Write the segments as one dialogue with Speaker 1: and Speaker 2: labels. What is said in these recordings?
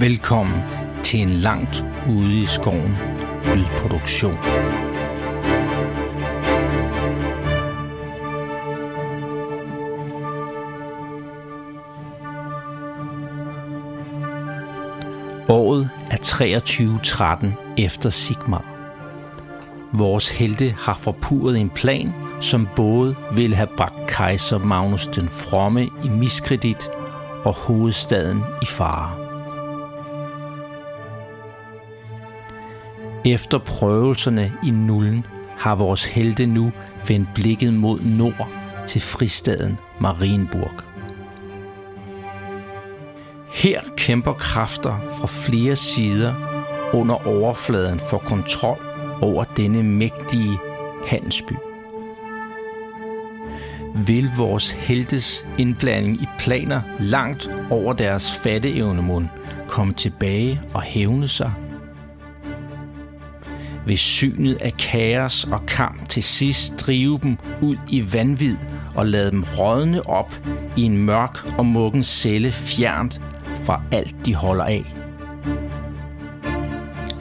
Speaker 1: Velkommen til en langt ude i skoven lydproduktion. Året er 2313 efter Sigmar. Vores helte har forpurret en plan, som både ville have bragt kejser Magnus den Fromme i miskredit og hovedstaden i fare. Efter prøvelserne i nullen har vores helte nu vendt blikket mod nord til fristaden Marienburg. Her kæmper kræfter fra flere sider under overfladen for kontrol over denne mægtige handelsby. Vil vores heltes indblanding i planer langt over deres fatteevne mund komme tilbage og hævne sig? Vil synet af kaos og kamp til sidst drive dem ud i vanvid og lade dem rådne op i en mørk og mukken celle fjernt fra alt de holder af?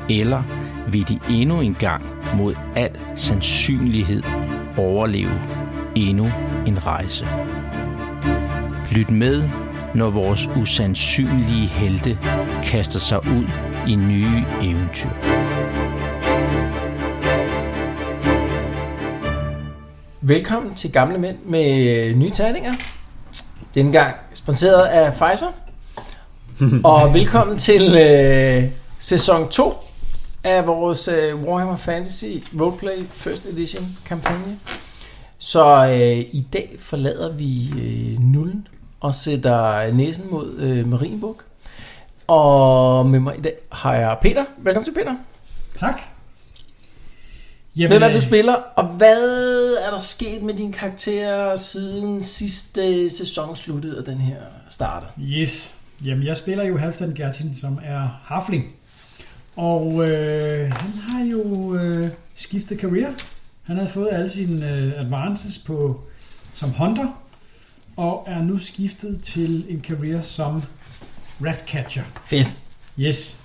Speaker 1: Eller vil de endnu en gang mod al sandsynlighed overleve endnu en rejse? Lyt med, når vores usandsynlige helte kaster sig ud i nye eventyr.
Speaker 2: Velkommen til Gamle Mænd med øh, nye terninger. Denne gang sponsoreret af Pfizer. Og velkommen til øh, sæson 2 af vores øh, Warhammer Fantasy Roleplay First Edition kampagne. Så øh, i dag forlader vi øh, nullen og sætter næsen mod øh, Marienburg. Og med mig i dag har jeg Peter. Velkommen til Peter.
Speaker 3: Tak. Jamen,
Speaker 2: Hvem er det, du
Speaker 3: øh,
Speaker 2: spiller, og hvad er der sket med dine karakterer siden sidste sæson sluttede og den her starter?
Speaker 3: Yes. Jamen, jeg spiller jo Halfdan Gertin, som er Hafling. Og øh, han har jo øh, skiftet career. Han havde fået alle sine øh, advances på, som hunter, og er nu skiftet til en career som ratcatcher.
Speaker 2: Fedt.
Speaker 3: Yes.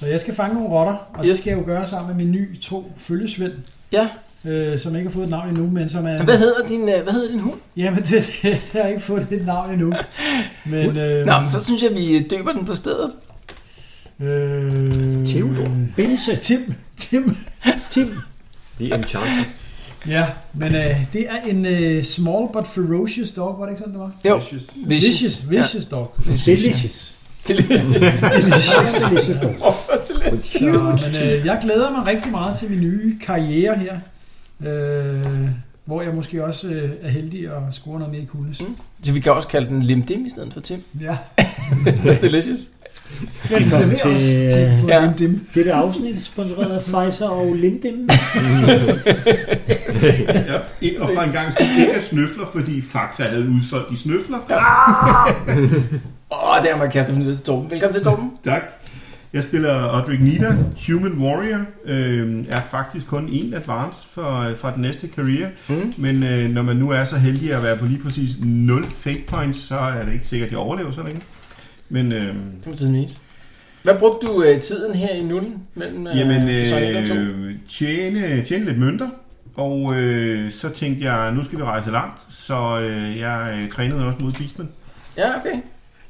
Speaker 3: Så jeg skal fange nogle rotter, og yes.
Speaker 2: Yes.
Speaker 3: det skal jeg jo gøre sammen med min ny tro følgesvend,
Speaker 2: Ja,
Speaker 3: øh, som ikke har fået et navn endnu, men som er...
Speaker 2: men hvad hedder din, øh, hvad hedder din hund?
Speaker 3: Jamen, det, det jeg har ikke fået et navn endnu. Men, øh,
Speaker 2: Nå, men så synes jeg, vi øh, døber den på stedet.
Speaker 3: Øh,
Speaker 4: Theodor. Bense.
Speaker 3: Tim. Tim.
Speaker 4: Tim.
Speaker 5: The Enchanter.
Speaker 3: Ja, men øh, det er en øh, small but ferocious dog, var det ikke sådan, det var?
Speaker 2: Jo,
Speaker 5: Vicious.
Speaker 2: vicious.
Speaker 3: Vicious, vicious ja. dog.
Speaker 4: Delicious. Delicious.
Speaker 3: Så, men øh, jeg glæder mig rigtig meget til min nye karriere her, øh, hvor jeg måske også øh, er heldig at score noget mere i kuldnes.
Speaker 2: Mm. Så vi kan også kalde den Limdim i stedet for Tim.
Speaker 3: Ja,
Speaker 2: Delicious.
Speaker 3: men
Speaker 4: Velkommen
Speaker 3: server os
Speaker 4: til,
Speaker 3: til
Speaker 4: øh,
Speaker 3: på
Speaker 2: ja.
Speaker 3: ja. dem.
Speaker 4: Dette afsnit er sponsoreret af Pfizer og Lindem.
Speaker 6: Ja, og for en gang skulle ikke have snøfler, fordi Faxa havde udsolgt de snøfler. Ja.
Speaker 2: Åh, det har man kastet mig ned til Torben. Velkommen til Torben.
Speaker 6: Tak. Jeg spiller Odrik Nida, Human Warrior, øh, er faktisk kun en advance for, øh, fra den næste career,
Speaker 2: Mm.
Speaker 6: men øh, når man nu er så heldig at være på lige præcis 0 fake points, så er det ikke sikkert, at jeg overlever så længe. Men øh,
Speaker 2: Det må tiden vise. Hvad brugte du øh, tiden her i nullen mellem øh,
Speaker 6: jamen,
Speaker 2: sæson 1 og 2?
Speaker 6: øh, tjene, tjene lidt mønter, og øh, så tænkte jeg, nu skal vi rejse langt, så øh, jeg øh, trænede også mod Beastman.
Speaker 2: Ja, okay.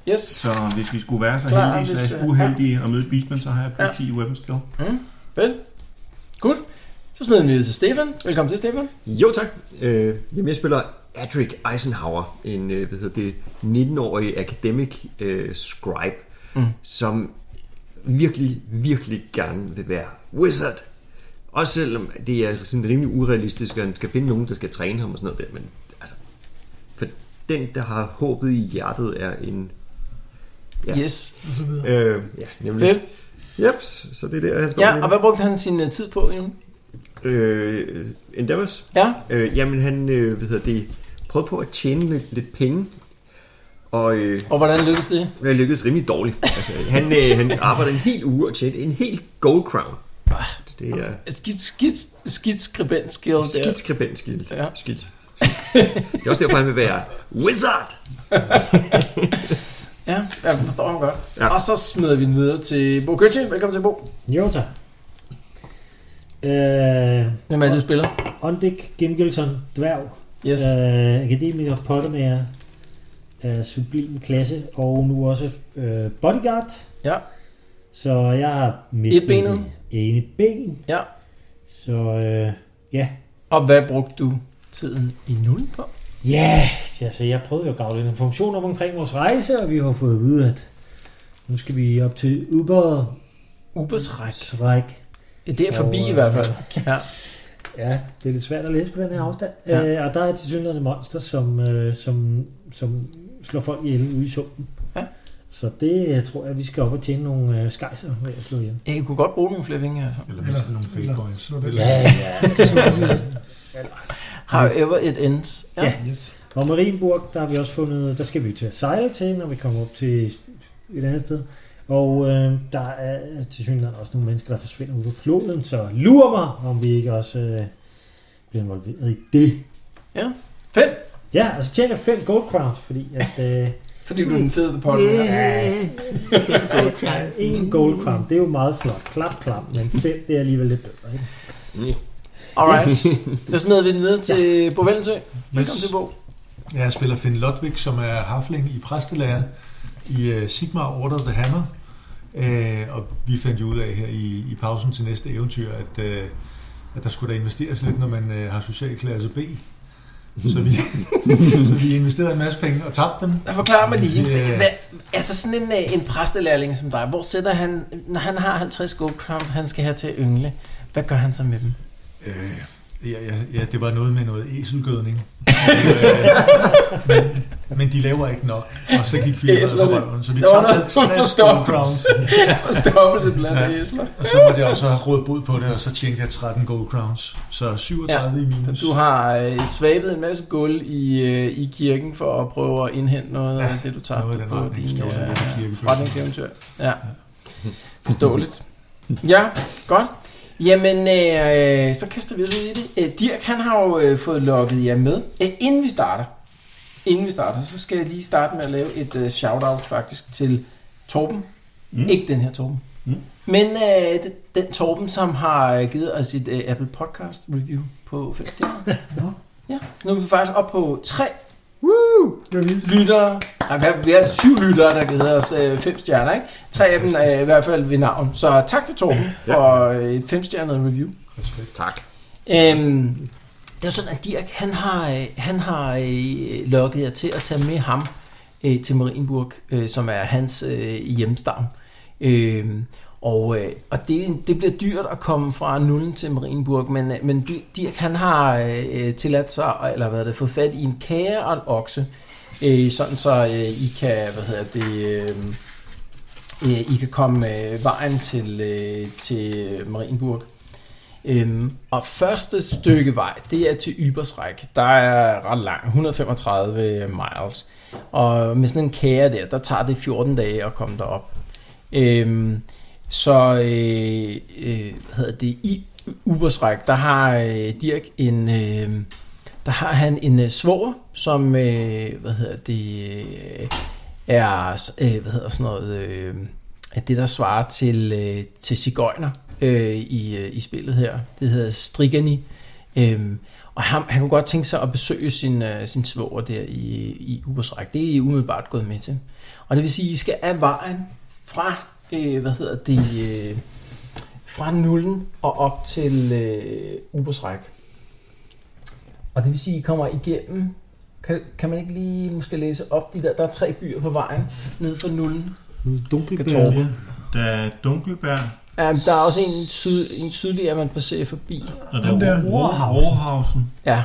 Speaker 2: Yes.
Speaker 6: Så hvis vi skulle være så
Speaker 2: Klar,
Speaker 6: Klar, heldige,
Speaker 2: hvis,
Speaker 6: hvis,
Speaker 2: øh,
Speaker 6: slash uheldige og møde Beastman, så har jeg plus
Speaker 2: Ja.
Speaker 6: 10 i weapon skill.
Speaker 2: Vel. Godt. Så smider vi ud til Stefan. Velkommen til, Stefan.
Speaker 5: Jo tak. Øh, jamen, jeg spiller Adric Eisenhower, en øh, hvad hedder det, 19-årig academic øh, scribe, mm. som virkelig, virkelig gerne vil være wizard. Også selvom det er sådan rimelig urealistisk, at han skal finde nogen, der skal træne ham og sådan noget der. Men altså, for den, der har håbet i hjertet, er en... Ja.
Speaker 2: Yes.
Speaker 3: Og så videre.
Speaker 5: Øh, ja, nemlig.
Speaker 2: Fedt.
Speaker 5: Jeps, så det er der, han står
Speaker 2: Ja,
Speaker 5: lige nu.
Speaker 2: og hvad brugte han sin øh, tid på, Jon?
Speaker 5: øh, Endeavors.
Speaker 2: Ja.
Speaker 5: Øh, jamen han, øh, hvad hedder det, prøvede på at tjene lidt, lidt penge, og øh,
Speaker 2: Og hvordan lykkedes det?
Speaker 5: det lykkedes rimelig dårligt. Altså, han, øh, han arbejdede en hel uge og tjente en hel gold crown. Det er
Speaker 2: Skidt, skidt, skidt skribent skill der.
Speaker 5: skidt skribent skidt.
Speaker 2: Ja.
Speaker 5: skidt. Det er også derfor, han vil være wizard.
Speaker 2: Ja, jeg forstår ham godt. Ja.
Speaker 5: Ja.
Speaker 2: Og så smider vi den videre til Bo Køtje. Velkommen til Bo.
Speaker 4: Jo, tak. Øh,
Speaker 2: Hvem er det, du spiller?
Speaker 4: Ondik Gengelsson, dværg,
Speaker 2: Yes.
Speaker 4: øh, akademiker, pottemager, øh, sublim klasse, og nu også øh, bodyguard.
Speaker 2: Ja.
Speaker 4: Så jeg har mistet
Speaker 2: Etbenet.
Speaker 4: det ene ben.
Speaker 2: Ja.
Speaker 4: Så øh, ja,
Speaker 2: Og hvad brugte du tiden i nul på?
Speaker 4: Ja, altså jeg prøvede jo at gavle en information om omkring vores rejse, og vi har fået at vide, at nu skal vi op til Uber
Speaker 2: Ubersræk.
Speaker 4: Schreik.
Speaker 2: Det er forbi
Speaker 4: Og,
Speaker 2: i hvert fald. Ja.
Speaker 4: Ja, det er lidt svært at læse på den her afstand.
Speaker 2: Ja.
Speaker 4: Ja. Øh, og der er til synligheden monster, som, øh, som, som slår folk ihjel ude i sumpen.
Speaker 2: Ja.
Speaker 4: Så det øh, tror jeg, vi skal op og tjene nogle øh, skejser med at slå ihjel.
Speaker 2: Ja, I kunne godt bruge nogle flere vinge. Altså.
Speaker 6: Eller
Speaker 3: Eller-
Speaker 6: miste nogle fake
Speaker 3: eller-
Speaker 6: boys.
Speaker 3: slå det
Speaker 4: Ja, ja.
Speaker 2: However it ends. Ja.
Speaker 4: Ja.
Speaker 3: Yes.
Speaker 4: Og Marienburg, der har vi også fundet, der skal vi til at sejle til, når vi kommer op til et andet sted. Og øh, der er til synligheden også nogle mennesker, der forsvinder ud på floden, så lurer mig, om vi ikke også øh, bliver involveret i det.
Speaker 2: Fedt.
Speaker 4: Ja, og så tjener jeg 5 gold crowns, fordi at øh,
Speaker 2: Fordi du er den fedeste potte. Yeah.
Speaker 4: en gold crown, det er jo meget flot. Klap, klap, men 5, det er alligevel lidt bedre. Ikke?
Speaker 2: Alright. Så smider vi den videre til ja. Bo Vellensø. Velkommen
Speaker 7: Yes.
Speaker 2: til Bo.
Speaker 7: Ja, Jeg spiller Finn Lodvig, som er hafling i præstelærer i uh, Sigmar Order of the Hammer. Uh, og vi fandt jo ud af her i, i pausen til næste eventyr, at, uh, at der skulle da investeres lidt, når man uh, har socialklasse B. Så vi, så vi investerede en masse penge og tabte dem.
Speaker 2: Jeg forklarer mig lige.
Speaker 7: Ja.
Speaker 2: Hvad, altså sådan en, øh, en præstelærling som dig, hvor sætter han, når han har 50 gold crowns, han skal have til at yngle, hvad gør han så med dem?
Speaker 7: Øh, ja, ja, ja, det var noget med noget eselgødning. øh, men, men de laver ikke nok, og så gik firmaet
Speaker 2: Æslerne.
Speaker 7: på røven, så vi
Speaker 2: Der var
Speaker 7: tabte
Speaker 2: noget, som
Speaker 7: 50
Speaker 2: forstår.
Speaker 7: gold crowns.
Speaker 2: Stoppet det blandt
Speaker 7: Ja.
Speaker 2: æsler.
Speaker 7: Og så måtte jeg også have råd bod på det, og så tjente jeg 13 gold crowns. Så 37 ja, i minus.
Speaker 2: Du har øh, svabet en masse guld i, øh, i kirken for at prøve at indhente noget af
Speaker 7: Ja,
Speaker 2: det, du
Speaker 7: noget
Speaker 2: tabte
Speaker 7: af den
Speaker 2: på
Speaker 7: retning,
Speaker 2: din øh,
Speaker 7: stjålet af kirken.
Speaker 2: forretningseventyr. Ja. Forståeligt. Ja, godt. Jamen, øh, så kaster vi os ud i det. Øh, Dirk, han har jo øh, fået lukket jer med. Øh, inden vi starter, inden vi starter, så skal jeg lige starte med at lave et øh, shout-out faktisk til Torben. Mm. Ikke den her Torben.
Speaker 6: Mm.
Speaker 2: Men øh, den, den Torben, som har øh, givet os et øh, Apple Podcast review på 5 Ja, så nu er vi faktisk oppe på tre lyttere. Nej, vi har, vi har syv lyttere, der har givet os øh, fem stjerner, ikke? Tre af dem er i hvert fald ved navn. Så tak til Torben for øh, et femstjernet review.
Speaker 7: Respekt.
Speaker 5: Tak.
Speaker 2: Øhm, det er jo sådan, at Dirk, han har, øh, han har øh, lokket jer til at tage med ham øh, til Marienburg, øh, som er hans øh, hjemstavn. Øh, og øh, og det, det bliver dyrt at komme fra Nullen til Marienburg, men, øh, men Di- Dirk, han har øh, øh, tilladt sig, eller hvad er det, fået fat i en kage og en okse, øh, sådan så øh, I kan, hvad hedder det... Øh, øh, I kan komme øh, vejen til, øh, til Marienburg. Øhm, og første stykke vej, det er til Ybersræk. Der er ret lang, 135 øh, miles. Og med sådan en kære der, der tager det 14 dage at komme derop. Øhm, så øh, øh, hvad hedder det, i Ubersræk, der har øh, Dirk en... Øh, der har han en øh, svoger, som øh, hvad hedder det, øh, er øh, hvad hedder sådan noget, øh, er det der svarer til øh, til sigøjner øh, i, øh, i spillet her. Det hedder Strigani. Øh, og han, han kunne godt tænke sig at besøge sin, øh, sin svoger der i, i Ubersræk. Det er I umiddelbart gået med til. Og det vil sige, at I skal af vejen fra, øh, hvad hedder det, øh, fra nullen og op til øh, Ubersræk. Og det vil sige, at I kommer igennem. Kan, kan man ikke lige måske læse op de der, der er tre byer på vejen, nede for nullen?
Speaker 4: Dunkelbær.
Speaker 2: Torben.
Speaker 6: Der er Dunkelberg,
Speaker 2: Ja, men der er også en, syd, en sydligere, man passerer forbi.
Speaker 6: og der er Rohausen. Rohausen.
Speaker 2: Ja,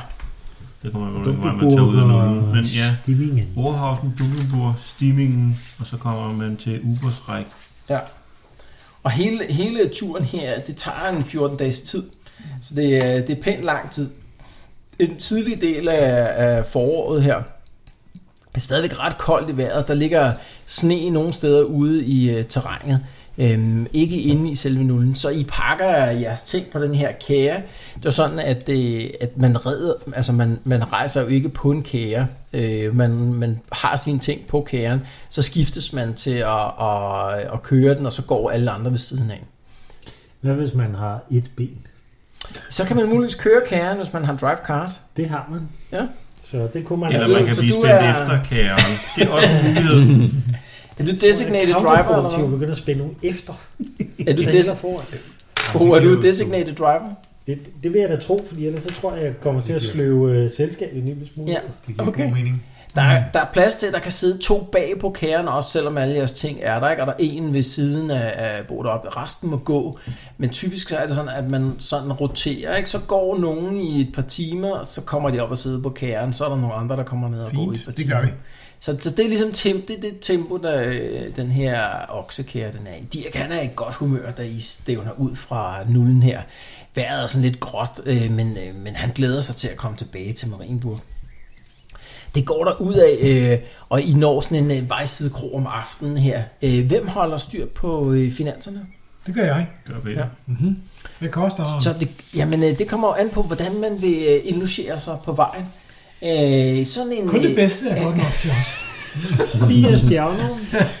Speaker 6: Det kommer jo ikke, man tager ud af nogen. Men ja,
Speaker 4: Stivingen.
Speaker 6: Rohausen, Dunkelburg, Stimingen, og så kommer man til Ubersræk.
Speaker 2: ja. Og hele, hele turen her, det tager en 14-dages tid. Så det, er- det er pænt lang tid. En tidlig del af, af foråret her, Det er stadigvæk ret koldt i vejret. Der ligger sne nogle steder ude i øh, terrænet. Øhm, ikke inde i selve nullen. Så I pakker jeres ting på den her kære. Det er sådan, at, det, at man, redder, altså man, man rejser jo ikke på en kære. Øh, man, man har sine ting på kæren. Så skiftes man til at, at, at køre den, og så går alle andre ved siden af.
Speaker 4: Hvad hvis man har et ben?
Speaker 2: Så kan man muligvis køre kæren, hvis man har drive card.
Speaker 4: Det har man.
Speaker 2: Ja.
Speaker 4: Så det kunne man altså
Speaker 6: Eller
Speaker 2: så-
Speaker 6: man kan
Speaker 2: så
Speaker 6: blive
Speaker 2: du
Speaker 6: spændt
Speaker 2: er-
Speaker 6: efter kæren. Det er også en mulighed.
Speaker 2: Er du designated driver, eller
Speaker 4: Du
Speaker 2: hvad?
Speaker 4: begynder at spænde nogen efter.
Speaker 2: Er du,
Speaker 4: Så
Speaker 2: des-
Speaker 4: hellere foran.
Speaker 2: Bo, Oh, er du designated driver?
Speaker 4: Det, det vil jeg da tro, fordi ellers så tror jeg, jeg kommer til at sløve uh, selskabet en lille smule.
Speaker 2: Ja.
Speaker 7: Det giver
Speaker 2: Okay.
Speaker 7: god mening.
Speaker 2: Der
Speaker 7: Mm.
Speaker 2: er, der er plads til, at der kan sidde to bag på kæren, også selvom alle jeres ting er der, ikke? og der er en ved siden af, af bordet op. Resten må gå. Men typisk så er det sådan, at man sådan roterer. Ikke? Så går nogen i et par timer, og så kommer de op og sidder på kæren. Så er der nogle andre, der kommer ned og går i et par
Speaker 7: Fint, det
Speaker 2: timer.
Speaker 7: gør vi.
Speaker 2: Så, så det er ligesom tempo, det, er det tempo, der øh, den her oksekære den er i. Dirk han er i godt humør, da I stævner ud fra nullen her. Vejret er sådan lidt gråt, øh, men, øh, men han glæder sig til at komme tilbage til Marienburg. Det går der ud af, øh, og I når sådan en øh, vejsidekrog om aftenen her. Øh, hvem holder styr på øh, finanserne?
Speaker 3: Det gør jeg. Mhm.
Speaker 6: Gør vi.
Speaker 2: Ja.
Speaker 3: Hvad koster det?
Speaker 2: Så det, jamen, øh, det kommer jo an på, hvordan man vil øh, indlogere sig på vejen. Øh, sådan en,
Speaker 3: Kun det
Speaker 2: øh,
Speaker 3: bedste er godt nok til os.
Speaker 4: Fire spjavner.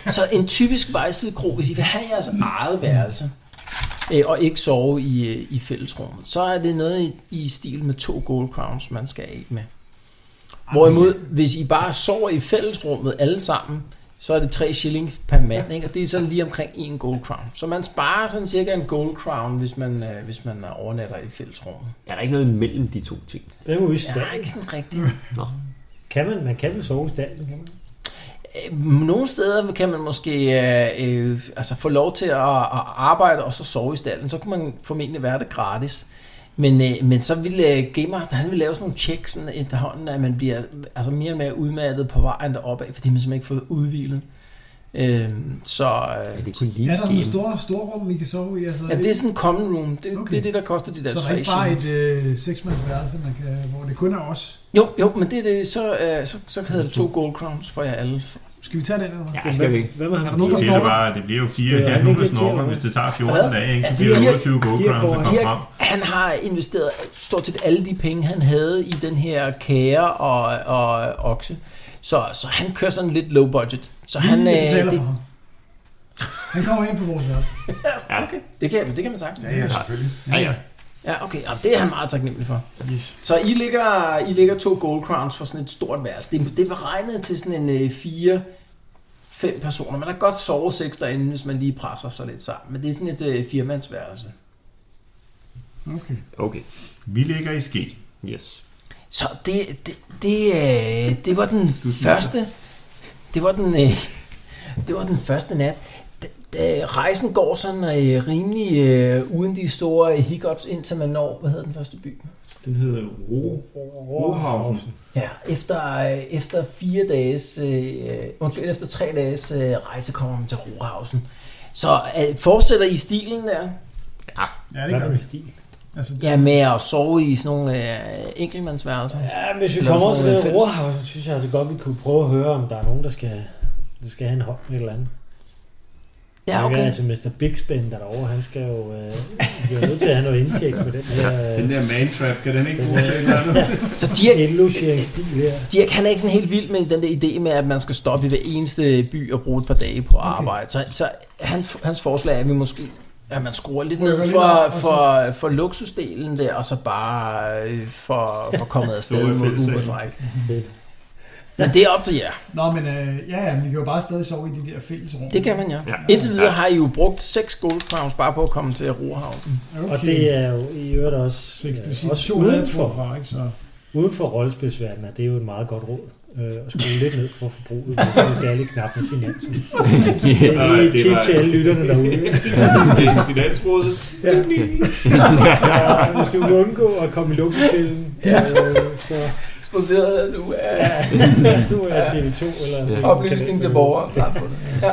Speaker 2: Så en typisk vejsidekro, hvis I vil have jeres eget værelse, øh, og ikke sove i, øh, i fællesrummet, så er det noget i, i stil med to gold crowns, man skal af med. Hvorimod, hvis I bare sover i fællesrummet alle sammen, så er det 3 shilling per mand, ikke? og det er sådan lige omkring en gold crown. Så man sparer sådan cirka en gold crown, hvis man, øh, hvis man overnatter i fællesrummet.
Speaker 5: Er der ikke noget mellem de to ting?
Speaker 4: Hvad med
Speaker 2: Ja,
Speaker 4: udstand?
Speaker 2: det er ikke sådan rigtigt.
Speaker 4: Kan man, man kan vel sove i stallen, kan man?
Speaker 2: Øh, Nogle steder kan man måske øh, øh, altså få lov til at, at arbejde og så sove i stallen. Så kan man formentlig være det gratis. Men, øh, men så vil øh, Game Master, han vil lave sådan nogle checks sådan efterhånden, at man bliver altså mere og mere udmattet på vejen deroppe, af, fordi man simpelthen ikke får udvilet. Øh, så
Speaker 5: Er
Speaker 2: øh,
Speaker 5: det kun lige
Speaker 3: Er der sådan et
Speaker 5: en?
Speaker 3: stort storrum, I kan sove i? Altså,
Speaker 2: ja, det er sådan en common room. Det, okay.
Speaker 3: Okay.
Speaker 2: det er det, der koster de der
Speaker 3: så der er
Speaker 2: tre
Speaker 3: ikke bare
Speaker 2: shillings.
Speaker 3: et øh, seksmandsværelse, man kan, hvor det kun er os.
Speaker 2: Jo, jo, men det er det, så, øh, så, så hedder det to gold crowns for jer alle.
Speaker 3: Skal vi tage den? Eller? hvad?
Speaker 5: Ja, skal vi ikke.
Speaker 4: Hvad med ham?
Speaker 3: Er der nogen, der
Speaker 6: Det, er
Speaker 3: snorker?
Speaker 6: bare, det bliver jo fire.
Speaker 4: Ja,
Speaker 6: Ja,
Speaker 4: det
Speaker 6: nu der
Speaker 4: bliver
Speaker 6: snorker,
Speaker 4: til,
Speaker 6: hvis det tager 14
Speaker 2: Hvad?
Speaker 6: dage. Ikke?
Speaker 2: Altså,
Speaker 6: Så bliver
Speaker 2: de
Speaker 6: der
Speaker 2: har-
Speaker 6: 28 gold
Speaker 4: de har
Speaker 6: crowns, der
Speaker 4: båret-
Speaker 6: kommer
Speaker 2: Dirk,
Speaker 6: frem.
Speaker 2: han har investeret stort set alle de penge, han havde i den her kære og, og okse. Så, så han kører sådan lidt low budget. Så han,
Speaker 3: Vi
Speaker 2: øh,
Speaker 3: betaler for
Speaker 2: det,
Speaker 3: ham. Han kommer ind på vores værelse.
Speaker 2: det, kan, det kan man sagtens. Ja, ja.
Speaker 7: selvfølgelig.
Speaker 5: Ja, ja.
Speaker 2: ja okay. Jamen, det er han meget taknemmelig for.
Speaker 3: Yes.
Speaker 2: Så I ligger, I ligger to gold crowns for sådan et stort værelse. Det, det er beregnet til sådan en øh, fire, fem personer. Man har godt sove seks derinde, hvis man lige presser sig lidt sammen. Men det er sådan et øh, firmandsværelse.
Speaker 3: Okay.
Speaker 5: Okay,
Speaker 6: Vi ligger i ske.
Speaker 5: yes.
Speaker 2: Så det, det, det, øh, det var den første... Det var den, øh, det var den første nat. D- d- Rejsen går sådan øh, rimelig øh, uden de store hiccups, indtil man når, hvad hedder den første by?
Speaker 6: Den hedder Ro... Rohausen.
Speaker 2: Ja, efter, øh, efter fire dages, øh, undskyld, efter tre dages øh, rejse kommer man til Rohausen. Så øh, fortsætter I stilen der,
Speaker 3: Ja, det
Speaker 4: Hvad
Speaker 3: gør
Speaker 4: med
Speaker 3: vi.
Speaker 4: stil?
Speaker 3: Altså, det,
Speaker 2: ja, med at sove i sådan nogle øh, enkeltmandsværelser.
Speaker 4: Ja, hvis vi
Speaker 2: Eller
Speaker 4: kommer
Speaker 2: også
Speaker 4: til
Speaker 2: noget
Speaker 4: det
Speaker 2: fælles.
Speaker 4: ord, så synes jeg altså godt, vi kunne prøve at høre, om der er nogen, der skal, der skal have en hånd med et eller andet.
Speaker 2: Ja,
Speaker 4: Jeg kan
Speaker 2: okay.
Speaker 4: altså Mr. Big Spend derovre, han skal jo øh, vi er nødt til at have noget indtjek på den her
Speaker 6: Den der mantrap, kan den ikke bruge til et eller andet?
Speaker 2: Så Dirk,
Speaker 4: øh, indlogeringsstil her.
Speaker 2: Dirk, han er ikke sådan helt vild med den der idé med, at man skal stoppe i hver eneste by og bruge et par dage på at arbejde. Så, så han, hans forslag er, at vi måske at man skruer lidt
Speaker 3: Rykker
Speaker 2: ned
Speaker 3: lidt
Speaker 2: for,
Speaker 3: op, og
Speaker 2: for, for luksusdelen der, og så bare øh, for, for kommet afsted
Speaker 6: Store
Speaker 2: mod
Speaker 6: fællessagen.
Speaker 2: Ubersræk. Men det er op til jer.
Speaker 3: Nå, men øh, ja, ja, vi kan jo bare stadig sove i de der fællesrum.
Speaker 2: Det kan man ja.
Speaker 5: Ja.
Speaker 2: Indtil videre har I jo brugt seks gold crowns bare på at komme til Rohavn.
Speaker 3: Okay.
Speaker 4: Og det er jo i øvrigt også,
Speaker 3: Seks, det vil
Speaker 4: øh,
Speaker 3: sige,
Speaker 4: også
Speaker 3: to havde jeg tror
Speaker 4: udenfor,
Speaker 3: fra, ikke? Så...
Speaker 4: uden for rollespilsverdenen, er det jo et meget godt råd. Øh, at skrue lidt ned for forbruget, hvis det er lidt knap med finansen. Det er lige et
Speaker 6: det
Speaker 4: tip
Speaker 6: var-
Speaker 4: til alle lytterne derude.
Speaker 6: Det er finansrådet.
Speaker 4: Ja. Ja, hvis du vil undgå at komme i luksusfælden, ja. øh, så
Speaker 2: Sponsoreret nu af
Speaker 4: nu er TV2 eller...
Speaker 5: Ja.
Speaker 2: oplysning til borgere. Ja.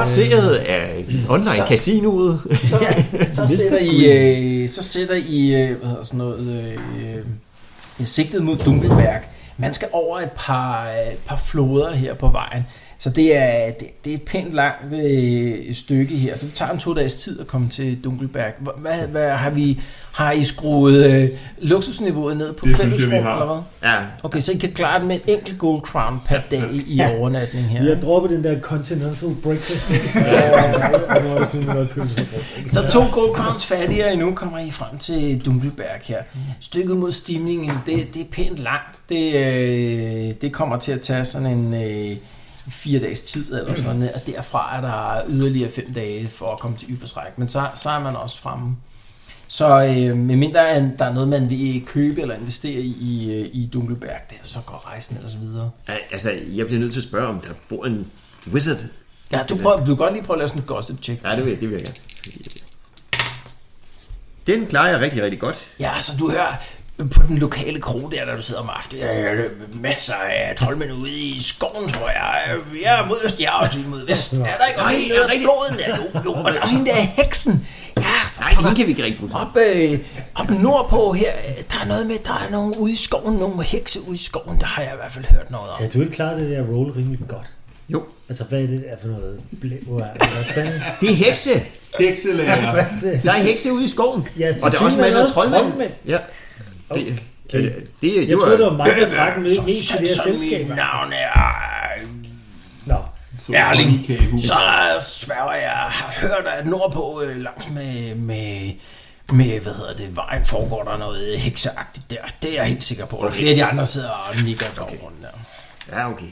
Speaker 5: Baseret af online-casinoet.
Speaker 2: så, så sætter I, øh, så sætter I øh, hvad hedder sådan noget, øh, øh, sigtet mod Dunkelberg. Man skal over et par, øh, par floder her på vejen. Så det er, det, det er et pænt langt øh, stykke her. Så det tager en to dages tid at komme til Dunkelberg. Hvor- Hvad, hvad har vi? Har I skruet øh, luksusniveauet ned på
Speaker 6: Det synes jeg, vi
Speaker 2: fællesrum
Speaker 6: har.
Speaker 2: eller hvad?
Speaker 5: Ja,
Speaker 2: Okay, så I kan klare det med en enkelt gold crown per dag i i overnatning her.
Speaker 4: Vi
Speaker 2: ikke?
Speaker 4: har droppet den der continental breakfast. ja, og nu er det kun noget pølsebrød.
Speaker 2: Så to gode crowns fattigere endnu kommer I frem til Dunkelberg her. Stykket mod stigningen, det, det er pænt langt. Det, øh, det kommer til at tage sådan en øh, fire dages tid eller sådan noget, og derfra er der yderligere fem dage for at komme til Ybersræk. Men så, så er man også fremme. Så øh, medmindre at der er noget, man vil købe eller investere i i, øh, i Dunkelberg, der, så går rejsen ellers videre.
Speaker 5: altså, jeg bliver nødt til at spørge, om der bor en wizard.
Speaker 2: Ja, du, prøver, du kan godt lige prøve at lave sådan et gossip check.
Speaker 5: Ja, det vil jeg, det vil jeg gerne. Den klarer jeg rigtig, rigtig godt.
Speaker 2: Ja, så du hører på den lokale kro der, der du sidder om aftenen. Øh, masser af troldmænd ude i skoven, tror jeg. Øh, Jeg er mod øst, jeg er også lige mod vest. Er der ikke også en nede af floden? Ja, jo, jo. Og der er også en der er heksen. Ja,
Speaker 5: Nej,
Speaker 2: for
Speaker 5: den kan vi ikke rigtig bruge.
Speaker 2: op, øh, op nordpå her, øh, der er noget med, der er nogen ude i skoven, nogle hekse ude i skoven, der har jeg i hvert fald hørt noget om.
Speaker 4: Ja, du er ikke klar det der roll rimelig godt.
Speaker 5: Jo.
Speaker 4: Altså, hvad er det der for noget blæver? Hvad fanden?
Speaker 5: Det er hekse.
Speaker 6: Hekselærer.
Speaker 4: er det?
Speaker 5: Der er hekse ude i skoven.
Speaker 4: Ja,
Speaker 5: Og der er også masser af troldmænd.
Speaker 4: troldmænd.
Speaker 5: Ja. Det, det, det, det,
Speaker 4: Jeg troede, det
Speaker 5: var,
Speaker 4: var mig, der drak med
Speaker 2: Så
Speaker 4: mest i det
Speaker 2: sandt
Speaker 4: her
Speaker 2: som
Speaker 4: selskab. altså.
Speaker 2: mit navn er øh,
Speaker 4: Nå,
Speaker 2: Erling,
Speaker 6: Kagehus.
Speaker 2: så sværger jeg, har hørt, at nordpå øh, langs med, med, med, hvad hedder det, vejen foregår der noget hekseagtigt der. Det er jeg helt sikker på. Der er flere af de andre sidder og nikker dog rundt der.
Speaker 5: Ja, okay.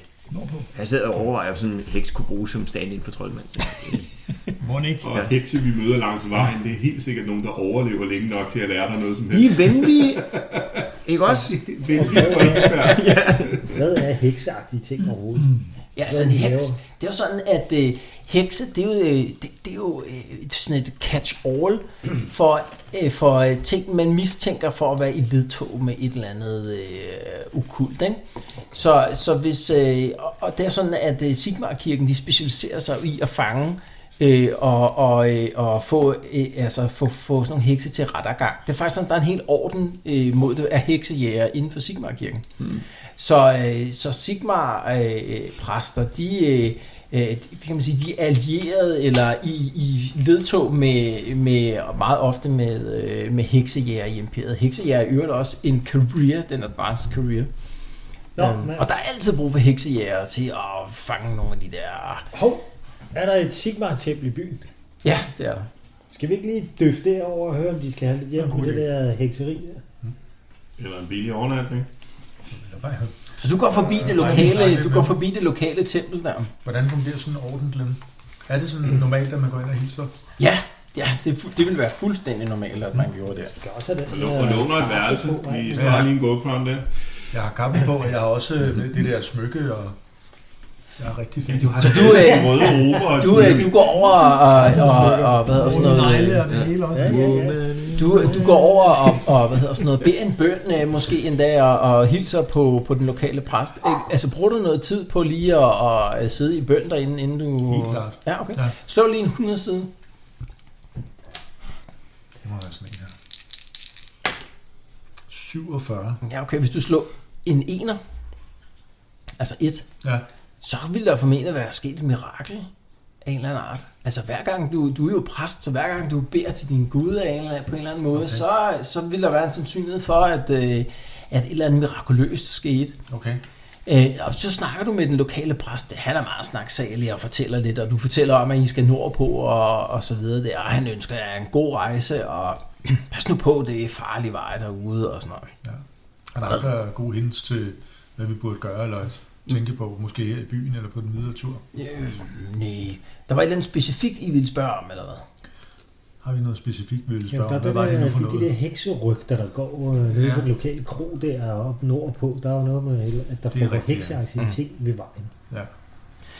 Speaker 5: Jeg sidder og overvejer, om sådan en heks kunne bruge som stand-in for troldmand.
Speaker 7: Må den ikke?
Speaker 6: Og hekse, vi møder langs vejen, det er helt sikkert nogen, der overlever længe nok til at lære dig noget som
Speaker 5: De
Speaker 6: helst.
Speaker 5: er venlige, ikke også?
Speaker 6: Venlige for indfærd.
Speaker 4: hvad er hekseagtige ting overhovedet?
Speaker 5: Mm.
Speaker 2: Ja, altså en
Speaker 4: Hvad de
Speaker 2: heks.
Speaker 4: laver.
Speaker 2: Det er jo sådan, at øh, hekse, det er jo, øh, det, det er jo øh, et- sådan et catch-all for, øh, for øh, ting, man mistænker for at være i ledtog med et eller andet øh, okult. Ikke? Så, så hvis, øh, og, og det er sådan, at øh, Sigmar-kirken, de specialiserer sig i at fange øh, og, og, øh, og få, øh, altså, få, få sådan nogle hekse til rettergang. Det er faktisk sådan, der er en hel orden øh, mod det af heksejæger inden for Sigmar-kirken. Så, øh, så Sigmar-præster, de, øh, øh, de, det kan man sige, de er allieret eller i, i ledtog med, med, og meget ofte med, øh, med heksejæger i imperiet. Heksejæger er i øvrigt også en career, den advanced career.
Speaker 4: Nå,
Speaker 2: Øhm,
Speaker 4: men,
Speaker 2: og der er altid brug for heksejæger til at fange nogle af de der...
Speaker 4: hov, er der et Sigmar-tempel i byen?
Speaker 2: Ja, det er der.
Speaker 4: Skal vi ikke lige døfte derover og høre, om de skal have lidt hjælp med det der hekseri der?
Speaker 6: Eller en billig overnatning.
Speaker 2: Så du går forbi det lokale, du går forbi det lokale tempel der.
Speaker 7: Hvordan fungerer sådan en orden, Glenn? Er det sådan normalt, at man går ind og hilser?
Speaker 2: Ja, ja det, er fu- det ville være fuldstændig normalt, at man gjorde det.
Speaker 4: Vi skal også have den
Speaker 6: Og låner et værelse. Vi sparer lige en GoPro'en der.
Speaker 7: Jeg har kappen på, og jeg har også øh, det der smykke, og jeg er rigtig fint.
Speaker 2: Så du, øh,
Speaker 6: Røde rober og
Speaker 2: Du, øh, du går over og, og, og, og hvad hedder sådan noget, øh,
Speaker 7: og det hele også.
Speaker 4: Ja, ja, ja.
Speaker 2: du, du går over og, og hvad hedder sådan noget, beder en bøn øh, måske en dag og, og hilser på, på den lokale præst. Ikke? Altså bruger du noget tid på lige at, at øh, sidde i bøn derinde, inden du...
Speaker 7: Helt klart.
Speaker 2: Ja, okay.
Speaker 7: Ja.
Speaker 2: Slå lige en 100 side.
Speaker 7: Det må være sådan en her. 47.
Speaker 2: Ja, okay. Hvis du slår en ener, altså et,
Speaker 7: Ja.
Speaker 2: så ville der formentlig være sket et mirakel af en eller anden art. Altså hver gang du, du er jo præst, så hver gang du beder til din gud af en eller, på en eller anden måde, okay. så, så vil der være en sandsynlighed for, at, øh, at et eller andet mirakuløst skete.
Speaker 7: Okay.
Speaker 2: Øh, og så snakker du med den lokale præst, han er meget snaksalig og fortæller lidt, og du fortæller om, at I skal nordpå og, og så videre der, og han ønsker jer en god rejse, og pas nu på, det er farlige veje derude og sådan noget.
Speaker 7: Er der andre gode hints til, hvad vi burde gøre, eller tænke på, måske her i byen eller på den videre tur?
Speaker 2: Øh, nej. Der var et eller andet specifikt, I ville spørge om, eller hvad?
Speaker 7: Har vi noget specifikt, vi ville
Speaker 4: Jamen,
Speaker 7: spørge
Speaker 4: der
Speaker 7: om?
Speaker 4: er
Speaker 7: Hvad
Speaker 4: det
Speaker 7: var det nu
Speaker 4: der,
Speaker 7: for
Speaker 4: de, de der
Speaker 7: noget?
Speaker 4: hekserygter, der går øh, nede
Speaker 7: Ja.
Speaker 4: på den lokale kro der og op nordpå. Der er jo noget med, at der
Speaker 7: Det er
Speaker 4: får
Speaker 7: rigtigt, ja. Mm.
Speaker 4: hekseaktivitet ved vejen.
Speaker 7: Ja.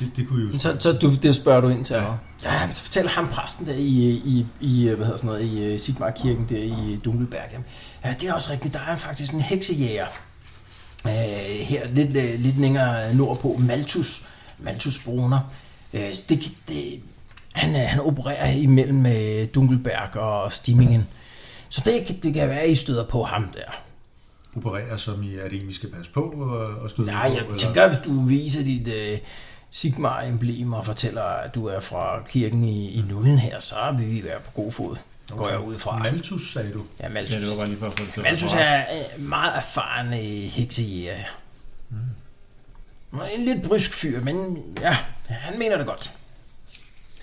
Speaker 7: Det, det kunne I jo
Speaker 2: Så, så du, det spørger du ind til, ja. ja, men så fortæller ham præsten der i, øh, i, i hvad hedder sådan noget, i øh, Sigmar-kirken der i øh, Dunkelberg. Jamen, ja, det er også rigtigt, der er faktisk en heksejæger. Øh, her lidt, øh, lidt længere nordpå, Malthus, Malthus Broner. Øh, det, kan- det, han, øh, han opererer imellem øh, Dunkelberg og Stimmingen. Så det, kan- det kan være, at I støder på ham der.
Speaker 7: operere, som i, er det en, vi skal passe på og, og støde
Speaker 2: Nej,
Speaker 7: på?
Speaker 2: jeg
Speaker 7: eller?
Speaker 2: tænker, hvis du viser dit, øh, Sigmar-emblem og fortæller, at du er fra kirken i, i nullen her, så vil vi være på god fod. Går jeg ud fra.
Speaker 7: Malthus, sagde du.
Speaker 2: Ja,
Speaker 6: Ja, det
Speaker 2: Malthus.
Speaker 6: var bare lige for at få det til at
Speaker 2: Malthus
Speaker 6: være
Speaker 2: er øh, meget erfaren i heksejæger. Mm. En lidt brysk fyr, men ja, han mener det godt.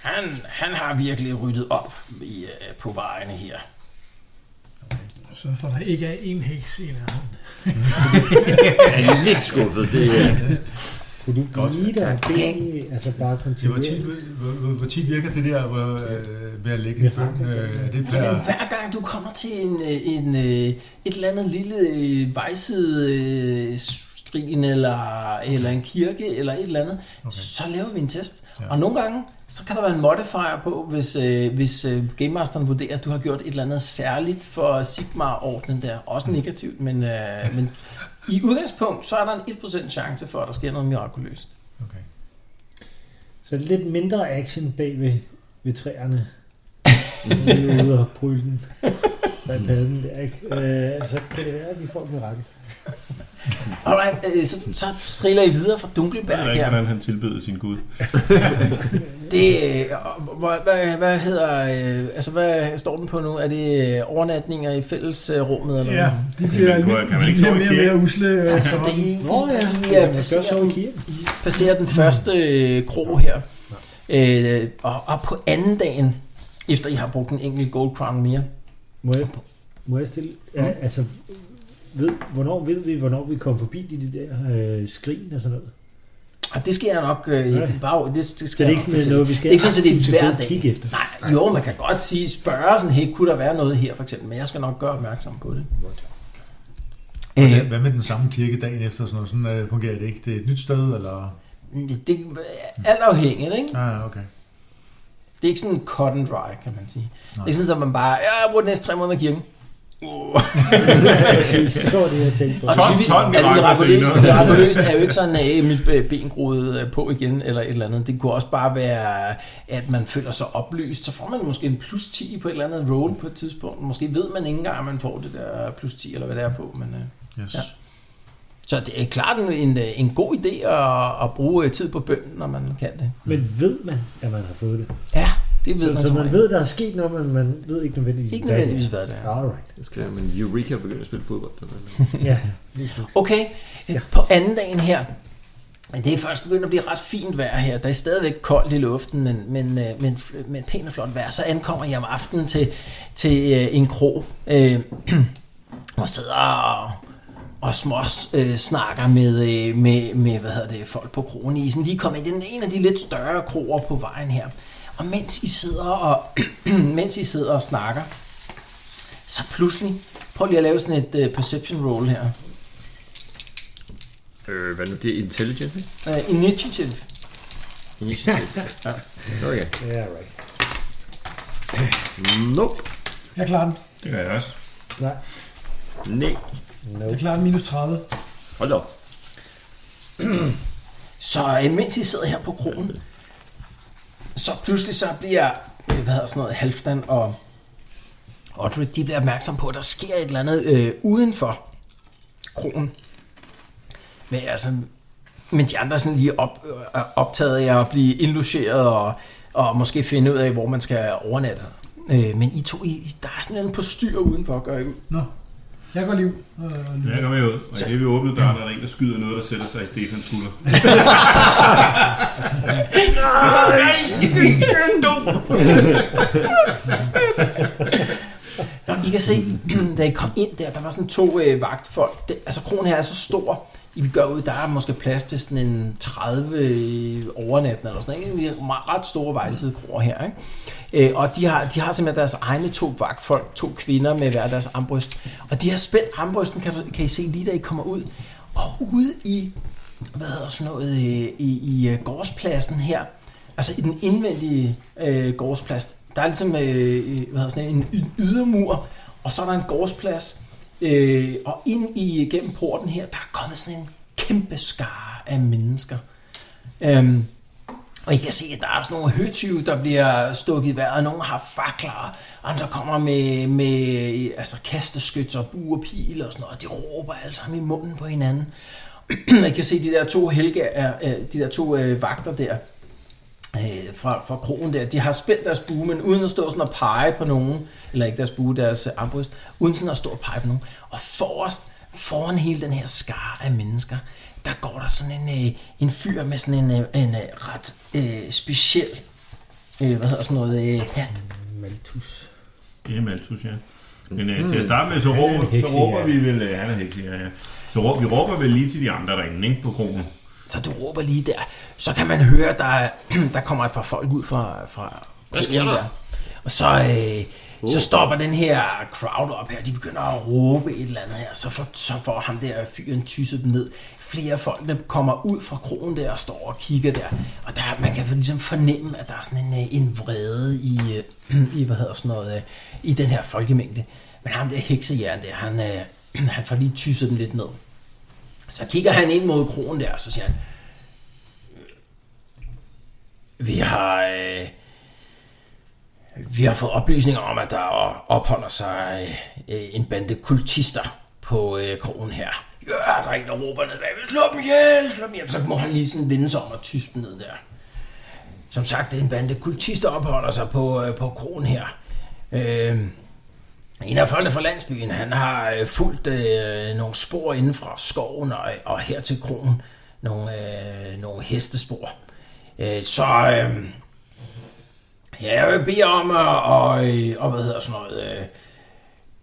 Speaker 2: Han, han har virkelig ryddet op i, øh, på vejene her.
Speaker 8: Så for der ikke er en heks i nærheden.
Speaker 5: Jeg er lidt skuffet. Det, øh,
Speaker 4: Kunne du
Speaker 7: Godt.
Speaker 4: blive der og bede, altså bare
Speaker 7: Det var
Speaker 4: kontinuere?
Speaker 7: tit, hvor, hvor, hvor tit virker det der hvor, øh, med at lægge en
Speaker 4: Ja.
Speaker 7: bøn? Øh, er det per,
Speaker 2: Men hver gang du kommer til en, øh, en, øh, et eller andet lille øh, vejside øh, skrin eller, eller en kirke eller et eller andet, okay. så laver vi en test. Ja. Og nogle gange, så kan der være en modifier på, hvis, øh, hvis øh, Game Masteren vurderer, at du har gjort et eller andet særligt for Sigmar-ordenen der. Også negativt, men, øh, men i udgangspunkt, så er der en 1% chance for, at der sker noget mirakuløst.
Speaker 7: okay.
Speaker 4: Så lidt mindre action bag ved, ved træerne. Nu er vi ude og prylle den. Der er padden der, ikke? Øh, så kan det være, at vi får et mirakel.
Speaker 2: Alright, øh, så, så triller I videre fra
Speaker 6: Jeg ved
Speaker 2: Dunkelberg
Speaker 6: ikke,
Speaker 2: her.
Speaker 6: hvordan han tilbød sin gud.
Speaker 2: Det, øh, og hvad, hvad, hvad hedder, øh, altså hvad står den på nu? Er det øh, overnatninger i fællesrummet eller
Speaker 8: Ja,
Speaker 2: noget?
Speaker 8: de bliver,
Speaker 6: men
Speaker 8: lidt,
Speaker 6: kan man
Speaker 8: de
Speaker 6: ikke
Speaker 8: bliver
Speaker 6: sove i
Speaker 8: mere og
Speaker 6: kirke?
Speaker 8: mere usle. øh,
Speaker 2: Altså, det, I,
Speaker 4: Nå ja,
Speaker 2: I, I,
Speaker 4: det
Speaker 2: øh,
Speaker 4: kan man gøre
Speaker 2: passerer,
Speaker 4: så Mm. i kirken.
Speaker 2: I passerer den første øh, kro her, øh, og, og på anden dagen, efter I har brugt en enkelt gold crown mere,
Speaker 4: Må jeg, må jeg stille? Ja,
Speaker 2: Mm.
Speaker 4: altså, ved, hvornår ved vi, hvornår vi kom forbi de, de der øh, skrin og sådan noget?
Speaker 2: og det sker nok øh,
Speaker 4: Ja.
Speaker 2: i bare, det, det
Speaker 4: Så
Speaker 2: sker nok
Speaker 4: det er ikke sådan
Speaker 2: til.
Speaker 4: noget, vi skal
Speaker 2: altså, Det er ikke sådan, at det er hver
Speaker 4: aktivt til at gå og
Speaker 2: dag.
Speaker 4: kigge efter.
Speaker 2: Nej, jo, man kan godt sige, spørge sådan, hey, kunne der være noget her for eksempel, men jeg skal nok gøre opmærksom på det.
Speaker 7: Hvordan- Hvad med den samme kirke dagen efter? Sådan, noget? sådan øh, fungerer det ikke? Det er et nyt sted, eller?
Speaker 2: Øh, det er alt afhængigt, ikke?
Speaker 7: Ah, okay.
Speaker 2: Det er ikke sådan cut and dry, kan man sige. Nej.
Speaker 7: Nej.
Speaker 2: Det er sådan, at man bare, ja, jeg bruger de næste tre måneder med kirken. Uh.
Speaker 4: Det var det, jeg tænkte på.
Speaker 2: Og
Speaker 6: Tolv-
Speaker 2: typisk
Speaker 6: tolv
Speaker 2: er det
Speaker 6: mirakler
Speaker 2: mirakuløst,
Speaker 6: senere.
Speaker 2: mirakuløst er jo ikke sådan, at mit øh, ben groede øh, på igen, eller et eller andet. Det kunne også bare være, at man føler sig oplyst. Så får man måske en plus 10 på et eller andet roll på et tidspunkt. Måske ved man ikke engang, at man får det der plus 10, eller hvad det er på. Men, øh.
Speaker 7: Yes.
Speaker 2: Ja. Så det er klart en, en, øh, en god idé at, at bruge øh, tid på bøn, når man kan det.
Speaker 4: Men ved man, at man har fået det?
Speaker 2: Ja, det ved man
Speaker 4: så, så
Speaker 2: som
Speaker 4: man
Speaker 2: regel.
Speaker 4: ved, der er sket noget, men man ved ikke nødvendigvis,
Speaker 2: Ikke
Speaker 4: hvad det er.
Speaker 2: nødvendigvis, hvad det er.
Speaker 4: Alright.
Speaker 5: jeg skal lade min Eureka begynde at spille fodbold. Eller?
Speaker 4: Ja.
Speaker 2: Okay, ja. på anden dagen her, men det er først begyndt at blive ret fint vejr her. Der er stadigvæk koldt i luften, men, men, øh, men, f- men pænt og flot vejr. Så ankommer jeg om aftenen til, til øh, en krog, øh, og sidder og, og små øh, snakker med, øh, med, med, hvad hedder det, folk på krogen i isen. De er kommet i den en af de lidt større kroer på vejen her. Og mens I sidder og, mens I sidder og snakker, så pludselig, prøv lige at lave sådan et øh, perception roll her.
Speaker 5: Øh, hvad nu? Det er intelligence, ikke?
Speaker 2: Uh, initiative.
Speaker 5: Initiative. ja. Okay.
Speaker 4: Ja, right.
Speaker 5: Nope.
Speaker 8: Jeg klarer den.
Speaker 6: Det gør jeg også.
Speaker 4: Nej.
Speaker 5: Nej.
Speaker 8: Jeg klarer den minus 30.
Speaker 5: Hold da op.
Speaker 2: Så øh, mens I sidder her på kronen, så pludselig så bliver, øh, hvad hedder sådan noget, Halfdan og Audrey, de bliver opmærksom på, at der sker et eller andet øh, udenfor kronen. Men altså, men de andre er sådan lige op, øh, er optaget af at blive indlogeret og, og måske finde ud af, hvor man skal overnatte. Øh, men I to, I, I- der er sådan en eller anden postyr udenfor, gør I ud.
Speaker 8: Nå. Jeg går liv. Øh,
Speaker 6: Ja, jeg går med ud. Og i det vi åbner døren, er der en, der skyder noget, der sætter sig i Stefans skulder.
Speaker 2: Nå, I kan se, da I kom ind der, der var sådan to øh, vagtfolk. Det, altså, kronen her er så stor. I gør ud, der er måske plads til sådan en 30 øh, overnatten eller sådan noget. Egentlig meget- ret store vejside kroer her, ikke? Øh, og de har, de har simpelthen deres egne to vagtfolk, to kvinder med hver deres armbryst. Og de har spændt armbrysten, kan, du- kan I se lige da I kommer ud. Og ude i, hvad hedder sådan noget, øh, i, i øh, gårdspladsen her, altså i den indvendige øh, gårdsplads, der er ligesom øh, hvad hedder sådan en y- ydermur, og så er der en gårdsplads, øh, og ind i gennem porten her, der er kommet sådan en kæmpe skare af mennesker. Øhm, og I kan se, at der er sådan nogle høtyve, der bliver stukket i vejret. Nogle har fakler, andre kommer med, med altså kasteskyts og buer og pil og sådan noget. De råber alle sammen i munden på hinanden. jeg kan se de der to helge, er, øh, de der to øh, vagter der øh, fra, fra krogen der, de har spændt deres bue, men uden at stå sådan og pege på nogen, eller ikke deres bue, deres øh, armbryst, uden sådan at stå og pege på nogen. Og forrest, foran hele den her skare af mennesker, der går der sådan en, øh, en fyr med sådan en, øh, en øh, ret øh, speciel, øh, hvad hedder sådan noget, øh, hat.
Speaker 4: Malthus.
Speaker 6: Det er Malthus, ja. Men
Speaker 2: Mm.
Speaker 6: øh, til at starte med, så råber,
Speaker 4: hekse,
Speaker 6: så råber
Speaker 4: ja.
Speaker 6: vi vel... Øh, han er hekse, ja, ja. Så råber, vi råber vel lige til de andre derinde, ikke? På krogen.
Speaker 2: Så du råber lige der, så kan man høre, at der, er- der kommer et par folk ud fra, fra Hvad sker der? Og så, øh, så stopper den her crowd op her, de begynder at råbe et eller andet her, så får, så får ham der fyren tysset dem ned. Flere af folkene kommer ud fra krogen der og står og kigger der, og der, man kan ligesom fornemme, at der er sådan en, øh, en vrede i, øh, i, hvad hedder sådan noget, øh, i den her folkemængde. Men ham der heksejern der, han, øh, han får lige tysset dem lidt ned. Så kigger han ind mod kronen der, og så siger han, vi har, øh, vi har fået oplysninger om, at der opholder sig øh, en bande kultister på øh, krogen her. Ja, der er en, der råber ned bagved, slå dem ihjel, slå dem ihjel. Så må han lige sådan vende sig om og tyste dem ned der. Som sagt, det er en bande kultister, opholder sig på, øh, på krogen her. Øh, en af folkene fra landsbyen, han har øh, fulgt øh, nogle spor inden fra skoven og, og her til kronen. Nogle, øh, nogle hestespor. Øh, så øh, ja, jeg vil bede om at og, øh, og, hvad hedder sådan noget, øh,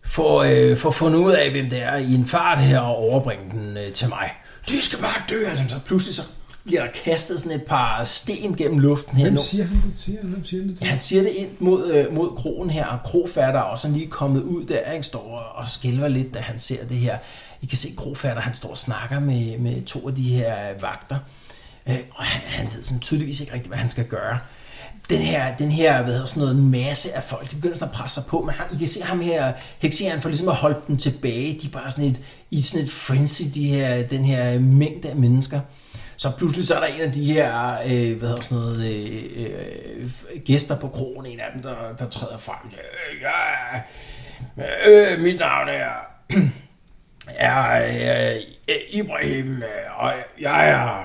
Speaker 2: få, øh, få fundet ud af, hvem det er i en fart her og overbringe den øh, til mig. De skal bare dø, altså. Så pludselig så bliver der kastet sådan et par sten gennem luften her.
Speaker 8: Hvem
Speaker 2: nu.
Speaker 8: siger han det til? Hvem siger han det til?
Speaker 2: Ja, han siger det ind mod, øh, mod krogen her, og krofatter er også lige kommet ud der, ikke? står og, og skælver lidt, da han ser det her. I kan se krofatter, han står og snakker med, med to af de her øh, vagter, øh, og han, han ved sådan tydeligvis ikke rigtigt, hvad han skal gøre. Den her, den her hvad hedder, sådan noget masse af folk, de begynder sådan at presse sig på, men ham, I kan se ham her, hekseren for ligesom at holde dem tilbage, de er bare sådan et, i sådan et frenzy, de her, den her mængde af mennesker. Så pludselig så er der en af de her, øh, hvad hedder sådan noget, øh, øh, gæster på krogen, en af dem, der, der træder frem. og siger, Øh, jeg er- øh, mit navn er, er øh, Ibrahim, øh, og jeg er,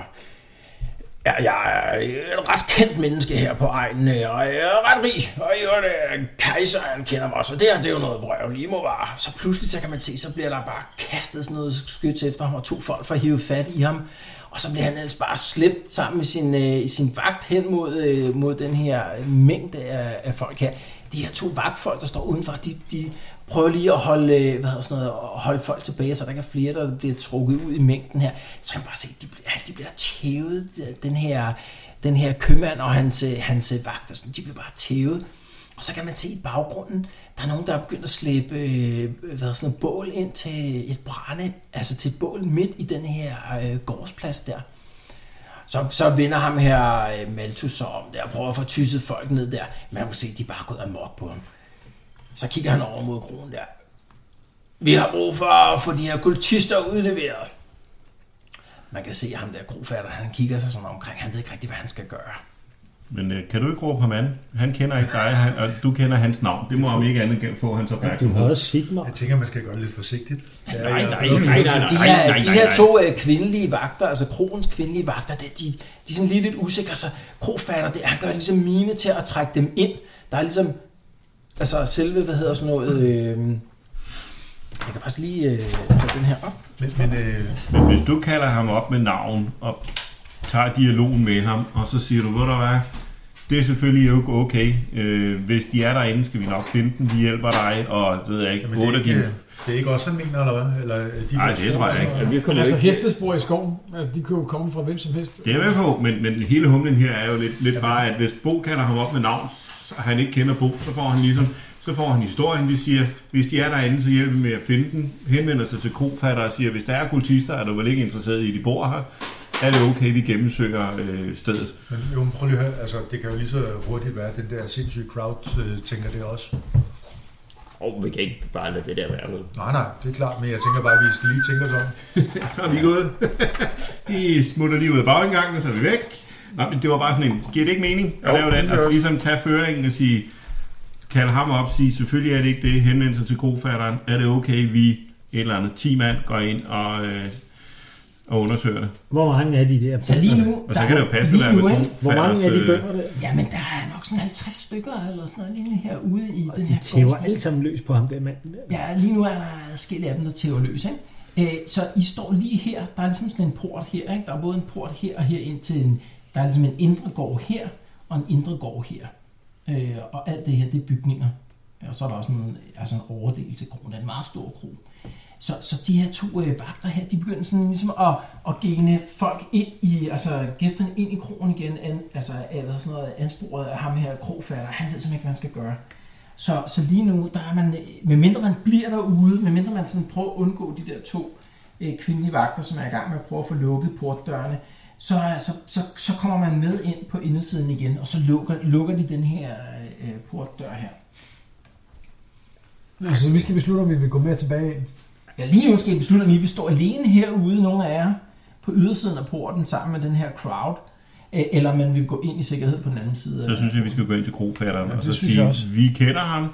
Speaker 2: jeg, jeg er et ret kendt menneske her på egnen, øh, og jeg er ret rig, og i øvrigt øh, kejseren kender mig også, og det her, det er jo noget vrøvl, I må bare. Så pludselig, så kan man se, så bliver der bare kastet sådan noget skyt efter ham, og to folk får hivet fat i ham, og så bliver han ellers bare slæbt sammen med sin, øh, sin vagt hen mod, øh, mod den her mængde af, af folk her. De her to vagtfolk, der står udenfor, de, de prøver lige at holde, øh, hvad hedder sådan noget, at holde folk tilbage, så der ikke er flere, der bliver trukket ud i mængden her. Så kan man bare se, at de, bliver- ja, de bliver tævet, øh, den her, den her købmand og hans, øh, hans øh, vagter, sådan, de bliver bare tævet. Og så kan man se i baggrunden, der er nogen, der er begyndt at slæbe øh, hvad hedder sådan noget, bål ind til et brænde, altså til et bål midt i den her øh, gårdsplads der. Så, så vender ham her øh, Malthus så om der og prøver at få tysset folk ned der. Men man kan se, at de er bare gået amok på ham. Så kigger han over mod kronen der. Vi har brug for at få de her kultister udleveret. Man kan se at ham der krofatter, han kigger sig sådan omkring. Han ved ikke rigtigt, hvad han skal gøre.
Speaker 6: Men øh, kan du ikke råbe ham an? Han kender ikke dig, han, og du kender hans navn. Det må om ikke andet få hans
Speaker 4: Du har
Speaker 6: opmærksomhed.
Speaker 4: også Sigmar.
Speaker 7: Jeg tænker, man skal gøre det lidt forsigtigt. Ja,
Speaker 6: Nej,
Speaker 7: jeg-
Speaker 6: nej, nej, nej, nej,
Speaker 2: De her,
Speaker 6: nej,
Speaker 2: de
Speaker 6: nej,
Speaker 2: her
Speaker 6: nej.
Speaker 2: to øh, kvindelige vagter, altså kroens kvindelige vagter, det, de, de er sådan lige lidt usikre, så krofatter, det, han gør ligesom mine til at trække dem ind. Der er ligesom, altså selve, hvad hedder sådan noget, øh, jeg kan faktisk lige øh, tage den her op.
Speaker 7: Men, men øh,
Speaker 6: Men hvis du kalder ham op med navn og tager dialogen med ham, og så siger du, ved du hvad, det er selvfølgelig ikke okay. Øh, hvis de er derinde, skal vi nok finde dem. Vi hjælper dig, og det ved jeg ikke,
Speaker 7: jamen,
Speaker 6: Jamen,
Speaker 7: det, er
Speaker 6: otte af
Speaker 7: ikke,
Speaker 6: dine...
Speaker 7: øh, det er ikke også, han mener, eller hvad? Eller, øh, de
Speaker 6: Nej,
Speaker 7: vores-
Speaker 6: det tror jeg ikke.
Speaker 5: Ja, vi kunne
Speaker 8: Altså
Speaker 5: ikke.
Speaker 8: hestespor i skoven, altså, de kunne jo komme fra hvem som helst.
Speaker 6: Det er jeg med på, men, men hele humlen her er jo lidt, lidt bare, at hvis Bo kalder ham op med navn, så han ikke kender Bo, så får han ligesom, så får han historien, vi siger, hvis de er derinde, så hjælper vi med at finde den, henvender sig til krofatter og siger, hvis der er kultister, er du vel ikke interesseret i, at de bor her, er det okay, vi gennemsøger øh, stedet.
Speaker 7: Men jo, men prøv lige at høre, altså, det kan jo lige så hurtigt være, at den der sindssyge crowd øh, tænker det også.
Speaker 5: Oh, vi kan ikke bare lade det der være med.
Speaker 7: Nej, nej, det er klart, men jeg tænker bare, at vi skal lige tænke os om.
Speaker 6: Så er vi gået. I smutter lige ud af bagindgangen, så er vi væk. Nej, men det var bare sådan en, giver det ikke mening at
Speaker 5: Jo,
Speaker 6: lave
Speaker 5: det
Speaker 6: den?
Speaker 5: gør
Speaker 6: Altså
Speaker 5: det.
Speaker 6: ligesom tage føringen og sige, kalde ham op og sige, selvfølgelig er det ikke det, henvende sig til grofatteren, er det okay, vi et eller andet 10 mand går ind og øh, og undersøger det.
Speaker 4: Hvor mange er de der?
Speaker 2: Så lige nu...
Speaker 6: Og så
Speaker 2: der
Speaker 6: kan
Speaker 2: er-
Speaker 6: det jo passe, at der er
Speaker 2: lige nu,
Speaker 6: med
Speaker 2: ikke?
Speaker 6: nogle
Speaker 4: Hvor mange
Speaker 6: fatters,
Speaker 4: er de
Speaker 6: øh,
Speaker 4: bønder der?
Speaker 2: Jamen, der er nok sådan 50 stykker eller sådan noget lignende her ude i den
Speaker 4: De
Speaker 2: her
Speaker 4: tæver
Speaker 2: gårdsplads.
Speaker 4: alle sammen løs på ham der manden. der.
Speaker 2: Ja, lige nu er der adskillige af dem, der tæver løs, ikke? Øh, så I står lige her, der er ligesom sådan en port her, ikke? Der er både en port her og her ind til en, der er ligesom en indre gård her og en indre gård her. Øh, og alt det her, det er bygninger. Og så er der også en, altså en overdel til kronen, en meget stor kro. Så, så de her to øh, vagter her, de begynder sådan ligesom at, at gene folk ind i, altså gæsterne ind i kronen igen, an, altså eller sådan noget ansporet af ham her krofatter, han ved simpelthen ikke, hvad han skal gøre. Så, så lige nu, der er man, medmindre man bliver derude, medmindre man sådan prøver at undgå de der to øh, kvindelige vagter, som er i gang med at prøve at få lukket portdørene, så, så, så, så kommer man med ind på indersiden igen, og så lukker, lukker de den her øh, portdør her.
Speaker 8: Altså, vi skal beslutte, om vi vil gå med tilbage ind.
Speaker 2: Ja, lige nu skal I beslutte, om I vil stå alene herude, nogle af jer, på ydersiden af porten sammen med den her crowd, øh, eller om man vil gå ind i sikkerhed på den anden side.
Speaker 6: Så synes jeg, vi skal gå ind til krofatteren ja, og så
Speaker 8: synes jeg
Speaker 6: sige,
Speaker 8: også.
Speaker 6: vi kender ham.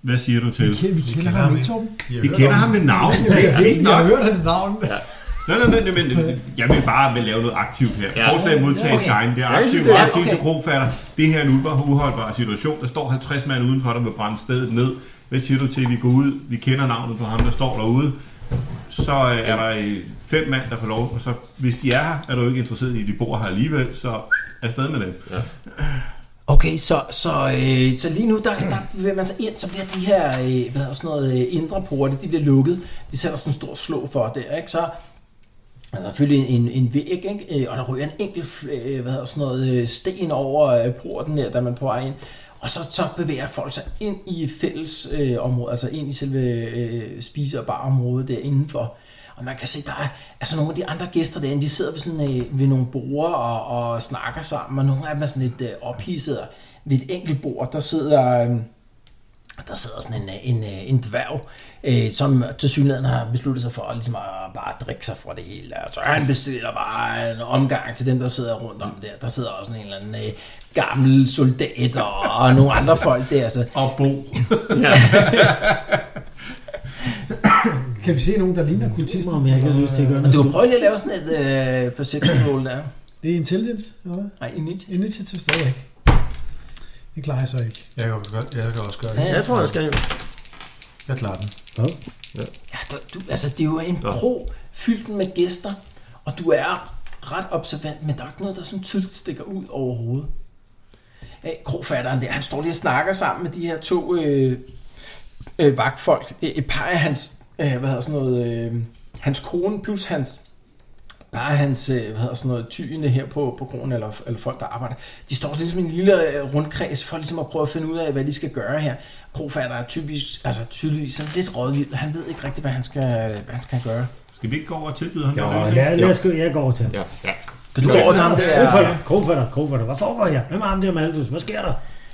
Speaker 6: Hvad siger du til?
Speaker 8: Vi, ke- vi kender ham ikke, Torben.
Speaker 6: Vi kender ham ved navn. Det er fint
Speaker 8: Jeg har
Speaker 6: nok.
Speaker 8: hørt hans navn.
Speaker 6: Nej, nej, nej, nej, men jeg vil bare vil lave noget aktivt her.
Speaker 5: Ja.
Speaker 6: Forslag modtages
Speaker 2: Okay.
Speaker 6: gangen. Det er
Speaker 5: Ja, jeg synes,
Speaker 6: aktivt,
Speaker 5: det
Speaker 6: og
Speaker 5: er-
Speaker 6: jeg siger til
Speaker 2: okay.
Speaker 6: krofatter, det her er en uholdbar- uholdbar situation. Der står 50 mand udenfor, der vil brænde stedet ned. Hvad siger du til, at vi går ud? Vi kender navnet på ham, der står derude. Så øh, er der øh, fem mand, der får lov, og så, hvis de er her, er du ikke interesseret i, at de bor her alligevel, så afsted med dem.
Speaker 2: Okay, så, så, øh, så lige nu, der, der bevæger man sig ind, så bliver de her øh, hvad hedder sådan noget, øh, indre porte, de bliver lukket. De sætter sådan en stor slå for der, ikke? Så altså selvfølgelig en, en væg, ikke? Øh, og der ryger en enkelt øh, hvad hedder sådan noget, øh, sten over øh, porten der, da man på vej ind. Og så, så bevæger folk sig ind i fælles øh, område, altså ind i selve øh, spise- og barområdet der indenfor. Og man kan se, der er altså nogle af de andre gæster derinde, de sidder ved, sådan, øh, ved nogle borer og, og snakker sammen, og nogle af dem er sådan lidt øh, ophidset. Og Ved et enkelt bord, der sidder... Øh, der sidder sådan en, øh, en, øh, en dværg, øh, som til synligheden har besluttet sig for at, ligesom at bare drikke sig fra det hele. Og så han bestiller bare en omgang til dem, der sidder rundt om der. Der sidder også en eller anden øh, gammel soldat og, og nogle andre folk der. Så
Speaker 6: Og bo.
Speaker 8: Kan vi se nogen, der ligner kultister?
Speaker 4: Tister, om jeg ikke har lyst til at gøre
Speaker 2: Men du
Speaker 4: noget.
Speaker 2: kan prøve lige at lave sådan et øh, perception roll der.
Speaker 8: øh, Det er intelligence, eller hvad?
Speaker 2: Nej, initiativ.
Speaker 8: Initiativ stadigvæk. Det klarer jeg så ikke.
Speaker 7: Jeg kan, godt- jeg kan også gøre det.
Speaker 2: Ja.
Speaker 5: Jeg tror, jeg skal jo.
Speaker 7: Jeg klarer den.
Speaker 2: Ja, du, du, altså, det er jo en kro fyldt med gæster, og du er ret observant, men der er ikke noget, der sådan tydeligt stikker ud overhovedet. Øh, Krofatteren der, han står lige og snakker sammen med de her to øh, øh, vagtfolk. Øh, Et par af hans, øh, hvad hedder sådan noget, øh, hans kone plus hans bare hans, øh, hvad hedder sådan noget, tyende her på, på kronen, eller, eller folk, der arbejder, de står ligesom i en lille øh, rundkreds for ligesom at prøve at finde ud af, hvad de skal gøre her. Krofatter er typisk, altså tydeligvis sådan lidt rådvild. Han ved ikke rigtigt, hvad han skal, hvad han skal gøre.
Speaker 6: Skal vi ikke gå over og tilbyde ham?
Speaker 5: Jo,
Speaker 6: noget?
Speaker 4: Ja, lad os gå. Jeg går over til ham.
Speaker 5: Ja, ja.
Speaker 2: Kan du overtage ham
Speaker 4: Krogfatter,
Speaker 2: der?
Speaker 4: krogfatter, krogfatter. Hvad foregår her? Hvem har ham der Maldus? Hvad sker der?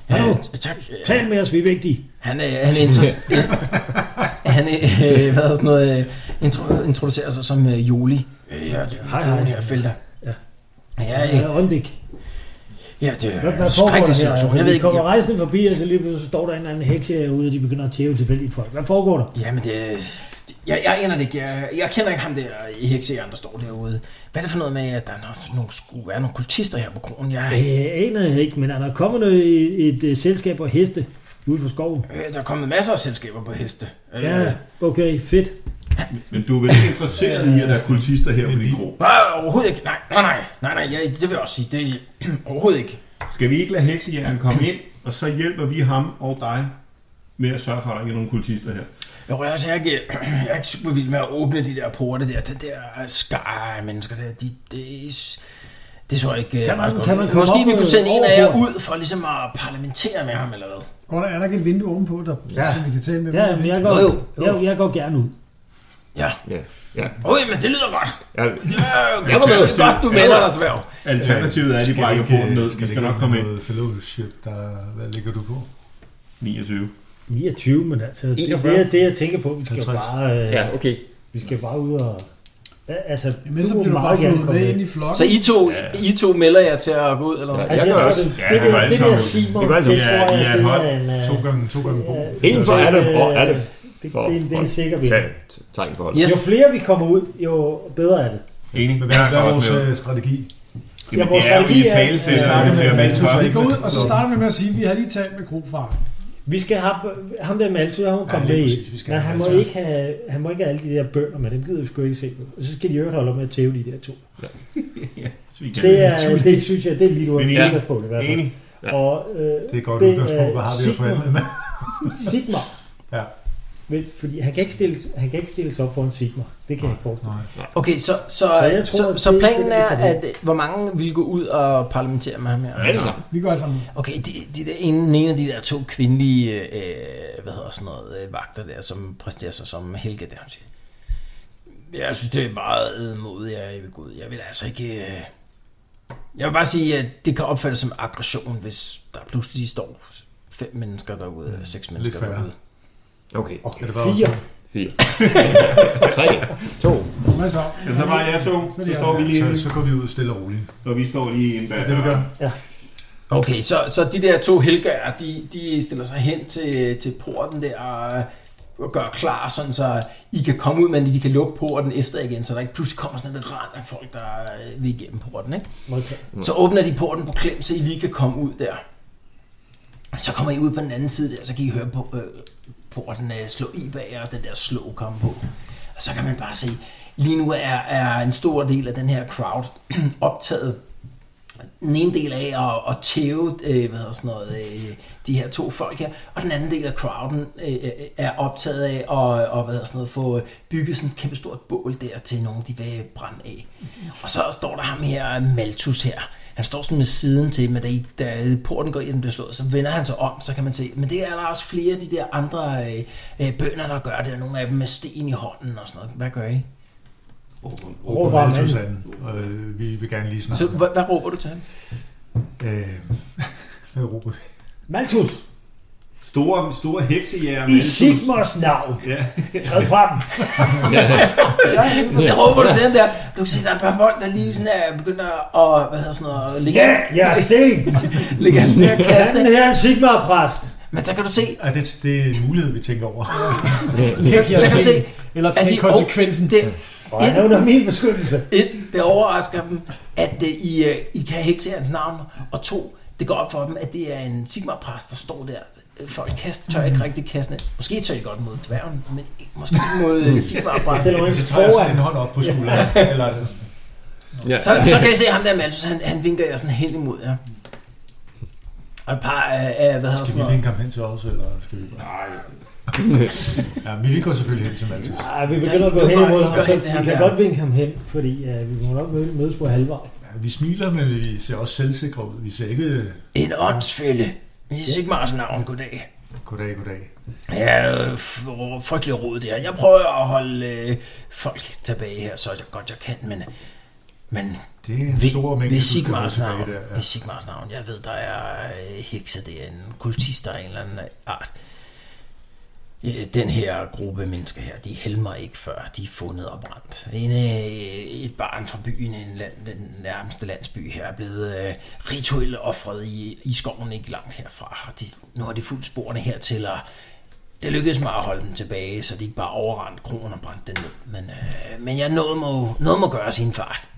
Speaker 4: Hallo?
Speaker 2: t- tak.
Speaker 4: Tal med os, vi er vigtige.
Speaker 2: Han, øh, han, inter- han øh, hvad hedder sådan noget, øh, intro- introducerer sig som øh, Joli. Øh, ja, det er hej,
Speaker 4: Hej, hej.
Speaker 2: hej. her felter.
Speaker 4: Ja.
Speaker 2: Ja,
Speaker 4: Jeg
Speaker 2: ja,
Speaker 4: er Øh, Ondik.
Speaker 2: ja, det
Speaker 4: Hvad,
Speaker 2: er
Speaker 4: hvad
Speaker 2: en
Speaker 4: foregår
Speaker 2: skrækkelig
Speaker 4: der
Speaker 2: situation.
Speaker 4: her?
Speaker 2: Jeg ved
Speaker 4: Vi
Speaker 2: ikke,
Speaker 4: kommer rejsende forbi, og så lige pludselig så står der en eller anden hekse herude, og de begynder at tæve tilfældigt folk. Hvad foregår der?
Speaker 2: Jamen, det... Jeg, jeg aner det ikke. Jeg, jeg kender ikke ham der i heksejeren, der står derude. Hvad er det for noget med, at der er no- nogle, skulle være nogle kultister her på kronen? Jeg,
Speaker 4: Jeg Øh, aner jeg ikke, men er der kommet noget, et, et, et selskab og heste ude for skoven?
Speaker 2: øh, der er kommet masser af selskaber på heste. Øh,
Speaker 4: Ja, okay, fedt.
Speaker 6: Men du er vel ikke interesseret i, at der er kultister her på din gro?
Speaker 2: Nej, overhovedet ikke. Nej, nej, nej, nej, nej jeg, det vil jeg også sige. Det er overhovedet ikke.
Speaker 6: Skal vi ikke lade heksejæren komme ind, og så hjælper vi ham og dig med at sørge for, at der ikke er nogen kultister her?
Speaker 2: Jeg, rører, altså, jeg, er ikke, jeg er ikke super vild med at åbne de der porte der. Den der skar af mennesker der, de, det, det så jeg ikke... øh,
Speaker 4: Kan man-
Speaker 2: ret godt
Speaker 4: kan man
Speaker 2: ud.
Speaker 4: komme
Speaker 2: Måske
Speaker 4: op
Speaker 2: vi kunne sende en af jer
Speaker 4: overhovedet?
Speaker 2: ud for ligesom at parlamentere med ham, eller hvad?
Speaker 8: Går der, er der ikke et vindue ovenpå, der, ja. som vi kan tale med?
Speaker 4: Ja, men jeg går,
Speaker 2: Jo, jo, jo.
Speaker 4: Jeg, jeg går gerne ud.
Speaker 2: Ja.
Speaker 5: Ja, ja.
Speaker 2: Okay, men det lyder godt.
Speaker 5: ja.
Speaker 2: Øh, kan man det? Det er godt, du melder dig, dværg.
Speaker 6: Alternativet er, at de brækker porten ned. Vi skal nok komme ind.
Speaker 7: Fellowship, der, hvad ligger du på?
Speaker 6: 29.
Speaker 4: 29, men altså, det, er
Speaker 5: 41.
Speaker 4: det, det, jeg tænker på, vi skal
Speaker 7: 50.
Speaker 4: bare, øh,
Speaker 5: ja okay.
Speaker 4: vi skal bare ud og... Ja, Altså,
Speaker 8: Men så
Speaker 4: må
Speaker 8: bliver du bare
Speaker 4: gerne
Speaker 8: fået
Speaker 4: komme
Speaker 8: med
Speaker 4: med.
Speaker 8: ind i flokken.
Speaker 2: Så I to, I to melder jer til at gå ud, eller hvad?
Speaker 5: Ja.
Speaker 4: Altså,
Speaker 5: Jeg
Speaker 4: jeg,
Speaker 5: gør
Speaker 4: tror,
Speaker 5: også.
Speaker 4: det,
Speaker 6: Ja,
Speaker 4: det,
Speaker 6: det gør
Speaker 4: der,
Speaker 6: alle
Speaker 4: det der
Speaker 6: sammen.
Speaker 4: Simon,
Speaker 5: Det gør alle
Speaker 4: det
Speaker 6: sammen.
Speaker 4: tror
Speaker 6: Ja,
Speaker 4: jeg,
Speaker 6: de er
Speaker 4: det
Speaker 6: et
Speaker 4: er en...
Speaker 7: To
Speaker 4: øh,
Speaker 7: gange, to gange
Speaker 4: ja,
Speaker 7: ja.
Speaker 4: det
Speaker 5: Inden
Speaker 4: tror
Speaker 9: altså-
Speaker 5: for
Speaker 4: jeg,
Speaker 5: alle,
Speaker 4: øh,
Speaker 5: for alle,
Speaker 4: det- det- Det er en sikker vi.
Speaker 5: tegn for hold.
Speaker 2: Yes.
Speaker 4: Jo flere vi kommer ud, jo bedre er det.
Speaker 6: Enig.
Speaker 7: Men hvad,
Speaker 6: Jeg
Speaker 7: hvad
Speaker 6: går
Speaker 7: er
Speaker 6: også
Speaker 7: vores
Speaker 6: med.
Speaker 7: øh, strategi?
Speaker 6: Jamen,
Speaker 4: vores
Speaker 6: det er jo
Speaker 4: strategi
Speaker 6: i
Speaker 4: er-
Speaker 6: tale
Speaker 7: Vi
Speaker 6: sætter
Speaker 7: snakker
Speaker 6: til at
Speaker 7: med-
Speaker 6: vælge
Speaker 7: med-
Speaker 8: Vi
Speaker 6: tørre.
Speaker 8: går ud, og så starter vi med at sige, at vi har lige talt med Krofar.
Speaker 4: Vi skal have, ham der med altid, han må komme
Speaker 7: lige
Speaker 4: med
Speaker 7: præcis, vi
Speaker 4: i.
Speaker 7: skal
Speaker 4: Men
Speaker 7: have
Speaker 4: han må,
Speaker 7: Malthus.
Speaker 4: ikke have, han må ikke have alle de der bønder med, dem gider vi sgu ikke se på. Og så skal de i øvrigt holde op med at tæve de der to.
Speaker 6: Så vi kan-
Speaker 4: Det, er, det synes jeg, det er lige du har
Speaker 6: Men
Speaker 4: ja.
Speaker 6: ja.
Speaker 4: på det i hvert fald.
Speaker 6: Enig.
Speaker 5: Ja.
Speaker 4: Og, øh,
Speaker 7: Det er et godt
Speaker 4: Det er
Speaker 7: udgangspunkt. Hvad har vi at
Speaker 4: Sigmar.
Speaker 7: forældre med?
Speaker 4: Sigmar.
Speaker 7: Ja.
Speaker 4: Vel, fordi han kan, ikke stille, han kan ikke stille sig op for en Sigmar. Det kan jeg ikke forestille mig.
Speaker 7: Nej.
Speaker 2: Okay, så, så,
Speaker 4: jeg
Speaker 2: så,
Speaker 4: tror,
Speaker 2: så,
Speaker 4: at
Speaker 2: så
Speaker 4: det-
Speaker 2: planen
Speaker 4: det er
Speaker 2: er,
Speaker 4: det, vi kan
Speaker 2: at øh, hvor mange vil gå ud og parlamentere med ham her?
Speaker 5: Alle
Speaker 9: altså.
Speaker 5: sammen.
Speaker 8: Vi går alle sammen.
Speaker 2: Okay, de, de der, en, en af de der to kvindelige, øh, hvad hedder sådan noget, øh, vagter der, som præsterer sig som Helga der, hun siger, jeg synes, det er meget modigt, jeg vil gå ud. Jeg vil altså ikke... Øh, jeg vil bare sige, at det kan opfattes som aggression, hvis der pludselig står fem mennesker derude, eller seks mennesker
Speaker 7: færre.
Speaker 2: derude.
Speaker 5: Okay.
Speaker 7: Er det bare
Speaker 4: Fire.
Speaker 5: Fire. Tre. To.
Speaker 8: Hvad så?
Speaker 6: Ja, så var jeg Altså, to.
Speaker 8: Så er
Speaker 6: Så
Speaker 8: det jer
Speaker 6: står vi lige
Speaker 7: Så, så går vi ud stille og roligt.
Speaker 6: og vi står lige inde bag.
Speaker 7: Det er det, vi gør.
Speaker 2: Okay, så, så de der to helgører, de, de stiller sig hen til, til porten der og, og gør klar, sådan så I kan komme ud, men I kan lukke porten efter igen, så der ikke pludselig kommer sådan et rand af folk, der øh, vil igennem porten. Ikke?
Speaker 4: Modtaget.
Speaker 2: Så åbner de porten på klem, så I lige kan komme ud der. Så kommer I ud på den anden side der, så kan I høre på, øh, porten øh, slå i bag jer, og den der slå komme på. Og så kan man bare se, lige nu er, er en stor del af den her crowd optaget den ene del af at, at tæve øh, hvad hedder sådan noget, øh, de her to folk her, og den anden del af crowden øh, øh, er optaget af at og, hvad hedder sådan noget, få bygget sådan et kæmpe stort bål der til nogen, de vil brænde af. Og så står der ham her, Malthus her, han står sådan med siden til, men da, I- da porten går ind og bliver slået, så vender han sig om, så kan man se, men det er der også flere af de der andre øh, øh, bønder, der gør det, og nogle af dem med sten i hånden og sådan noget. Hvad gør I?
Speaker 7: Råber
Speaker 4: bare
Speaker 7: bare manden. Øh, vi vil gerne lige snakke.
Speaker 2: Så, hvad, hvad råber du til ham?
Speaker 7: Øh, hvad råber vi?
Speaker 4: Malthus,
Speaker 6: Store, store heksejæger.
Speaker 4: i Sigmars navn,
Speaker 6: Ja.
Speaker 4: træd frem.
Speaker 2: Så jeg råber du til ham der. Du kan se, der er et par folk, der lige sådan er begyndt at, hvad hedder sådan noget, ligge,
Speaker 4: Ja, jeg er sten.
Speaker 2: ligge an til at kaste.
Speaker 4: Han er en Sigmar-præst.
Speaker 2: Men så kan du se,
Speaker 7: Ah, det, det er en mulighed, vi tænker over.
Speaker 2: så, så kan du se,
Speaker 8: Eller
Speaker 2: at
Speaker 8: tag
Speaker 2: de,
Speaker 8: konsekvensen.
Speaker 2: oh, det,
Speaker 4: Og han er under min beskyttelse.
Speaker 2: et, det overrasker dem, at øh, I, øh, I kan hekse hans navn, og to, det går op for dem, at det er en Sigmar-præst, der står der. Øh, Folk kast, tør ikke rigtig kaste ned. Måske tør I godt mod dværgen, men ikke- måske ikke mod øh, Sigmar-præsten.
Speaker 4: Stiller mig
Speaker 7: Så
Speaker 4: ikke
Speaker 7: tager jeg
Speaker 4: foran.
Speaker 7: sådan en hånd op på skulderen. Eller,
Speaker 5: Ja.
Speaker 2: Så, så kan I se ham der Malthus, han, han vinker jer sådan helt imod jer. Og et par af, af hvad hedder
Speaker 7: skal
Speaker 2: sådan
Speaker 7: vi
Speaker 2: noget,
Speaker 7: vinke ham hen til os, eller skal vi bare... Nej. ja, men vi går selvfølgelig hen til Malthus.
Speaker 4: Ej, vi begynder at gå
Speaker 2: Du
Speaker 4: hen
Speaker 2: må
Speaker 4: imod
Speaker 2: ikke
Speaker 4: ham,
Speaker 2: gå
Speaker 4: så
Speaker 2: hen til ham
Speaker 4: vi kan
Speaker 2: der.
Speaker 4: godt vinke ham hen, fordi øh, vi må nok møde- mødes på halvvej.
Speaker 7: Ja, vi smiler, men vi ser også selvsikre ud. Vi ser ikke... øh,
Speaker 2: En åndsfælde. I Sigmars navn, goddag.
Speaker 7: Goddag, goddag.
Speaker 2: Ja, øh, f- frygtelig rod det her. Jeg prøver at holde øh, folk tilbage her, så jeg godt jeg kan, men... Men
Speaker 7: Det er en stor
Speaker 2: ved,
Speaker 7: mængde,
Speaker 2: ved
Speaker 7: du skal holde
Speaker 2: Sigmars
Speaker 7: tilbage
Speaker 2: navn,
Speaker 7: der.
Speaker 2: ved Sigmars navn, jeg ved, der er øh, hekse derinde, kultister af en eller anden art. Øh, Den her gruppe mennesker her, de helmer ikke før, de er fundet og brændt. En, øh, et barn fra byen, en land, den nærmeste landsby her, er blevet øh, rituelt offret i, i skoven ikke langt herfra. Og de, nu har de fulgt sporene hertil, og det lykkedes mig at holde dem tilbage, så de ikke bare overrendte kronen og brændte den ned. Men, øh, men jeg noget må, noget må gøre sin fart.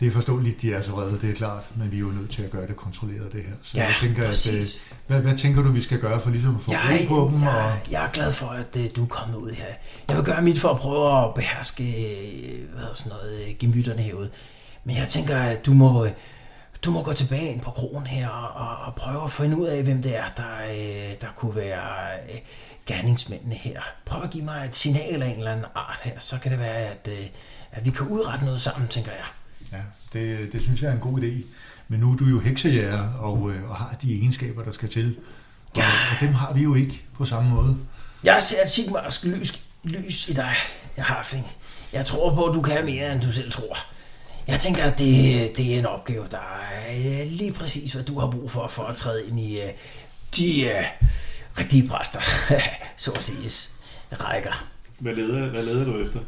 Speaker 7: Det er forståeligt, de er så vrede, det er klart, men vi er jo nødt til at gøre det kontrolleret, det her. Så
Speaker 2: Ja,
Speaker 7: jeg tænker, at, øh,
Speaker 2: præcis.
Speaker 7: hvad, hvad tænker du, vi skal gøre for ligesom at få ro
Speaker 2: Jeg,
Speaker 7: på dem? Og,
Speaker 2: jeg, jeg er glad for, at øh, du er kommet ud her. Jeg vil gøre mit for at prøve at beherske øh, hvad hedder sådan noget, øh, gemytterne herude. Men jeg tænker, at du må, øh, du må gå tilbage ind på krogen her og, og, og prøve at finde ud af, hvem det er, der, øh, der kunne være øh, gerningsmændene her. Prøv at give mig et signal af en eller anden art her, så kan det være, at, øh, at vi kan udrette noget sammen, tænker jeg.
Speaker 7: ja, det, det synes jeg er en god idé. Men nu er du jo heksejæger
Speaker 4: Mm.
Speaker 7: og, øh, og har de egenskaber, der skal til. Og,
Speaker 2: Ja.
Speaker 7: og dem har vi jo ikke på samme måde.
Speaker 2: Jeg ser et sigmarsk lys, lys i dig, jeg harfling. Jeg tror på, at du kan mere, end du selv tror. Jeg tænker, at det, det er en opgave, der er øh, lige præcis, hvad du har brug for, for at træde ind i øh, de øh, rigtige præster, så at sige, rækker.
Speaker 6: Hvad leder, hvad leder du efter?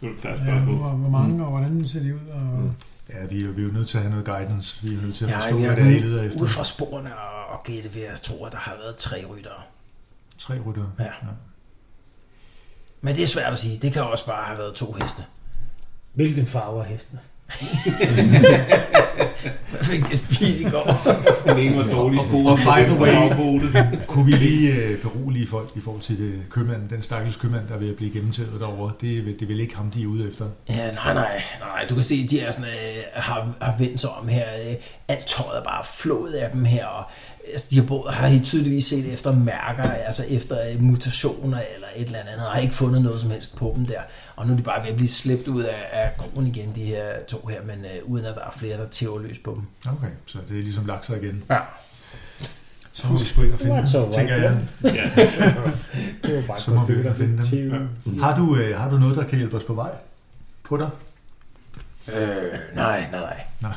Speaker 6: Det er et fast
Speaker 8: Ja,
Speaker 6: spørgsmål.
Speaker 8: hvor, hvor mange, og hvordan ser de ud? Og...
Speaker 7: Ja, vi, er- vi er jo nødt til at have noget guidance. Vi er nødt til at
Speaker 2: Jeg
Speaker 7: forstå,
Speaker 2: er
Speaker 7: hvad det er, I leder
Speaker 2: virkelig
Speaker 7: efter.
Speaker 2: ude fra sporene og, og gætte ved at tro, at der har været tre ryttere.
Speaker 7: Tre rytter.
Speaker 2: Ja. Men det er svært at sige. Det kan også bare have været to heste.
Speaker 4: Hvilken farve er hestene?
Speaker 2: Jeg fik det spise i går.
Speaker 6: Den ene var dårlig.
Speaker 7: Og gode by the way.
Speaker 6: afbodet.
Speaker 7: Kunne vi lige øh, berolige folk i forhold til det, købmanden, den stakkels købmand, der er ved at blive gennemtævet derovre? Det, er vel- det er vel ikke ham, de er ude efter.
Speaker 2: Ja, nej, nej, nej. Du kan se, de er sådan, øh, har, har vendt sig om her. Øh, alt tøjet er bare flået af dem her. Og, altså, de har, både, har helt tydeligvis set efter mærker, altså efter øh, mutationer eller et eller andet. Og har ikke fundet noget som helst på dem der. Og nu er de bare ved at blive slæbt ud af, af krogen igen, de her to her. Men øh, uden at der er flere, der tæver løs på dem.
Speaker 7: Okay, så det er ligesom lagt sig igen.
Speaker 2: Ja.
Speaker 7: Så må vi sgu ind og finde
Speaker 4: What's
Speaker 7: dem,
Speaker 4: all right,
Speaker 7: tænker jeg.
Speaker 4: Det var bare
Speaker 7: Så må
Speaker 4: et
Speaker 7: vi
Speaker 4: stykke, der
Speaker 7: finde dem.
Speaker 4: til-
Speaker 7: Har du, øh, har du noget, der kan hjælpe os på vej? På dig?
Speaker 2: Øh, nej, nej, nej.
Speaker 7: Nej.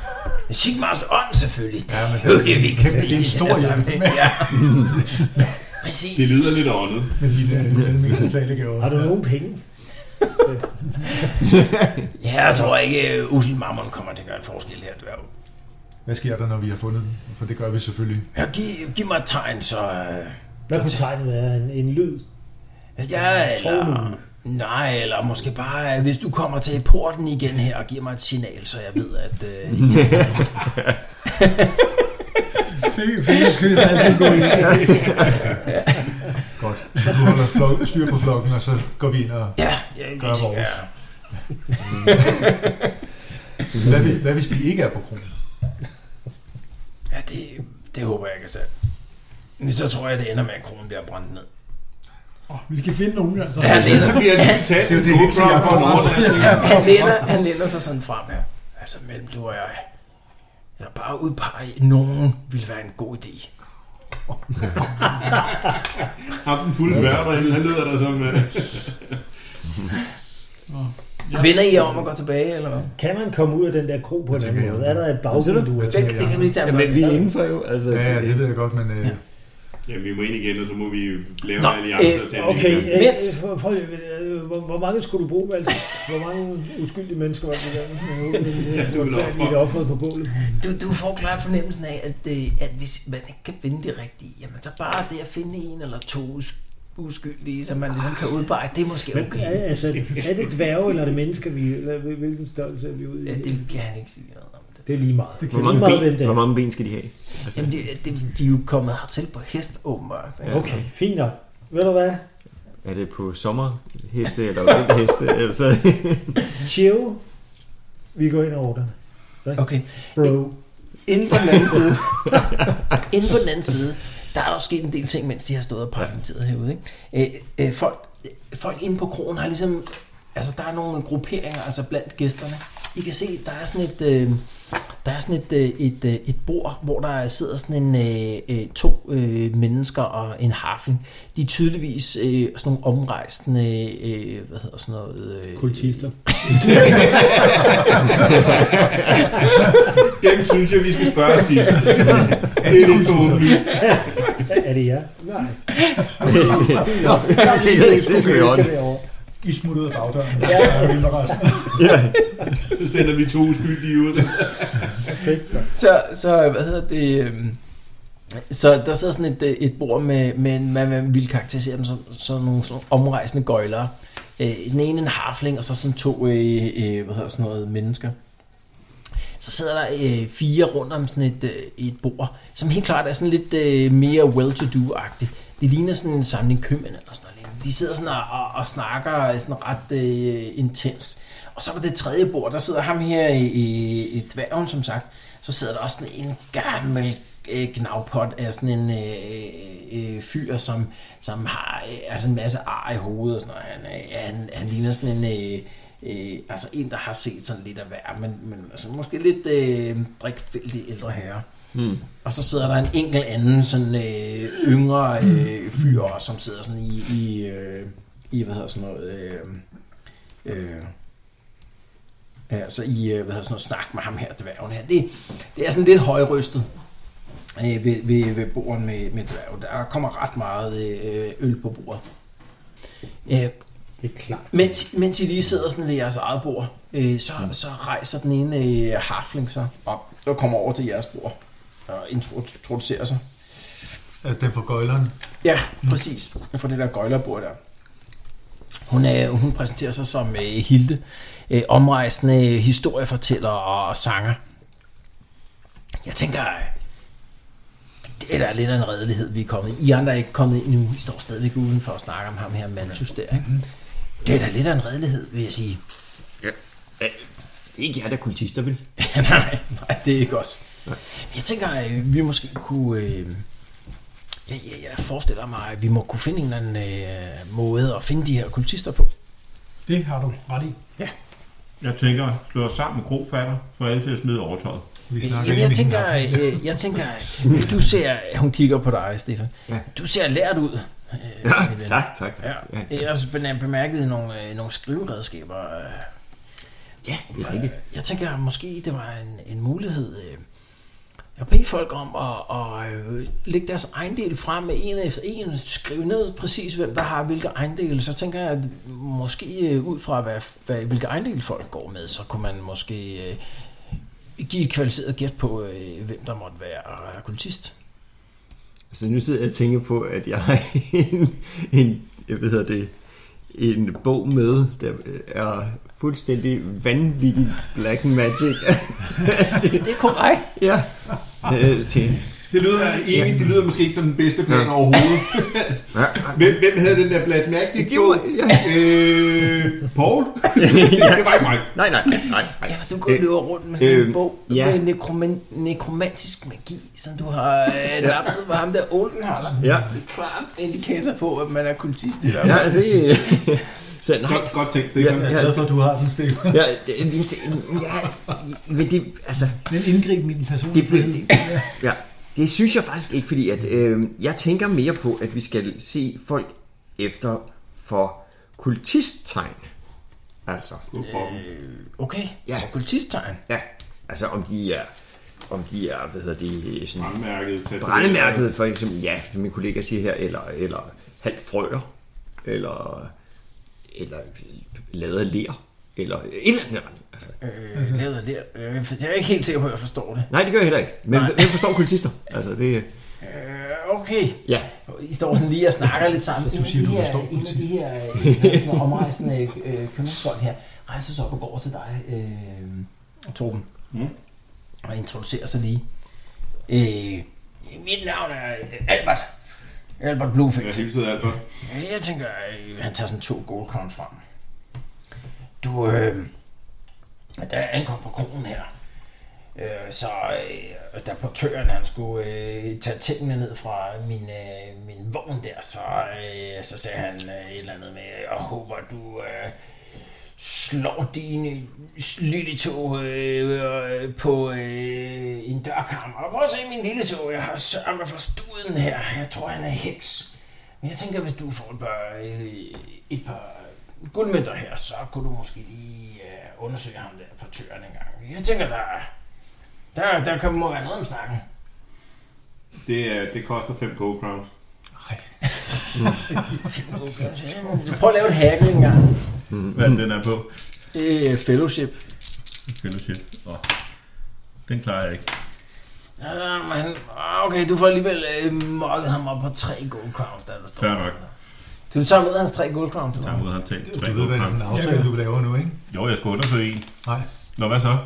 Speaker 2: Men Sigmars ånd selvfølgelig. Det
Speaker 7: Ja, men
Speaker 2: er jo det vigtigste.
Speaker 7: det er en
Speaker 2: i den
Speaker 7: stor
Speaker 2: her sammenhæng. Altså, Ja. Præcis.
Speaker 6: Det lyder lidt åndet.
Speaker 7: Med dine almindelige talegaver.
Speaker 4: Har du nogen penge?
Speaker 2: Ja, jeg tror ikke, at Ussel Mammon kommer til at gøre en forskel her, dværg.
Speaker 7: Hvad sker der, når vi har fundet dem? For det gør vi selvfølgelig.
Speaker 2: Ja, giv, giv mig et tegn, så... øh,
Speaker 4: Hvad kunne tegnet være? En, en lyd?
Speaker 2: Ja,
Speaker 4: Tror
Speaker 2: eller... Nej, eller måske bare, øh, hvis du kommer til porten igen her og giver mig et signal, så jeg ved, at... Øh,
Speaker 3: Fingerkys er altid en god idé.
Speaker 7: Godt. Så du holder flok, styr på flokken, og så går vi ind og...
Speaker 2: ja, jeg,
Speaker 7: Gør
Speaker 2: jeg tænker,
Speaker 7: vores.
Speaker 2: jeg-
Speaker 7: Hvad, hvis- hvad hvis de ikke er på kronen?
Speaker 2: ja, det, det håber jeg ikke er sandt. Men så tror jeg, det ender med, at kronen bliver brændt ned.
Speaker 3: Åh, vi skal finde nogen, altså.
Speaker 2: Han læner,
Speaker 6: Vi har lige talt
Speaker 7: Det er jo det, Hexen, jeg får også.
Speaker 2: han læner, han læner sig sådan frem her. Altså, mellem du og jeg. Jeg bare udpege, at nogen ville være en god idé.
Speaker 6: Ham den fulde værd, derinde, han lyder der som... øh,
Speaker 2: Vender I jer om og går tilbage, eller hvad?
Speaker 4: Kan man komme ud af den der kro på en anden
Speaker 7: tænker,
Speaker 4: måde?
Speaker 7: ja.
Speaker 4: Er der et bagvindue?
Speaker 7: Jeg tænker,
Speaker 2: Det kan vi lige tage
Speaker 5: Ja,
Speaker 2: om
Speaker 5: men
Speaker 2: lidt.
Speaker 5: vi er indenfor jo. Altså,
Speaker 7: Ja, ja, det ved jeg godt, men... Øh,
Speaker 6: Jamen, vi må ind igen, og så må vi lave
Speaker 2: Nå,
Speaker 6: en alliance
Speaker 2: øh,
Speaker 6: og se, om vi
Speaker 4: Okay,
Speaker 6: kan-
Speaker 4: øh,
Speaker 2: Vent.
Speaker 4: øh, prøv, prøv, lige, øh, hvor, hvor mange skulle du bruge, Malte? Hvor mange uskyldige mennesker var det der?
Speaker 6: du
Speaker 4: Øh,
Speaker 6: vil
Speaker 4: øh, øh,
Speaker 6: ofre.
Speaker 4: Det offeret på bålet.
Speaker 2: Du, du får klart fornemmelsen af, at, øh, at hvis man ikke kan finde de rigtige, jamen så bare det at finde en eller to us- uskyldige, som man ligesom kan udpege, det er måske
Speaker 4: Men,
Speaker 2: okay.
Speaker 4: er, altså, er det dværge, eller er det mennesker, vi, eller hvil- hvilken størrelse er vi ude i?
Speaker 2: Ja, det kan han ikke sige noget om. Det.
Speaker 4: det er lige meget.
Speaker 3: Det kan
Speaker 5: Hvor
Speaker 4: Lige
Speaker 5: mange,
Speaker 4: meget, hvem
Speaker 5: ben,
Speaker 4: det er.
Speaker 5: hvor mange ben skal de have?
Speaker 2: Jamen, det, det, de er jo kommet hertil på hest, åbenbart. ikke?
Speaker 4: Okay, fint nok. Ved du hvad?
Speaker 5: Er det på sommerheste eller vinterheste? eller så?
Speaker 4: Chill. Vi går ind og ordner.
Speaker 2: Okay.
Speaker 4: Bro.
Speaker 2: Inden på den anden side, inden på den anden side, der er der jo sket en del ting, mens de har stået og parlamenteret herude. Ikke? Øh, øh, folk, øh, folk inde på krogen har ligesom, altså der er nogle grupperinger, altså blandt gæsterne. I kan se, der er sådan et, øh, der er sådan et, øh, et, øh, et bord, hvor der sidder sådan en, øh, øh, to øh, mennesker og en harfling. De er tydeligvis øh, sådan nogle omrejsende, øh, hvad hedder sådan noget? Øh,
Speaker 4: Kultister.
Speaker 6: Dem synes jeg, vi skal spørge sidst. Det er lidt for åbenlyst.
Speaker 4: Er det jer? Nej.
Speaker 5: det, det, det, skal vi ordne.
Speaker 4: derovre.
Speaker 7: I smutter ud af bagdøren, og så er vi med resten.
Speaker 5: Ja.
Speaker 6: Så sender vi to uskyldige ud.
Speaker 2: Så, så hvad hedder det... øhm, Så der sidder sådan et, øh, et bord med, med en- man, man ville karakterisere dem som, som nogle sådan nogle omrejsende gøjlere. Øh, den ene en harfling, og så sådan to øh, øh, hvad hedder sådan noget, mennesker. Så sidder der øh, fire rundt om sådan et, øh, et bord, som helt klart er sådan lidt øh, mere well-to-do-agtigt. Det ligner sådan en samling købmænd eller sådan noget. lignende. De sidder sådan og, og, og snakker sådan ret øh, intens. Og så er der det tredje bord, der sidder ham her i, i, i dværgen, som sagt. Så sidder der også sådan en gammel øh, gnavpot af sådan en øh, øh, fyr, som, som har øh, altså en masse ar i hovedet og sådan noget. Han, øh, han, han ligner sådan en... Øh, Øh, altså en, der har set sådan lidt af hver, men, men altså måske lidt øh, drikfældig ældre herre. Mm. Og så sidder der en enkelt anden sådan øh, yngre øh, fyr også, som sidder sådan i, i, øh, i hvad hedder sådan noget, øh, øh, altså i, øh, hvad hedder sådan noget, snak med ham her, dværgen her. Det, det er sådan lidt højrystet øh, ved, ved, ved bordet med, med dværgen. Der kommer ret meget øh, øl på bordet. Øh,
Speaker 4: Det er klart.
Speaker 2: mens, mens I lige sidder sådan ved jeres eget bord, øh, så, så rejser den ene øh, harfling sig op og kommer over til jeres bord og introducerer sig. Mm.
Speaker 7: Altså, den fra gøjleren.
Speaker 2: Ja, præcis. For det der gøjlerbord der. Hun, er, hun præsenterer sig som øh, Hilde, øh, omrejsende historiefortæller og sanger. Jeg tænker, øh, det er da lidt af en redelighed, vi er kommet i. I andre er ikke kommet ind nu. I står stadigvæk udenfor og snakker om ham her, Mantus der. Ikke? Det er da lidt af en redelighed, vil jeg sige.
Speaker 9: Ikke jer, der er kultister, vel?
Speaker 2: nej, nej, det er ikke os. Men jeg tænker, at vi måske kunne... Øh, jeg, jeg, jeg forestiller mig, at vi må kunne finde en eller anden øh, måde at finde de her kultister på.
Speaker 3: Det har du ret i.
Speaker 6: Jeg tænker, slå os sammen med krofatter, for alle til at smide overtøjet.
Speaker 7: Vi snakker
Speaker 2: Øh, Jamen, jeg
Speaker 7: egentlig
Speaker 2: tænker,
Speaker 7: ikke om Hafling.
Speaker 2: øh, jeg tænker, øh, du ser... Hun kigger på dig, Stefan.
Speaker 9: Ja.
Speaker 2: Du ser lært ud. øh, min ven.
Speaker 9: tak, tak, tak.
Speaker 2: Ja.
Speaker 9: Ja,
Speaker 2: Jeg har også bemær- bemærket nogle, øh, nogle skriveredskaber. øh.
Speaker 9: ja det er rigtigt.
Speaker 2: Jeg tænker, måske det var en, en mulighed. øh, Jeg beder folk om at, at øh, lægge deres ejendel frem med en efter en, skrive ned præcis, hvem der har hvilke ejendele. Så tænker jeg, at måske øh, ud fra, hvad, hvad, hvilke ejendele folk går med, så kunne man måske øh, give et kvalificeret gæt på, øh, hvem der måtte være øh, kultist.
Speaker 9: Altså nu sidder jeg og tænker på, at jeg har en, en jeg ved hedder det, en bog med, der øh, er fuldstændig vanvittig black magic.
Speaker 2: Det er korrekt.
Speaker 9: ja. Øh, tænker,
Speaker 6: Det lyder, egentlig, det lyder måske ikke som den bedste plan ja. overhovedet.
Speaker 9: ja,
Speaker 6: Hvem, hvem havde den der Black Magic
Speaker 9: det var, ja.
Speaker 6: Øh, Paul? det var ikke mig.
Speaker 9: Nej, nej, nej, nej.
Speaker 2: Ja, for du går
Speaker 9: Det-
Speaker 2: løber rundt med sådan en
Speaker 9: øh,
Speaker 2: bog
Speaker 9: ja.
Speaker 2: med nekroman, nekromantisk magi, som du har øh, lapset med ham der Oldenhaller.
Speaker 9: Ja.
Speaker 2: Det er klart indikator på, at man er kultist i hvert fald.
Speaker 9: Ja, det... Så, nej,
Speaker 6: Godt, godt tænkt,
Speaker 9: ja,
Speaker 6: Stefan.
Speaker 7: Jeg er
Speaker 9: ja,
Speaker 7: glad for, at du har den, Stefan.
Speaker 9: ja, det, jeg tænker, ja, men det, altså,
Speaker 3: Den indgriben i den personlige
Speaker 9: Det blev
Speaker 3: frihed.
Speaker 9: det. Ja. Det synes jeg faktisk ikke, fordi at, øh, jeg tænker mere på, at vi skal se folk efter for kultisttegn. Altså,
Speaker 2: Okay,
Speaker 9: Ja.
Speaker 2: og kultisttegn.
Speaker 9: ja. Altså, om de er, om de er, hvad hedder det, sådan
Speaker 6: Brandmærket.
Speaker 9: brændemærket, for eksempel, ja, som min kollega siger her, eller, eller halvt frøer, eller, eller lavet af ler, eller et eller andet. Altså,
Speaker 2: Øh, altså. lavet af ler. Øh, for jeg er ikke helt sikker på, at jeg forstår det.
Speaker 9: nej, det gør jeg heller ikke. Men
Speaker 2: Nej.
Speaker 9: hvem forstår kultister? Altså, det,
Speaker 2: Øh, okay.
Speaker 9: ja,
Speaker 2: I står sådan lige og snakker lidt sammen.
Speaker 7: du siger,
Speaker 2: En af
Speaker 7: du
Speaker 2: de her-
Speaker 7: forstår
Speaker 2: En af de
Speaker 7: kultist.
Speaker 2: her øh, sådan omrejsende øh, købmandsfolk her rejser sig op og går over til dig, øh, Torben,
Speaker 6: Mm.
Speaker 2: og introducerer sig lige. Øh, mit navn er øh, Albert. Albert Bluefield.
Speaker 6: Jeg hilsede Albert.
Speaker 2: Ja, Jeg tænker, øh, han tager sådan to gold crowns frem. Du, øh, da jeg ankom på kronen her, øh, så øh, da portøren han skulle øh, tage tingene ned fra min, øh, min vogn der, så, øh, så sagde han øh, et eller andet med, jeg håber du øh, slår dine lille tog øh, øh, på øh, en dørkarm. Og prøv at se min lille tog, jeg har sørget for studen her. Jeg tror, han er heks. Men jeg tænker, hvis du får et par, øh, et par guldmønter her, så kunne du måske lige øh, undersøge ham der på tøren en gang. Jeg tænker, der, der, der kan, må være noget om snakken.
Speaker 6: Det, er- det koster 5 gold crowns.
Speaker 2: Prøv at lave et hack en gang.
Speaker 6: Hvad den er på?
Speaker 2: Det er fellowship.
Speaker 6: Fellowship. Nå. Den klarer jeg ikke.
Speaker 2: Ja, men, han- ah, okay, du får alligevel øh, mokket ham op på tre gold crowns, der, der står.
Speaker 6: Fair nok.
Speaker 2: Så du tager med hans tre gold crowns?
Speaker 6: Der
Speaker 2: Eller?
Speaker 6: er måde, han tænkt.
Speaker 7: Du ved, hvad det er for en aftale, du laver nu, ikke?
Speaker 6: Jo, jeg skal undersøge en.
Speaker 7: Nej,
Speaker 6: Nå, hvad så?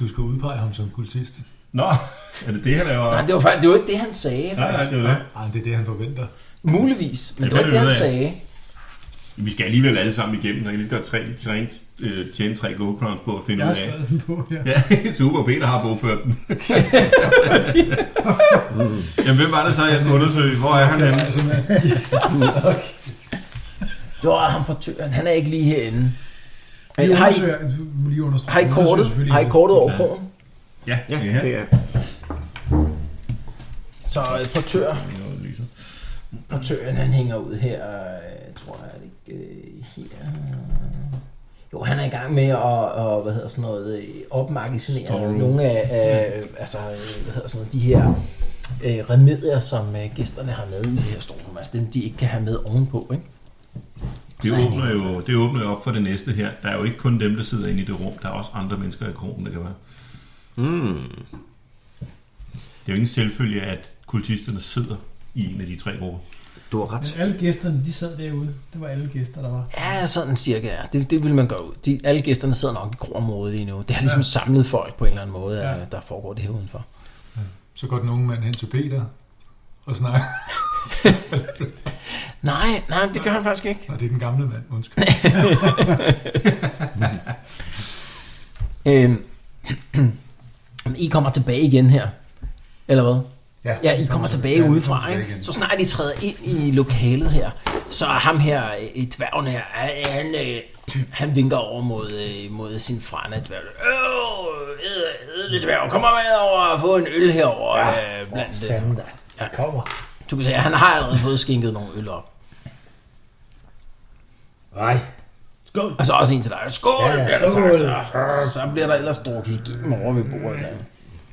Speaker 7: du skal udpege ham som kultist.
Speaker 6: Nå, er det det, han laver?
Speaker 2: Nej, det var faktisk det var ikke det, han sagde.
Speaker 6: nej, nej, det er jo det.
Speaker 7: Ej, men det er det, han forventer.
Speaker 2: Muligvis, men det var
Speaker 6: Det
Speaker 2: ikke det,
Speaker 6: finder
Speaker 2: han
Speaker 6: vi ud af.
Speaker 2: sagde.
Speaker 6: Vi skal alligevel alle sammen igennem. Jeg kan lige så godt træne, træne, øh, tjene tre gold crowns på at finde
Speaker 3: Jeg har
Speaker 6: ud af.
Speaker 3: skrevet den på her.
Speaker 6: Ja, super. Peter har bogført dem. Jamen, hvem var det så, jeg skulle undersøge? Hvor er han henne?
Speaker 7: Altså, man-
Speaker 2: Det var ham på tøren. Han er ikke lige herinde.
Speaker 3: Vi
Speaker 2: Øh, Har I,
Speaker 3: undersøger, lige understreger.
Speaker 2: Har I
Speaker 3: vi undersøger
Speaker 2: kortet,
Speaker 3: selvfølgelig
Speaker 2: har I
Speaker 3: ikke.
Speaker 2: kortet over krogen?
Speaker 6: Ja,
Speaker 9: ja,
Speaker 6: det er her.
Speaker 9: det er
Speaker 2: Så øh, portør,
Speaker 6: Noget lyser.
Speaker 2: portøren han hænger ud her, øh, tror jeg, er det ikke øh, her. Jo, han er i gang med at, og, hvad hedder sådan noget, øh, opmagasinere
Speaker 6: Storeroom.
Speaker 2: nogle af, af altså, øh, hvad hedder sådan noget, de her øh, remedier, som øh, gæsterne har med i det her storrum. Altså dem, de ikke kan have med ovenpå, ikke?
Speaker 6: Det
Speaker 2: Så er han
Speaker 6: åbner,
Speaker 2: ikke-
Speaker 6: jo, det åbner jo op for det næste her. Der er jo ikke kun dem, der sidder inde i det rum. Der er også andre mennesker i krogen, der kan være.
Speaker 9: Mm.
Speaker 6: Det er jo ingen selvfølge, at kultisterne sidder i en af de tre grupper.
Speaker 5: Du har ret.
Speaker 8: Men alle gæsterne, de sad derude. Det var alle gæster, der var.
Speaker 2: Ja, sådan cirka. Ja. Det, det vil man gøre ud. De, alle gæsterne sidder nok i grområdet lige nu. Det har ligesom ja. samlet folk på en eller anden måde, ja. der foregår det her udenfor.
Speaker 7: Så går den unge mand hen til Peter og snakker.
Speaker 2: Nej, nej, det gør han faktisk ikke.
Speaker 7: Nå, det er den gamle mand, undskyld.
Speaker 2: Øhm, I kommer tilbage igen her, eller hvad? Ja, I kommer tilbage
Speaker 7: ja, vi
Speaker 2: udefra,
Speaker 7: tilbage
Speaker 2: ikke?
Speaker 7: igen.
Speaker 2: Så snart I træder ind i lokalet her, så er ham her, øh, i dværgen her, han- han, øh, han vinker over mod, øh, mod sin frænde dværg. Øh, æd- ædle dværg, kom med over og få en øl herover ja, øh, blandt øh,
Speaker 4: Fanden da.
Speaker 2: Ja. Kommer. Du kan se, han har allerede fået skænket nogle øl op.
Speaker 4: Nej.
Speaker 2: Og så også en til dig. Skål,
Speaker 4: Ja, ja,
Speaker 2: bliver der sagt, så.
Speaker 4: skål.
Speaker 2: så bliver der ellers drukket igennem over ved bordet. Der.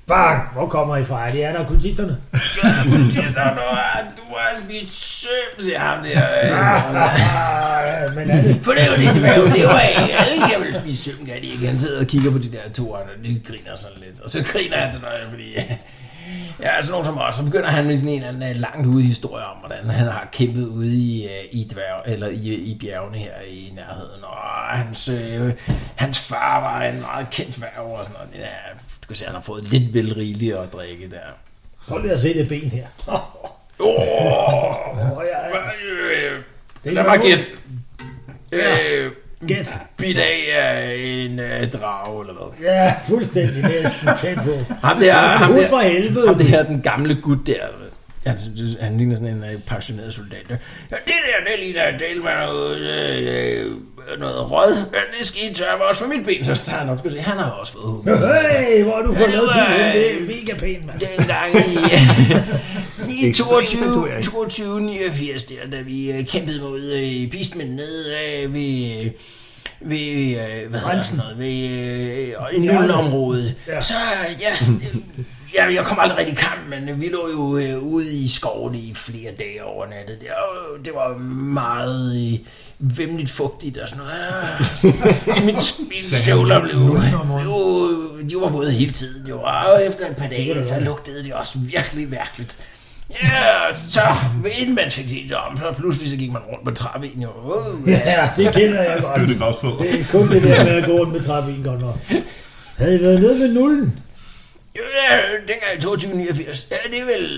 Speaker 4: Fuck, hvor kommer I fra? Det er der kultisterne.
Speaker 2: Der, du, har, ah, du har spist søm, siger ham der. øh.
Speaker 4: Ah, men er det
Speaker 2: For det er jo det, dværge lever af. Alle kan vel spise søm, kan de ikke? Han sidder og kigger på de der to, og de griner sådan lidt. Og så griner han til dig, fordi... Ja, sådan nogen som os, så begynder han med sådan en eller anden øh, langt ude historie om, hvordan han har kæmpet ude i, øh, i, dværg, eller i, øh, i bjergene her i nærheden. Og hans, øh, hans far var en meget kendt værv og sådan noget. Ja, du kan se, han har fået lidt vel rigeligt at drikke der.
Speaker 4: Prøv lige at se det ben her.
Speaker 2: Oh,
Speaker 4: Åh, ja, ja.
Speaker 2: øh,
Speaker 4: Det er
Speaker 2: lad mig
Speaker 4: noget.
Speaker 2: gætte. Øh,
Speaker 4: Gæt.
Speaker 2: bidt af af en øh, drage, eller hvad?
Speaker 4: Ja, fuldstændig næsten tæt på.
Speaker 2: Ham der, ham
Speaker 4: Ud
Speaker 2: der,
Speaker 4: for helvede.
Speaker 2: ham der den gamle gut der, han, han ligner sådan en øh, pensioneret soldat. Ja, det der, det ligner del med noget, øh, øh, noget rød. Ja, det skal I tørre mig også for mit ben, så tager han op. Skal du se, han har også fået hugget.
Speaker 4: Hey, hvor har du fået
Speaker 2: Ja,
Speaker 4: lavet
Speaker 2: det
Speaker 4: din
Speaker 2: var-
Speaker 4: hund? Det
Speaker 8: øh,
Speaker 4: er mega pænt, mand.
Speaker 2: dengang i, i
Speaker 5: Ekstrem
Speaker 2: 22,
Speaker 5: tatovering.
Speaker 2: 22, 89 der, da vi øh, kæmpede mod øh, Beastmen ned øh, ved, øh, ved øh, hvad hedder sådan noget, ved øh, og i Nullenområdet. Ja. Så øh, ja, det, ja, jeg kom aldrig rigtig i kamp, men øh, vi lå jo øh, ude i skovene i flere dage over natten. Det, og det var meget øh, vemmeligt fugtigt og sådan noget. Ah, Mit, mine støvler blev,
Speaker 7: Nullenområdet.
Speaker 2: blev jo, de var våde hele tiden, jo. Og efter et par dage, så lugtede det også virkelig mærkeligt. Ja, så inden man fik set sig om, så pludselig så gik man rundt på trappen, jo. Uh, ja.
Speaker 4: Ja, det kender jeg godt.
Speaker 6: Skyld det godt på.
Speaker 4: Det er kun det der med at gå rundt med trappen godt nok. Havde I været nede ved nullen?
Speaker 2: ja, dengang i 2289, ja, det er vel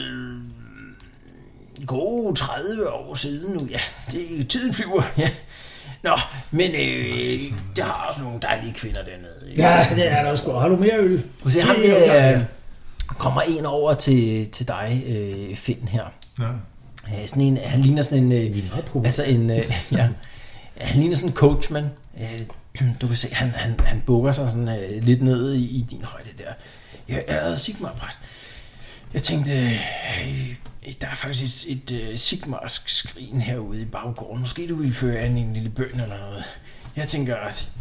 Speaker 2: gode 30 år siden nu, ja. Det, tiden flyver, ja. Nå, men øh, der er også nogle dejlige kvinder dernede. ikke?
Speaker 4: Ja, det er der sgu. Har du mere øl?
Speaker 2: Du ser, ham
Speaker 4: Det er jo-
Speaker 2: der, øh, kommer en over til, til dig, øh, Finn her.
Speaker 7: Ja.
Speaker 2: Ja, sådan en, han ligner sådan en... Øh, altså en... Øh, ja, han ligner sådan en coachman. Øh, du kan se, han, han, han bukker sig sådan øh, lidt ned i, i din højde der. Jeg ærede Sigmar præst. Jeg tænkte, øh, øh, der er faktisk et, et øh, Sigmarsk skrin herude i baggården. Måske du ville føre an i en lille bøn eller noget. Jeg tænker, at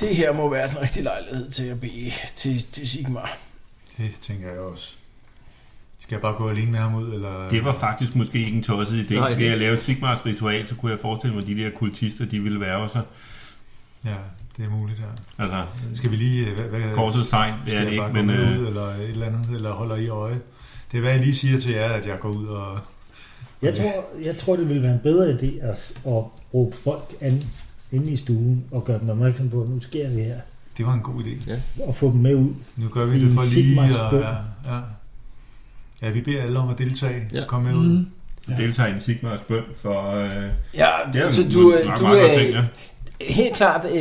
Speaker 2: det her må være den rigtige lejlighed til at bede til, til Sigmar.
Speaker 7: Det tænker jeg også. Skal jeg bare gå alene med ham ud, eller...
Speaker 6: Det var faktisk måske ikke en tosset idé.
Speaker 5: Nej,
Speaker 6: Nej,
Speaker 5: det-
Speaker 6: Ved at lave et Sigmars ritual, så kunne jeg forestille mig, at de der kultister, de ville være sig.
Speaker 7: Ja, det er muligt, ja.
Speaker 6: Altså,
Speaker 7: Skal vi lige... øh, Hvad, hvad,
Speaker 6: korsets tegn, det
Speaker 7: skal
Speaker 6: er det
Speaker 7: jeg bare
Speaker 6: ikke, men...
Speaker 7: gå med
Speaker 6: Øh,
Speaker 7: ud, eller et eller andet, eller holder i øje? Det er, hvad jeg lige siger til jer, at jeg går ud og...
Speaker 4: Jeg tror, jeg tror, det ville være en bedre idé at, at råbe folk an inde i stuen og gøre dem opmærksom på, at nu sker det her,
Speaker 7: Det var en god idé.
Speaker 4: og få dem med ud.
Speaker 7: Nu gør vi
Speaker 4: I
Speaker 7: det for lige...
Speaker 4: Sigmars
Speaker 7: Og,
Speaker 4: bøn.
Speaker 7: ja, ja. ja, vi beder alle om at deltage.
Speaker 5: Ja.
Speaker 7: Ja. Kom med ud. Mm.
Speaker 6: ja. deltager i en Sigmars bøn for... Øh,
Speaker 2: Ja,
Speaker 6: det er
Speaker 2: så
Speaker 6: jo
Speaker 2: du,
Speaker 6: en
Speaker 2: øh,
Speaker 6: meget,
Speaker 2: du,
Speaker 6: meget godt
Speaker 2: øh,
Speaker 6: ting, ja.
Speaker 2: Helt klart, øh,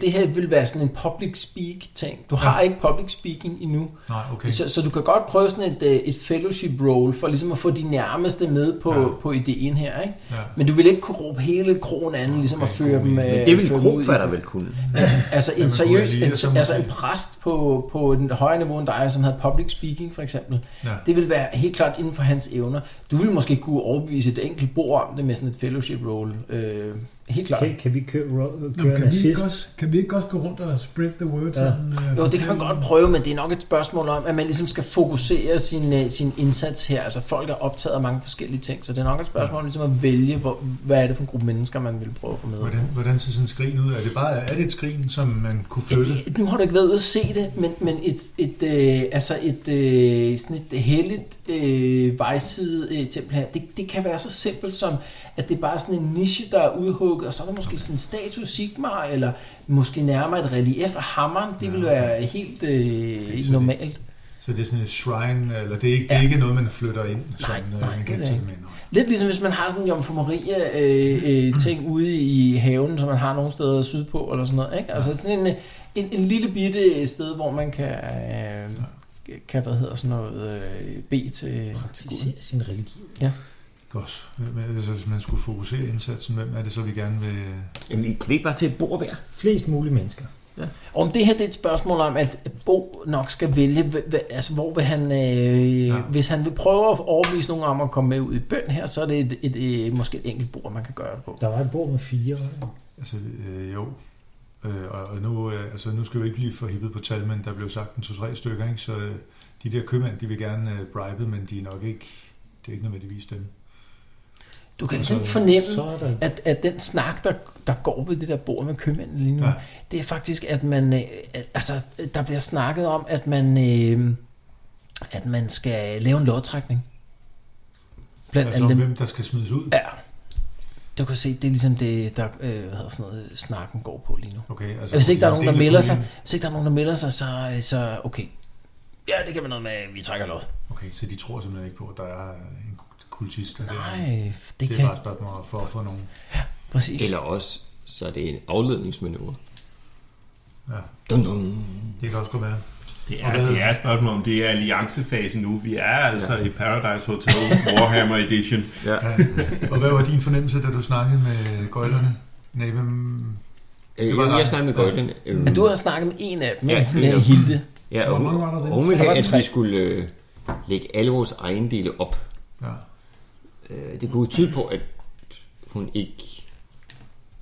Speaker 2: det her vil være sådan en public speak ting. Du har ikke public speaking endnu,
Speaker 7: Nej, okay.
Speaker 2: så, så du kan godt prøve sådan et, øh, et fellowship role for ligesom at få de nærmeste med på, ja.
Speaker 7: Ja.
Speaker 2: på ideen her. Ikke?
Speaker 7: Ja.
Speaker 2: Men du vil ikke kunne råbe hele krogen anden, ligesom at
Speaker 7: Okay,
Speaker 2: føre
Speaker 7: god
Speaker 2: dem
Speaker 7: idé.
Speaker 2: øh,
Speaker 5: Det vil
Speaker 2: føre dem ud i-
Speaker 5: Krofatter vel kunne.
Speaker 2: Altså en
Speaker 7: man kunne
Speaker 2: seriøs,
Speaker 7: lige ligesom-
Speaker 2: en, altså en præst på, på et højere niveau end dig, som havde public speaking for eksempel.
Speaker 7: Ja.
Speaker 2: Det vil være helt klart inden for hans evner. Du ville måske kunne overbevise et enkelt bord om det med sådan et fellowship role. Øh, helt helt klart.
Speaker 4: Kan, kan vi køre, ro-
Speaker 8: Nå,
Speaker 4: køre
Speaker 8: men
Speaker 4: en
Speaker 8: kan, vi
Speaker 4: assist?
Speaker 8: ikke også, kan vi ikke også gå rundt og spread the word?
Speaker 4: Ja.
Speaker 8: Sådan, øh,
Speaker 2: Jo, det
Speaker 8: fortælle
Speaker 2: kan man
Speaker 8: om-
Speaker 2: godt prøve, men det er nok et spørgsmål om, at man ligesom skal fokusere sin, øh, sin indsats her. Altså folk er optaget af mange forskellige ting, så det er nok et spørgsmål om ligesom at vælge, hvor, hvad er det for en gruppe mennesker, man vil prøve at få med.
Speaker 7: Hvordan, hvordan ser sådan en skrin ud? Er det bare er det et skrin, som man kunne
Speaker 2: Ja,
Speaker 7: flytte?
Speaker 2: det, nu har du ikke været ude at se det, men, men et, et, øh, altså et, øh, sådan et heldigt øh, vejside øh, tempel her, det, det kan være så simpelt som, at det er bare sådan en niche, der er udhugget, og så er der måske sådan en statue Sigmar, eller måske nærmere et relief af hammeren, det vil være helt øh,
Speaker 7: det-
Speaker 2: normalt.
Speaker 7: Så det er sådan et shrine, eller det er ikke, det er
Speaker 2: Ja.
Speaker 7: ikke noget, man flytter ind, sådan,
Speaker 2: nej,
Speaker 7: nej, man
Speaker 2: det
Speaker 7: kan
Speaker 2: er det
Speaker 7: tage
Speaker 2: ikke.
Speaker 7: med. Nå,
Speaker 2: Lidt ligesom hvis man har sådan en Jomfru Maria øh, øh, ting ude i haven, som man har nogle steder sydpå, eller sådan noget, ikke? Altså sådan en, øh, en, en lille bitte sted, hvor man kan... Øh, kan, hvad hedder sådan noget, øh, bede til, til Gud.
Speaker 4: Praktisere sin religion.
Speaker 7: Godt. Hvem er det så, hvis man skulle fokusere indsatsen, hvem er det så, vi gerne vil...
Speaker 5: Jamen, kan vi ikke bare tage et bord hver?
Speaker 4: Flest mulige mennesker.
Speaker 2: Om det her det er et spørgsmål om, at Bo nok skal vælge, hva- hva- altså hvor vil han, øh, ja.
Speaker 7: Ja.
Speaker 2: hvis han vil prøve at overbevise nogen om at komme med ud i bøn her, så er det et, et, et, måske et enkelt bord, man kan gøre det på.
Speaker 4: Der var et bord med fire.
Speaker 7: Altså, øh, jo. Øh, og, og nu, øh, altså, nu skal vi ikke blive for hippet på tal, men der blev sagt en to-tre stykker, ikke? så øh, de der købmænd, de vil gerne øh, bribe, men de er nok ikke, det er ikke nødvendigvis dem.
Speaker 2: Du kan
Speaker 7: Altså,
Speaker 2: ligesom fornemme,
Speaker 4: Så er der en
Speaker 2: at, at den snak, der, der går ved det der bord med købmændene lige nu, ja.
Speaker 7: Ja.
Speaker 2: det er faktisk, at man, øh, at- altså, der bliver snakket om, at man, øh, at man skal lave en lodtrækning. Blandt
Speaker 7: Altså
Speaker 2: altså,
Speaker 7: om,
Speaker 2: alle dem.
Speaker 7: hvem der skal smides ud.
Speaker 2: Ja. Du kan se, det er ligesom det, der, øh, hvad hedder sådan noget, snakken går på lige nu.
Speaker 7: Okay, altså,
Speaker 2: Ja, hvis ikke der er nogen, der
Speaker 7: dele
Speaker 2: melder
Speaker 7: puljen.
Speaker 2: sig, hvis ikke der er nogen, der melder sig, så, øh, så okay. Ja, det kan man noget med, at vi trækker lod.
Speaker 7: Okay, så de tror simpelthen ikke på, at der er en kultist. Der
Speaker 2: Nej, det,
Speaker 7: det
Speaker 2: kan
Speaker 7: er bare et spørgsmål for at få nogen.
Speaker 2: præcis.
Speaker 5: Eller også, så er det en afledningsmanøvre.
Speaker 7: Ja.
Speaker 5: Dum, dum.
Speaker 7: Det kan også godt være.
Speaker 6: Det
Speaker 7: Og
Speaker 6: er,
Speaker 7: hvad-
Speaker 6: det er et spørgsmål om, det er alliancefasen nu. Vi er altså ja. i Paradise Hotel Warhammer Edition.
Speaker 5: Ja.
Speaker 7: Og hvad var din fornemmelse, da du snakkede med gøjlerne? Nej, hvem...
Speaker 5: Øh,
Speaker 7: var
Speaker 5: jeg,
Speaker 7: dig.
Speaker 5: jeg snakkede med Gøjlen. Øh,
Speaker 2: Men du har snakket med en af dem,
Speaker 5: Ja,
Speaker 2: ja,
Speaker 5: en af dem.
Speaker 2: Hilde.
Speaker 5: Ja, og
Speaker 7: Hvor
Speaker 5: hun,
Speaker 7: mange var der den?
Speaker 5: hun ville
Speaker 2: Der var
Speaker 5: have, at
Speaker 2: tre.
Speaker 5: vi skulle øh, lægge alle vores ejendele op.
Speaker 7: Ja.
Speaker 5: Øh, det kunne jo tyde på, at hun ikke...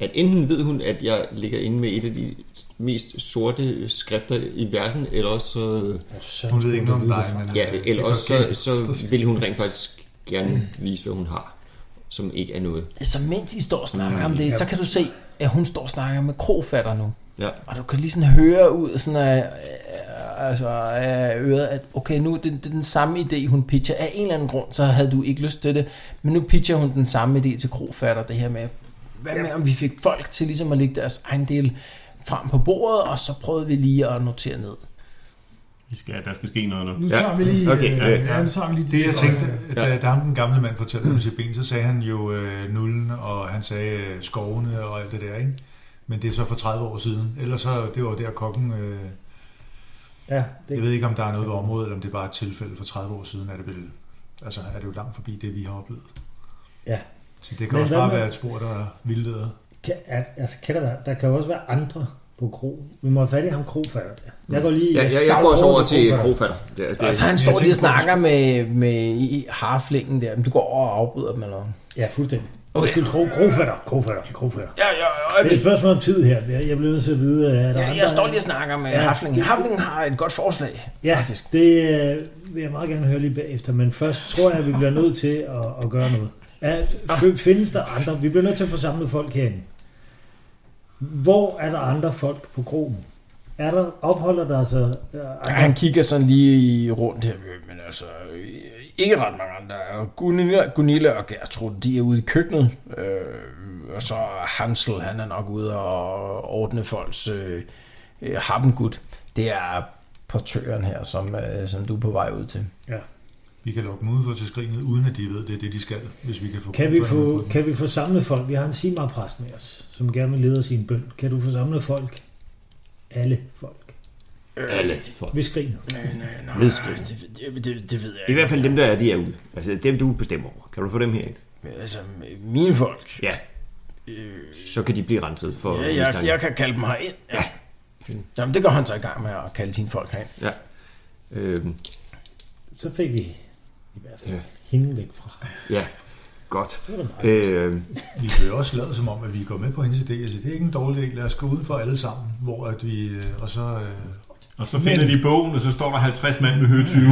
Speaker 5: At enten ved hun, at jeg ligger inde med et af de mest sorte skrifter i verden, eller også så,
Speaker 7: Hun ved ikke noget om dig, men...
Speaker 5: ja,
Speaker 7: øh,
Speaker 5: eller
Speaker 7: det
Speaker 5: også,
Speaker 7: kan
Speaker 5: så,
Speaker 7: godt
Speaker 5: så
Speaker 7: ske.
Speaker 5: vil hun rent faktisk gerne vise, hvad hun har, som ikke er noget.
Speaker 2: Så mens I står og snakker om det, så kan du se, at hun står og snakker med krofatter nu.
Speaker 5: Ja.
Speaker 2: Og du kan lige sådan høre ud sådan af, øh, altså, af øret, at okay, nu er det, det er den samme idé, hun pitcher. Af en eller anden grund, så havde du ikke lyst til det, men nu pitcher hun den samme idé til krofatter, det her med, hvad med om vi fik folk til ligesom at lægge deres egen del frem på bordet, og så prøvede vi lige at notere ned.
Speaker 6: Vi skal, der skal ske noget nu.
Speaker 8: Nu
Speaker 5: Ja.
Speaker 8: tager vi lige...
Speaker 5: Okay,
Speaker 8: øh,
Speaker 5: ja,
Speaker 8: ja, nu tager vi lige de
Speaker 7: Det
Speaker 8: der-
Speaker 7: jeg tænkte, da, da ham den gamle mand fortalte om sit ben, så sagde han jo øh, nullen, og han sagde øh, skovene og alt det der, ikke? Men det er så for 30 år siden. Ellers så, det var der kokken... Øh,
Speaker 4: Ja, det,
Speaker 7: jeg ved ikke, om der er noget ved området, eller om det bare er et tilfælde for 30 år siden, er det vel... Altså, er det jo langt forbi det, vi har oplevet.
Speaker 4: Ja.
Speaker 7: Så det kan
Speaker 4: Men
Speaker 7: også
Speaker 4: hvad
Speaker 7: bare
Speaker 4: med-
Speaker 7: være et spor, der vildleder.
Speaker 4: kan, er, altså, kan der, være, der kan jo også være andre på kro. Vi må have fat i ham krofatter. Jeg går lige...
Speaker 5: Ja, jeg, jeg
Speaker 4: stavler
Speaker 5: går også over til
Speaker 4: krofatter.
Speaker 5: krofatter. Det, det,
Speaker 2: Og så Altså, han
Speaker 7: jeg
Speaker 2: står lige og
Speaker 7: tænker på, at vi
Speaker 2: snakker med, med i harflingen der, men du går over og afbryder dem eller hvad?
Speaker 4: Ja, fuldstændig.
Speaker 2: Okay.
Speaker 4: Undskyld, kro, krofatter, krofatter, krofatter.
Speaker 2: Ja, ja, ja.
Speaker 4: Det er et spørgsmål om tid her. Jeg, jeg bliver nødt til at vide, at der er
Speaker 2: Jeg,
Speaker 4: andre-
Speaker 2: jeg står lige og snakker med
Speaker 4: Ja.
Speaker 2: ja. Haflingen. Haflingen har et godt forslag.
Speaker 4: Ja,
Speaker 2: faktisk.
Speaker 4: det øh, vil jeg meget gerne høre lige bagefter, men først tror jeg, at vi bliver nødt til at, at gøre noget. Ja,
Speaker 2: Ah.
Speaker 4: f- findes der andre? Vi bliver nødt til at få samlet folk herinde. Hvor er der andre folk på krogen? Er der, opholder der sig øh,
Speaker 2: Ja,
Speaker 4: andre?
Speaker 2: han kigger sådan lige i- rundt her, øh, men altså, øh, ikke ret mange andre. Og Gunilla, Gunilla og Gertrud, de er ude i køkkenet, øh, og så Hansel, han er nok ude og ordne folks øh, øh, happengud. Det er portøren her, som, øh, som du er på vej ud til.
Speaker 7: Vi kan lokke dem udenfor til skrinet, uden at de ved, det er det, de skal, hvis vi kan få
Speaker 4: Kan vi,
Speaker 7: kontrol over
Speaker 4: få,
Speaker 7: dem.
Speaker 4: kan vi få samlet folk? Vi har en Simar-præst med os, som gerne vil lede sin bøn. Kan du få samlet folk? Alle folk.
Speaker 2: Øh,
Speaker 5: alle folk.
Speaker 4: Vi skriner.
Speaker 5: Nedskriv.
Speaker 2: altså, Det, det, det, det ved jeg
Speaker 5: I hvert fald dem, der er, de er ude. Altså dem, du bestemmer over. Kan du få dem herind?
Speaker 2: Altså, mine folk,
Speaker 5: Ja. Så kan de blive renset for
Speaker 2: Ja, jeg,
Speaker 5: mistanke.
Speaker 2: jeg kan kalde dem herind. Ja. Jamen, det går han så i gang med at kalde sine folk herind.
Speaker 5: Ja. Øhm,
Speaker 4: Så fik vi i hvert fald
Speaker 5: Ja.
Speaker 4: hende væk fra.
Speaker 5: ja. godt. Øh,
Speaker 7: Vi blev jo også lavet som om, at vi går med på hendes idé. Altså, det er ikke en dårlig idé. Lad os gå udenfor alle sammen, hvor at vi... øh, Og så... Øh,
Speaker 6: Og så finder de bogen, og så står der 50 mand med høje 20.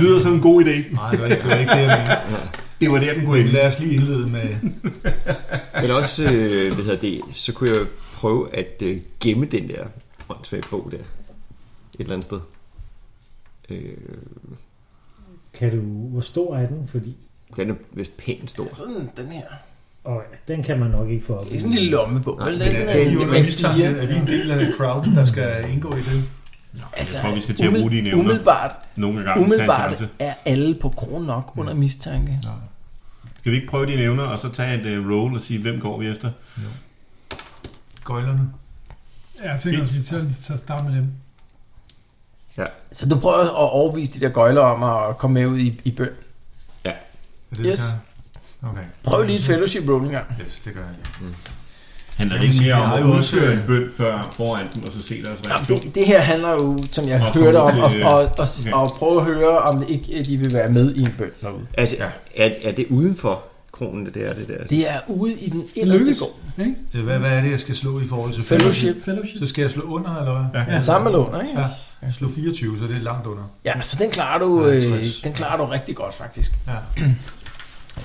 Speaker 6: Lyder som en god idé.
Speaker 7: nej, det var ikke det, var ikke det jeg mente.
Speaker 6: Det var der, den kunne
Speaker 7: Men
Speaker 6: ende.
Speaker 7: Lad os lige indlede med...
Speaker 5: eller også, øh, hvad hedder det, så kunne jeg prøve at øh, gemme den der åndssvage bog der. Et eller andet sted. Øh,
Speaker 4: Kan du, hvor stor er den? Fordi,
Speaker 5: den er vist pænt stor.
Speaker 2: Sådan den her.
Speaker 4: og den kan man nok ikke få op.
Speaker 2: Det er sådan en
Speaker 6: Mm.
Speaker 2: lille lommebog.
Speaker 5: Nej,
Speaker 2: vel? Det
Speaker 5: men
Speaker 2: er sådan
Speaker 5: er
Speaker 7: Er vi
Speaker 5: jo
Speaker 2: en
Speaker 7: under
Speaker 5: det er
Speaker 7: mistanke?
Speaker 2: fire.
Speaker 7: Er vi en del af crowden, der skal indgå i det?
Speaker 2: Altså,
Speaker 6: Jeg tror, vi skal til at bruge de nævner.
Speaker 2: Umiddelbart,
Speaker 6: Nogle gange
Speaker 2: umiddelbart
Speaker 6: tage en chance. Mm.
Speaker 2: er alle på kron nok under mistanke.
Speaker 6: Skal vi ikke prøve dine evner, og så tage et uh, roll og sige, hvem går vi efter?
Speaker 7: Gøjlerne?
Speaker 8: Ja, jeg tænker også, vi tager tager start med dem.
Speaker 2: Så du prøver at overbevise de der gøjler om at komme med ud i, i bøn.
Speaker 7: Er det, vi
Speaker 2: Yes.
Speaker 7: gør? Okay.
Speaker 2: Prøv lige et fellowship roll en gang.
Speaker 7: Yes, det gør jeg.
Speaker 6: Han er
Speaker 7: Jamen,
Speaker 6: ikke
Speaker 7: vi
Speaker 6: mere om
Speaker 7: har
Speaker 6: at
Speaker 7: jo
Speaker 6: udføre
Speaker 7: også-
Speaker 6: en bøn før foran dem, og så se deres
Speaker 2: Jamen,
Speaker 6: reaktion.
Speaker 2: det, det her handler jo, som jeg
Speaker 6: Og
Speaker 2: hørte om,
Speaker 6: komme
Speaker 2: at
Speaker 6: til-
Speaker 2: og, og,
Speaker 6: okay.
Speaker 2: og prøve at høre, om det ikke, de vil være med i en bøn derude.
Speaker 5: Altså, er, er det udenfor kronen, det der? Det der?
Speaker 2: Det er ude i den inderste
Speaker 8: lykkes.
Speaker 2: gård.
Speaker 7: Ja, Hvad, hvad er det, jeg skal slå i forhold til
Speaker 2: Fellowship.
Speaker 8: Fellowship.
Speaker 7: Så skal jeg slå under, eller hvad?
Speaker 6: Ja.
Speaker 2: Ja. Samme lån, ikke?
Speaker 7: Ja. Jeg slog 24, så det er langt under.
Speaker 2: Ja, så den klarer du, øh,
Speaker 7: 50.
Speaker 2: den klarer du rigtig godt, faktisk.
Speaker 7: Ja.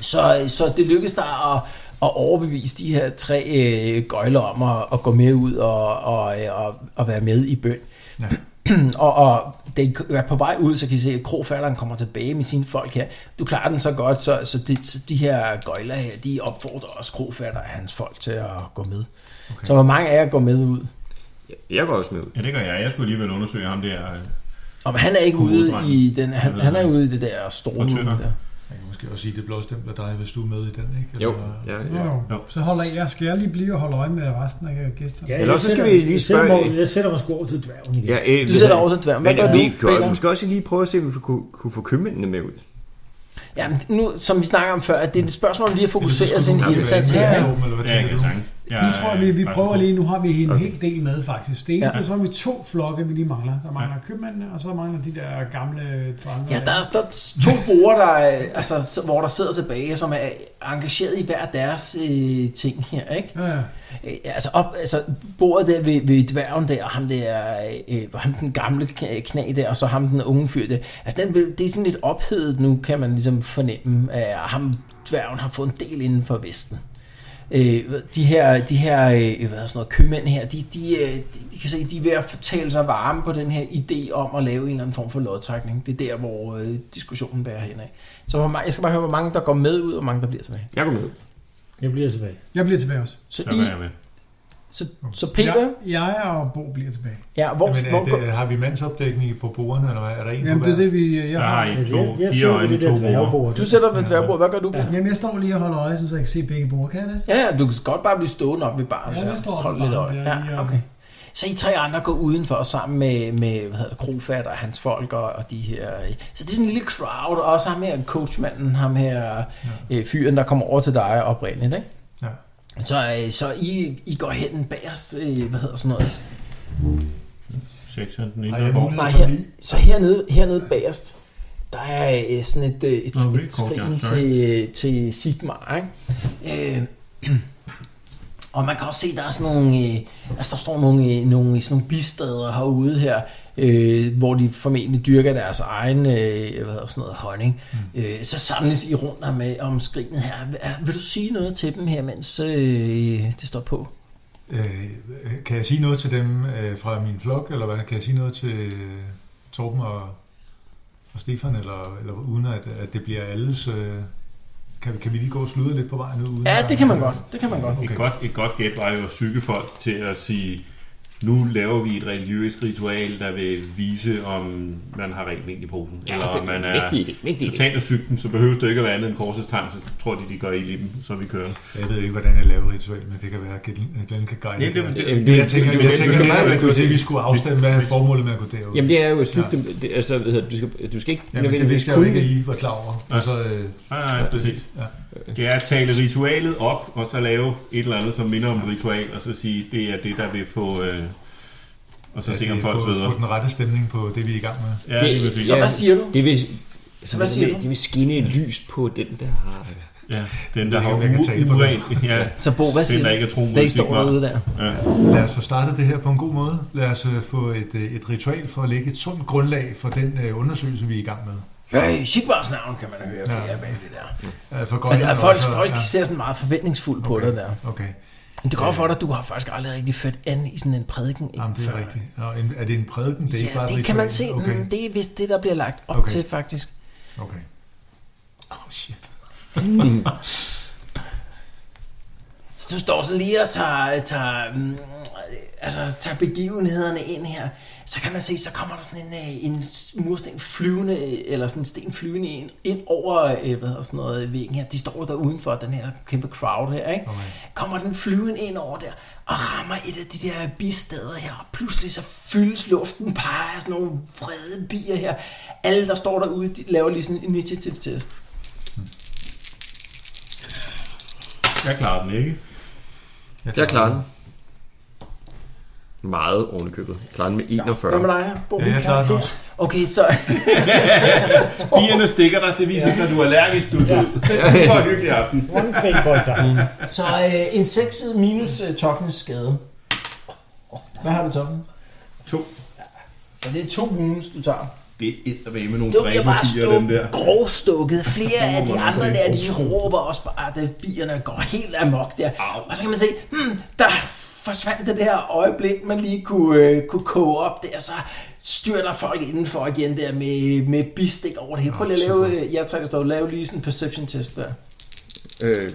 Speaker 2: Så, så det lykkedes dig at, at overbevise de her tre øh, gøjler om at, at gå med ud og, og, øh, og, og være med i bøn.
Speaker 7: Ja.
Speaker 2: og, og da I er på vej ud, så kan I se, at krofatteren kommer tilbage med sine folk her. Du klarer den så godt, så, så, de, så de her gøjler her, de opfordrer også krofatter og hans folk til at gå med. Okay. Så hvor mange af jer går med ud?
Speaker 5: Jeg går også med ud.
Speaker 6: Ja, det gør jeg. Jeg skulle alligevel undersøge ham der. øh.
Speaker 2: Og men han er ikke ude
Speaker 6: Hoveddrengen.
Speaker 2: i den, han, han er ude i det der
Speaker 6: Og
Speaker 2: store
Speaker 6: tønder.
Speaker 2: der.
Speaker 7: Jeg kan måske også sige, at det blåstempler dig, hvis du er med i den, ikke?
Speaker 5: Jo, ja, ja.
Speaker 8: Ja. Så holder jeg, skal jeg lige blive og holde øje med resten af gæsterne?
Speaker 4: Ja,
Speaker 5: Eller
Speaker 4: jeg
Speaker 5: også skal
Speaker 4: sætter-
Speaker 5: vi lige
Speaker 4: jeg sætter
Speaker 5: spørge-
Speaker 4: mig- Jeg sætter mig sgu over til dværgen igen.
Speaker 5: ja øh,
Speaker 2: Du sætter også et dværg. Hvad
Speaker 5: Men
Speaker 2: gør du,
Speaker 5: vi kan
Speaker 2: Peter?
Speaker 5: måske også lige prøve at se, om vi kunne, kunne få købmændene med ud.
Speaker 2: Jamen, nu, som vi snakker om før, at det er et spørgsmål om lige at fokusere sin
Speaker 5: du-
Speaker 2: indsats her. ikke?
Speaker 7: Eller hvad
Speaker 6: Ja, jeg
Speaker 7: tænker
Speaker 6: kan
Speaker 7: du?
Speaker 6: sange. Jeg
Speaker 8: Nu tror jeg, vi, vi
Speaker 6: er-
Speaker 8: prøver lige. Nu har vi en
Speaker 5: Okay.
Speaker 8: okay. hel del med, faktisk. Det eneste, ja. så har vi to flokke, vi lige mangler. Der mangler ja. købmændene, og så mangler de der gamle drenge.
Speaker 2: Ja, der er, der er to brugere, der, er- altså, s- hvor der sidder tilbage, som er engageret i hver deres øh, ting her, ikke?
Speaker 8: Ja, ja.
Speaker 2: Øh, altså, op, altså, bordet der ved, ved dværgen der, og ham der, øh, ham den gamle kn- knæ der, og så ham den unge fyr der. Altså, den, blev- det er sådan lidt ophedet nu, kan man ligesom fornemme, at ham dværgen har fået en del inden for Vesten. Øh, de her, de her øh, hvad er sådan noget, købmænd her, de, de, øh, de, de kan se, de er ved at fortælle sig varme på den her idé om at lave en eller anden form for lodtrækning. Det er der, hvor øh, diskussionen bærer henad. Så hvor, ma- jeg skal bare høre, hvor mange der går med ud, og hvor mange der bliver tilbage.
Speaker 5: Jeg går med ud.
Speaker 4: Jeg bliver tilbage.
Speaker 8: Jeg bliver tilbage også.
Speaker 2: Så,
Speaker 6: Så
Speaker 2: I,
Speaker 6: gør jeg med.
Speaker 2: så, så Peter,
Speaker 8: Jeg, jeg og Bo bliver tilbage.
Speaker 2: ja, hvor,
Speaker 7: Jamen,
Speaker 2: hvor,
Speaker 7: er det, har vi mandsopdækning på bordene, eller hvad? Er der en
Speaker 8: Jamen,
Speaker 7: på
Speaker 8: det er
Speaker 7: hver?
Speaker 8: det, vi... Jeg
Speaker 6: Der
Speaker 8: har.
Speaker 6: er
Speaker 4: Jeg,
Speaker 6: en, to,
Speaker 4: jeg, jeg
Speaker 6: fire
Speaker 4: sidder ved
Speaker 6: øjne,
Speaker 4: det der
Speaker 6: to bruger.
Speaker 4: dværgebord.
Speaker 2: Du sætter ved dværgbord. Hvad gør du, Peter?
Speaker 8: Jamen, jeg står lige og holder øje, så jeg kan se begge bord. Kan jeg det?
Speaker 2: Ja, ja, du kan godt bare blive stående op ved baren.
Speaker 8: Ja,
Speaker 2: der.
Speaker 8: jeg står oppe
Speaker 2: Hold
Speaker 8: ved
Speaker 2: lidt
Speaker 8: baren,
Speaker 2: øje.
Speaker 8: ja, lige
Speaker 2: Ja,
Speaker 8: om-
Speaker 2: okay. Så I tre andre går udenfor og sammen med, med hvad hedder det, Krofat og hans folk og, og de her... øh. Så det er sådan en lille crowd, og også ham her coachmanden, ham her øh, fyren, der kommer over til dig oprindeligt, ikke?
Speaker 7: Ja.
Speaker 2: Så, øh, så I, I går hen bagerst, øh, hvad hedder sådan noget?
Speaker 6: Sekseren, den ene
Speaker 7: Har jeg
Speaker 6: der går.
Speaker 7: mulighed
Speaker 2: Nej,
Speaker 7: for
Speaker 2: her,
Speaker 7: lige?
Speaker 2: så hernede, hernede bagerst, der er øh, sådan et, øh, et,
Speaker 6: Nå,
Speaker 2: et, et
Speaker 6: vildt kort, ja.
Speaker 2: skrin
Speaker 6: Sorry.
Speaker 2: til, øh, til Sigmar, ikke? Øh, og man kan også se, der er sådan nogle, øh, altså der står nogle, øh, nogle, sådan nogle bistader herude her, øh, hvor de formentlig dyrker deres egen, øh, hvad hedder sådan noget, honning. Mm. Øh, så samles I rundt om, øh, om skrinet her. Er- Vil du sige noget til dem her, mens øh, det står på?
Speaker 7: Øh, kan jeg sige noget til dem øh, fra min flok, eller hvad? Kan jeg sige noget til øh, Torben og, og Stefan, eller, eller uden at, at det bliver alles... Øh, kan, vi- kan vi lige gå og sludre lidt på vejen ud? Uden
Speaker 2: Ja,
Speaker 7: at-
Speaker 2: det kan man godt. Det kan man godt.
Speaker 6: Et godt, et godt gæt var jo at psyke folk til at sige, nu laver vi et religiøst ritual, der vil vise, om man har rent mel i posen.
Speaker 5: Ja,
Speaker 6: eller
Speaker 5: det
Speaker 6: om
Speaker 5: er
Speaker 6: man
Speaker 5: en
Speaker 6: er
Speaker 5: vigtig idé. Vigtig idé.
Speaker 6: totalt at syge dem, så behøver det ikke at være andet end korsets tegn, så tror de, de gør ild i dem, så vi kører.
Speaker 7: Jeg ved ikke, hvordan jeg laver ritual, men det kan være, at Glenn- Glenn kan guide
Speaker 6: Jamen, det-
Speaker 7: mig.
Speaker 6: det-
Speaker 7: jeg
Speaker 5: det-
Speaker 7: tænker, jeg tænker,
Speaker 6: det- det-
Speaker 7: jeg
Speaker 6: det-
Speaker 7: tænker,
Speaker 6: det-
Speaker 7: det,
Speaker 6: det-
Speaker 7: det,
Speaker 6: det-
Speaker 7: det, det, vi skulle afstemme, hvad er formålet med at gå derud?
Speaker 5: Jamen, det er jo sygt.
Speaker 7: Ja.
Speaker 5: Ja. Det, altså, hvad hedder det, du, skal, du skal ikke
Speaker 7: Jamen, det vidste jeg jo ikke, at I var klar over.
Speaker 6: Ja.
Speaker 7: Altså,
Speaker 6: Nej,
Speaker 7: øh,
Speaker 6: nej, præcis.
Speaker 7: Ja.
Speaker 6: Det er at tale ritualet op, og så lave et eller andet, som minder om et ritual, og så sige, det er det, der vil få... Øh, og så
Speaker 7: at,
Speaker 6: se, om
Speaker 7: øh,
Speaker 6: folk
Speaker 7: få-
Speaker 6: sveder.
Speaker 7: Få den rette stemning på det, vi er i gang med.
Speaker 6: Ja,
Speaker 5: Det-
Speaker 6: lige præcis.
Speaker 2: Så
Speaker 5: Ja.
Speaker 2: hvad siger du?
Speaker 5: Det vil, så
Speaker 2: hvad
Speaker 5: hvad
Speaker 2: siger
Speaker 5: siger
Speaker 2: du?
Speaker 5: det vil skinne et lys på den, der har...
Speaker 6: Ja, den der
Speaker 7: Jeg
Speaker 6: har
Speaker 7: ved ikke, om jeg kan tale
Speaker 6: u-
Speaker 7: på det.
Speaker 6: uren. Ja,
Speaker 2: Så Bo, hvad
Speaker 6: den
Speaker 2: siger
Speaker 6: der
Speaker 2: du?
Speaker 6: ikke er tro mod
Speaker 2: Der står
Speaker 6: Sigmar.
Speaker 2: derude der.
Speaker 6: Ja.
Speaker 7: Lad os få startet det her på en god måde. Lad os øh, få et, øh, et ritual for at lægge et sundt grundlag for den øh, undersøgelse, vi er i gang med.
Speaker 2: Hey, Sigvars navn kan man høre
Speaker 7: Ja.
Speaker 2: flere ja. bag det der.
Speaker 7: Øh, For
Speaker 2: Men,
Speaker 7: Grønland
Speaker 2: Altså, folk,
Speaker 7: også-
Speaker 2: folk ser sådan meget forventningsfuldt på dig der.
Speaker 7: Okay,
Speaker 2: Men det går for dig, du har faktisk aldrig rigtig ført an i sådan en prædiken. ind
Speaker 7: Jamen, det
Speaker 2: før.
Speaker 7: er rigtigt. Nå, en- er det en prædiken? Det er ikke
Speaker 2: ja,
Speaker 7: bare et
Speaker 2: det kan man se.
Speaker 7: ritual.
Speaker 2: Okay.
Speaker 7: Okay,
Speaker 2: Det er vist det, der bliver lagt op okay.
Speaker 7: Okay.
Speaker 2: til, faktisk.
Speaker 7: okay. Oh, shit.
Speaker 2: Så du står sådan lige og tager, tager, mm, altså, tager begivenhederne ind her. Så kan man se, så kommer der sådan en, øh, en mursten flyvende, øh, eller sådan en sten flyvende ind, ind over øh, hvad hedder sådan noget, væggen her. De står jo der udenfor, den her kæmpe crowd her. Ikke?
Speaker 7: Okay.
Speaker 2: Kommer den flyvende ind over der, og rammer et af de der bisteder her. Og pludselig så fyldes luften bare af sådan nogle vrede bier her. Alle, der står derude, de laver lige sådan en initiativtest.
Speaker 6: Jeg klarer den ikke.
Speaker 5: Jeg klarer den. Meget ovenikøbet. Jeg klarer den med 41.
Speaker 2: Hvad med dig? Bo,
Speaker 7: Ja, jeg klarer den også.
Speaker 2: Okay, så...
Speaker 6: Bierne stikker dig, det viser sig, at du er allergisk, du er død. Det var en hyggelig aften.
Speaker 4: One fake point time.
Speaker 2: Så øh, en 6 minus øh, toughness skade. Hvad har du toughness?
Speaker 6: To.
Speaker 2: Så det er to wounds, du tager.
Speaker 6: Det er eddermame med nogle
Speaker 2: Du bliver bare
Speaker 6: dræberbier, dem der.
Speaker 2: stuk, grovstukket. Flere af de
Speaker 6: Nogle
Speaker 2: andre der,
Speaker 6: dræber-
Speaker 2: de råber også bare, at bierne går helt amok der.
Speaker 6: Au.
Speaker 2: Og så kan man se, hmm, der forsvandt det der øjeblik, man lige kunne, øh, kunne koge op der, så styrter folk indenfor igen der med, med bistik over det hele. Prøv lige at lave, øh, jeg trækker stå, lave lige sådan en perception test der.
Speaker 5: Øh, hvad,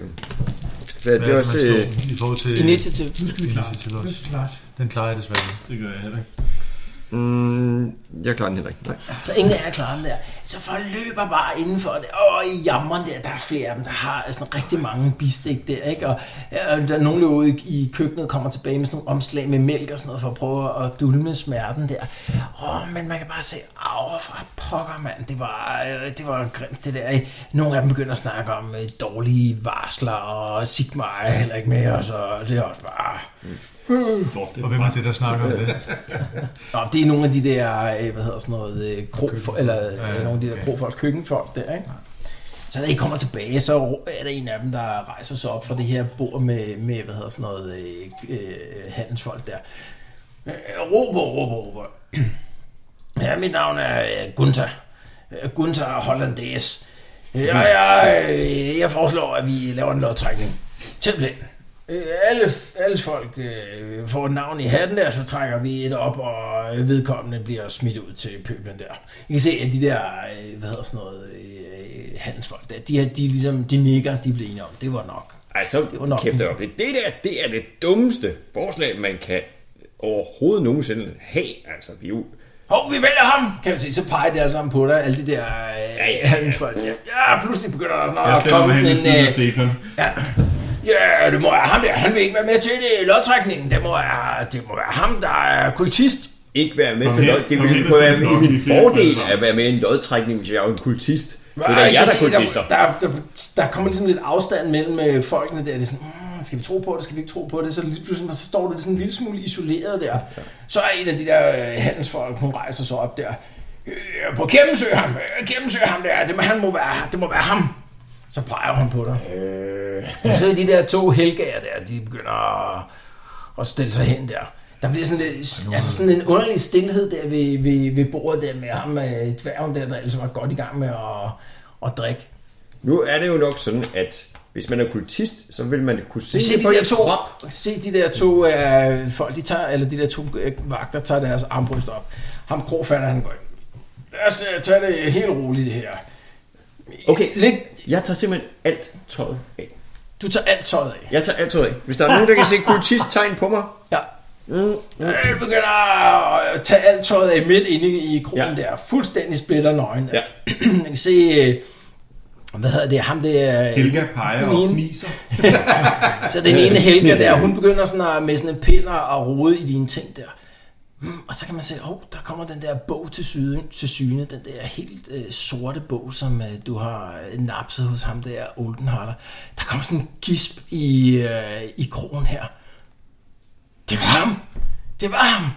Speaker 7: Hvad
Speaker 5: det er
Speaker 7: er
Speaker 5: også...
Speaker 7: det, man
Speaker 5: øh,
Speaker 7: slår i forhold til...
Speaker 2: Initiative.
Speaker 8: Nu skal vi klare det.
Speaker 7: Initiativ
Speaker 8: Nu
Speaker 7: også.
Speaker 8: skal vi klare det.
Speaker 7: Den klarer jeg desværre. ikke.
Speaker 6: Det gør jeg heller ikke.
Speaker 5: Mm, jeg klarer den heller ikke. Nej.
Speaker 2: Så ingen af jer klarer den der. Så folk løber bare indenfor det. Åh, i jammeren der, der er flere af dem, der har altså, rigtig mange bistik der, ikke? Og øh, der er nogen, der ude i- i køkkenet kommer tilbage med sådan nogle omslag med mælk og sådan noget, for at prøve at dulme smerten der. Åh, men man kan bare se, åh, for pokker, mand, det var, øh, det var grimt det der. ikke? Nogle af dem begynder at snakke om øh, dårlige varsler, og Sigmar er heller ikke med, og så det er også bare...
Speaker 7: Og hvem er det, der snakker om det?
Speaker 2: Nå, det er nogle af de der, øh, hvad hedder sådan noget, øh, kro, eller øh,
Speaker 7: Ja,
Speaker 2: nogle af de der
Speaker 7: okay.
Speaker 2: krofolk, køkkenfolk der, ikke? Så da I kommer tilbage, så er der en af dem, der rejser sig op fra det her bord med, med hvad hedder sådan noget, øh, øh, handelsfolk der. Øh, Råber, råber, råber. Ja, mit navn er øh, Gunther. Øh, Gunther Hollandaise. Ja, jeg, øh, jeg foreslår, at vi laver en lodtrækning. Simpelthen. Øh, Alle, alle folk øh, får et navn i hatten der, så trækker vi et op, og øh, vedkommende bliver smidt ud til pøblen der. I kan se, at de der, øh, hvad hedder sådan noget, øh, handelsfolk der, de, er- de, er ligesom, de nikker, de bliver enige om, det var nok.
Speaker 5: Ej, så
Speaker 2: Det var nok.
Speaker 5: kæft op. Det der, det er det dummeste forslag, man kan overhovedet nogensinde have. Altså, vi er jo...
Speaker 2: Hov, vi vælger ham! Kan man se, så peger de alle sammen på dig, alle de der øh,
Speaker 5: ja, ja.
Speaker 2: handelsfolk. Ja, pludselig begynder der sådan
Speaker 6: Jeg
Speaker 2: noget at
Speaker 6: stiller
Speaker 2: komme
Speaker 6: mig hen ved
Speaker 2: sådan
Speaker 6: siden
Speaker 2: en...
Speaker 6: af
Speaker 2: Øh,
Speaker 6: Stefan.
Speaker 2: Ja, ja det må være ham der. Han vil ikke være med til det i lodtrækningen. Det må være, det må være ham, der er kultist.
Speaker 5: Ikke være med
Speaker 6: Kom
Speaker 5: til
Speaker 6: her.
Speaker 5: noget. Det
Speaker 6: Kom
Speaker 5: ville
Speaker 6: her,
Speaker 5: kunne være
Speaker 6: hvis du
Speaker 5: i
Speaker 6: er
Speaker 5: min
Speaker 6: i fjerde
Speaker 5: fordel
Speaker 6: plads.
Speaker 5: at være med i en lodtrækning, hvis jeg er jo en kultist. Det er da
Speaker 2: Ej,
Speaker 5: jeg,
Speaker 2: jeg
Speaker 5: der
Speaker 2: kan
Speaker 5: er
Speaker 2: se,
Speaker 5: kultister.
Speaker 2: Der, der, der kommer ligesom lidt afstand mellem øh, folkene der. Det er sådan, mm, skal vi tro på det, skal vi ikke tro på det? Så lige pludselig så står det sådan en lille smule isoleret der. Så er en af de der øh, handelsfolk, hun rejser sig op der. Øh, på gennemsø ham, øh, gennemsø ham der, det må, han må være, det må være ham. Så peger hun på dig. Øh. Så er de der to helgager der, de begynder at, at stille sig hen der. Der bliver sådan, lidt, altså sådan en underlig stillhed der ved, ved, ved bordet der med ham, øh, dværgen der, der altså var godt i gang med at, at drikke.
Speaker 5: Nu er det jo nok sådan, at hvis man er kultist, så vil man kunne se
Speaker 2: Se
Speaker 5: det
Speaker 2: de
Speaker 5: på
Speaker 2: der
Speaker 5: en
Speaker 2: to,
Speaker 5: krop.
Speaker 2: se de der to øh, folk, de tager, eller de der to øh, vagter tager deres armbryst op. Ham krofatter, han går ind. Lad os øh, tage det helt roligt det her.
Speaker 5: Okay,
Speaker 2: Læg,
Speaker 5: jeg tager simpelthen alt tøjet af.
Speaker 2: du tager alt tøjet af.
Speaker 5: Jeg tager alt tøjet af. Hvis der er nogen, der kan se kultisttegn på mig,
Speaker 2: Ja. Jeg Øh, begynder at øh, tage alt tøjet af midt inde i krogen ja.
Speaker 5: Ja.
Speaker 2: der. Fuldstændig splitter nøgen.
Speaker 5: Ja.
Speaker 2: Man kan se, øh, hvad hedder det, ham der... øh,
Speaker 6: Helga peger og
Speaker 2: Den ene-
Speaker 6: fniser.
Speaker 2: Så den ene Helga der, hun begynder sådan at, med sådan en piller og rode i dine ting der. Mm, Og så kan man se, oh, der kommer den der bog til syne, til syne den der helt øh, sorte bog, som øh, du har øh, napset hos ham der, Oldenhaller. Der kommer sådan en gisp i, øh, i krogen her. Det var ham! Det var ham!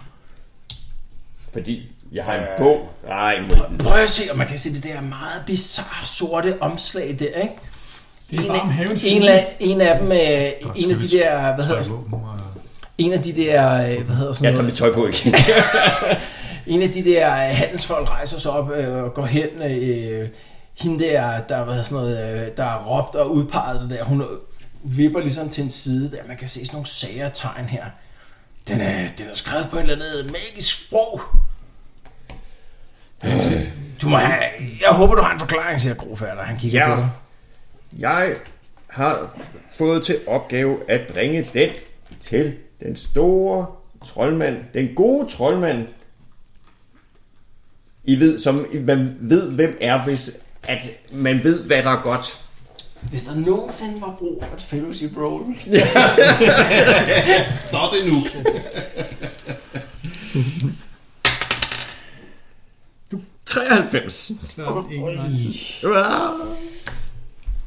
Speaker 5: fordi jeg har en bog. Nej, må-
Speaker 2: Prøv at se, og man kan se det der meget bizarre sorte omslag der, ikke?
Speaker 8: Det er varm havens
Speaker 2: en,
Speaker 8: fugle.
Speaker 2: af, en af dem, øh, en af de der, hvad hedder,
Speaker 7: Våben og
Speaker 2: en af de der, øh, hvad hedder sådan
Speaker 9: Jeg tager
Speaker 2: noget,
Speaker 9: mit tøj på igen.
Speaker 2: En af de der øh, handelsfolk rejser sig op øh, og går hen. Øh, hende der, der var sådan noget, øh, der er råbt og udpeget det der, hun vipper ligesom til en side der. Man kan se sådan nogle sagertegn her. Den er, den er skrevet på et eller andet magisk sprog. Du må have, jeg håber, du har en forklaring, siger Grofærder. Han kigger
Speaker 9: Ja.
Speaker 2: på dig.
Speaker 9: Jeg har fået til opgave at bringe den til den store troldmand, den gode troldmand, I ved, som man ved, hvem er, hvis at man ved, hvad der er godt.
Speaker 2: Hvis der nogensinde var brug for et fellowship roll,
Speaker 6: Så er det nu.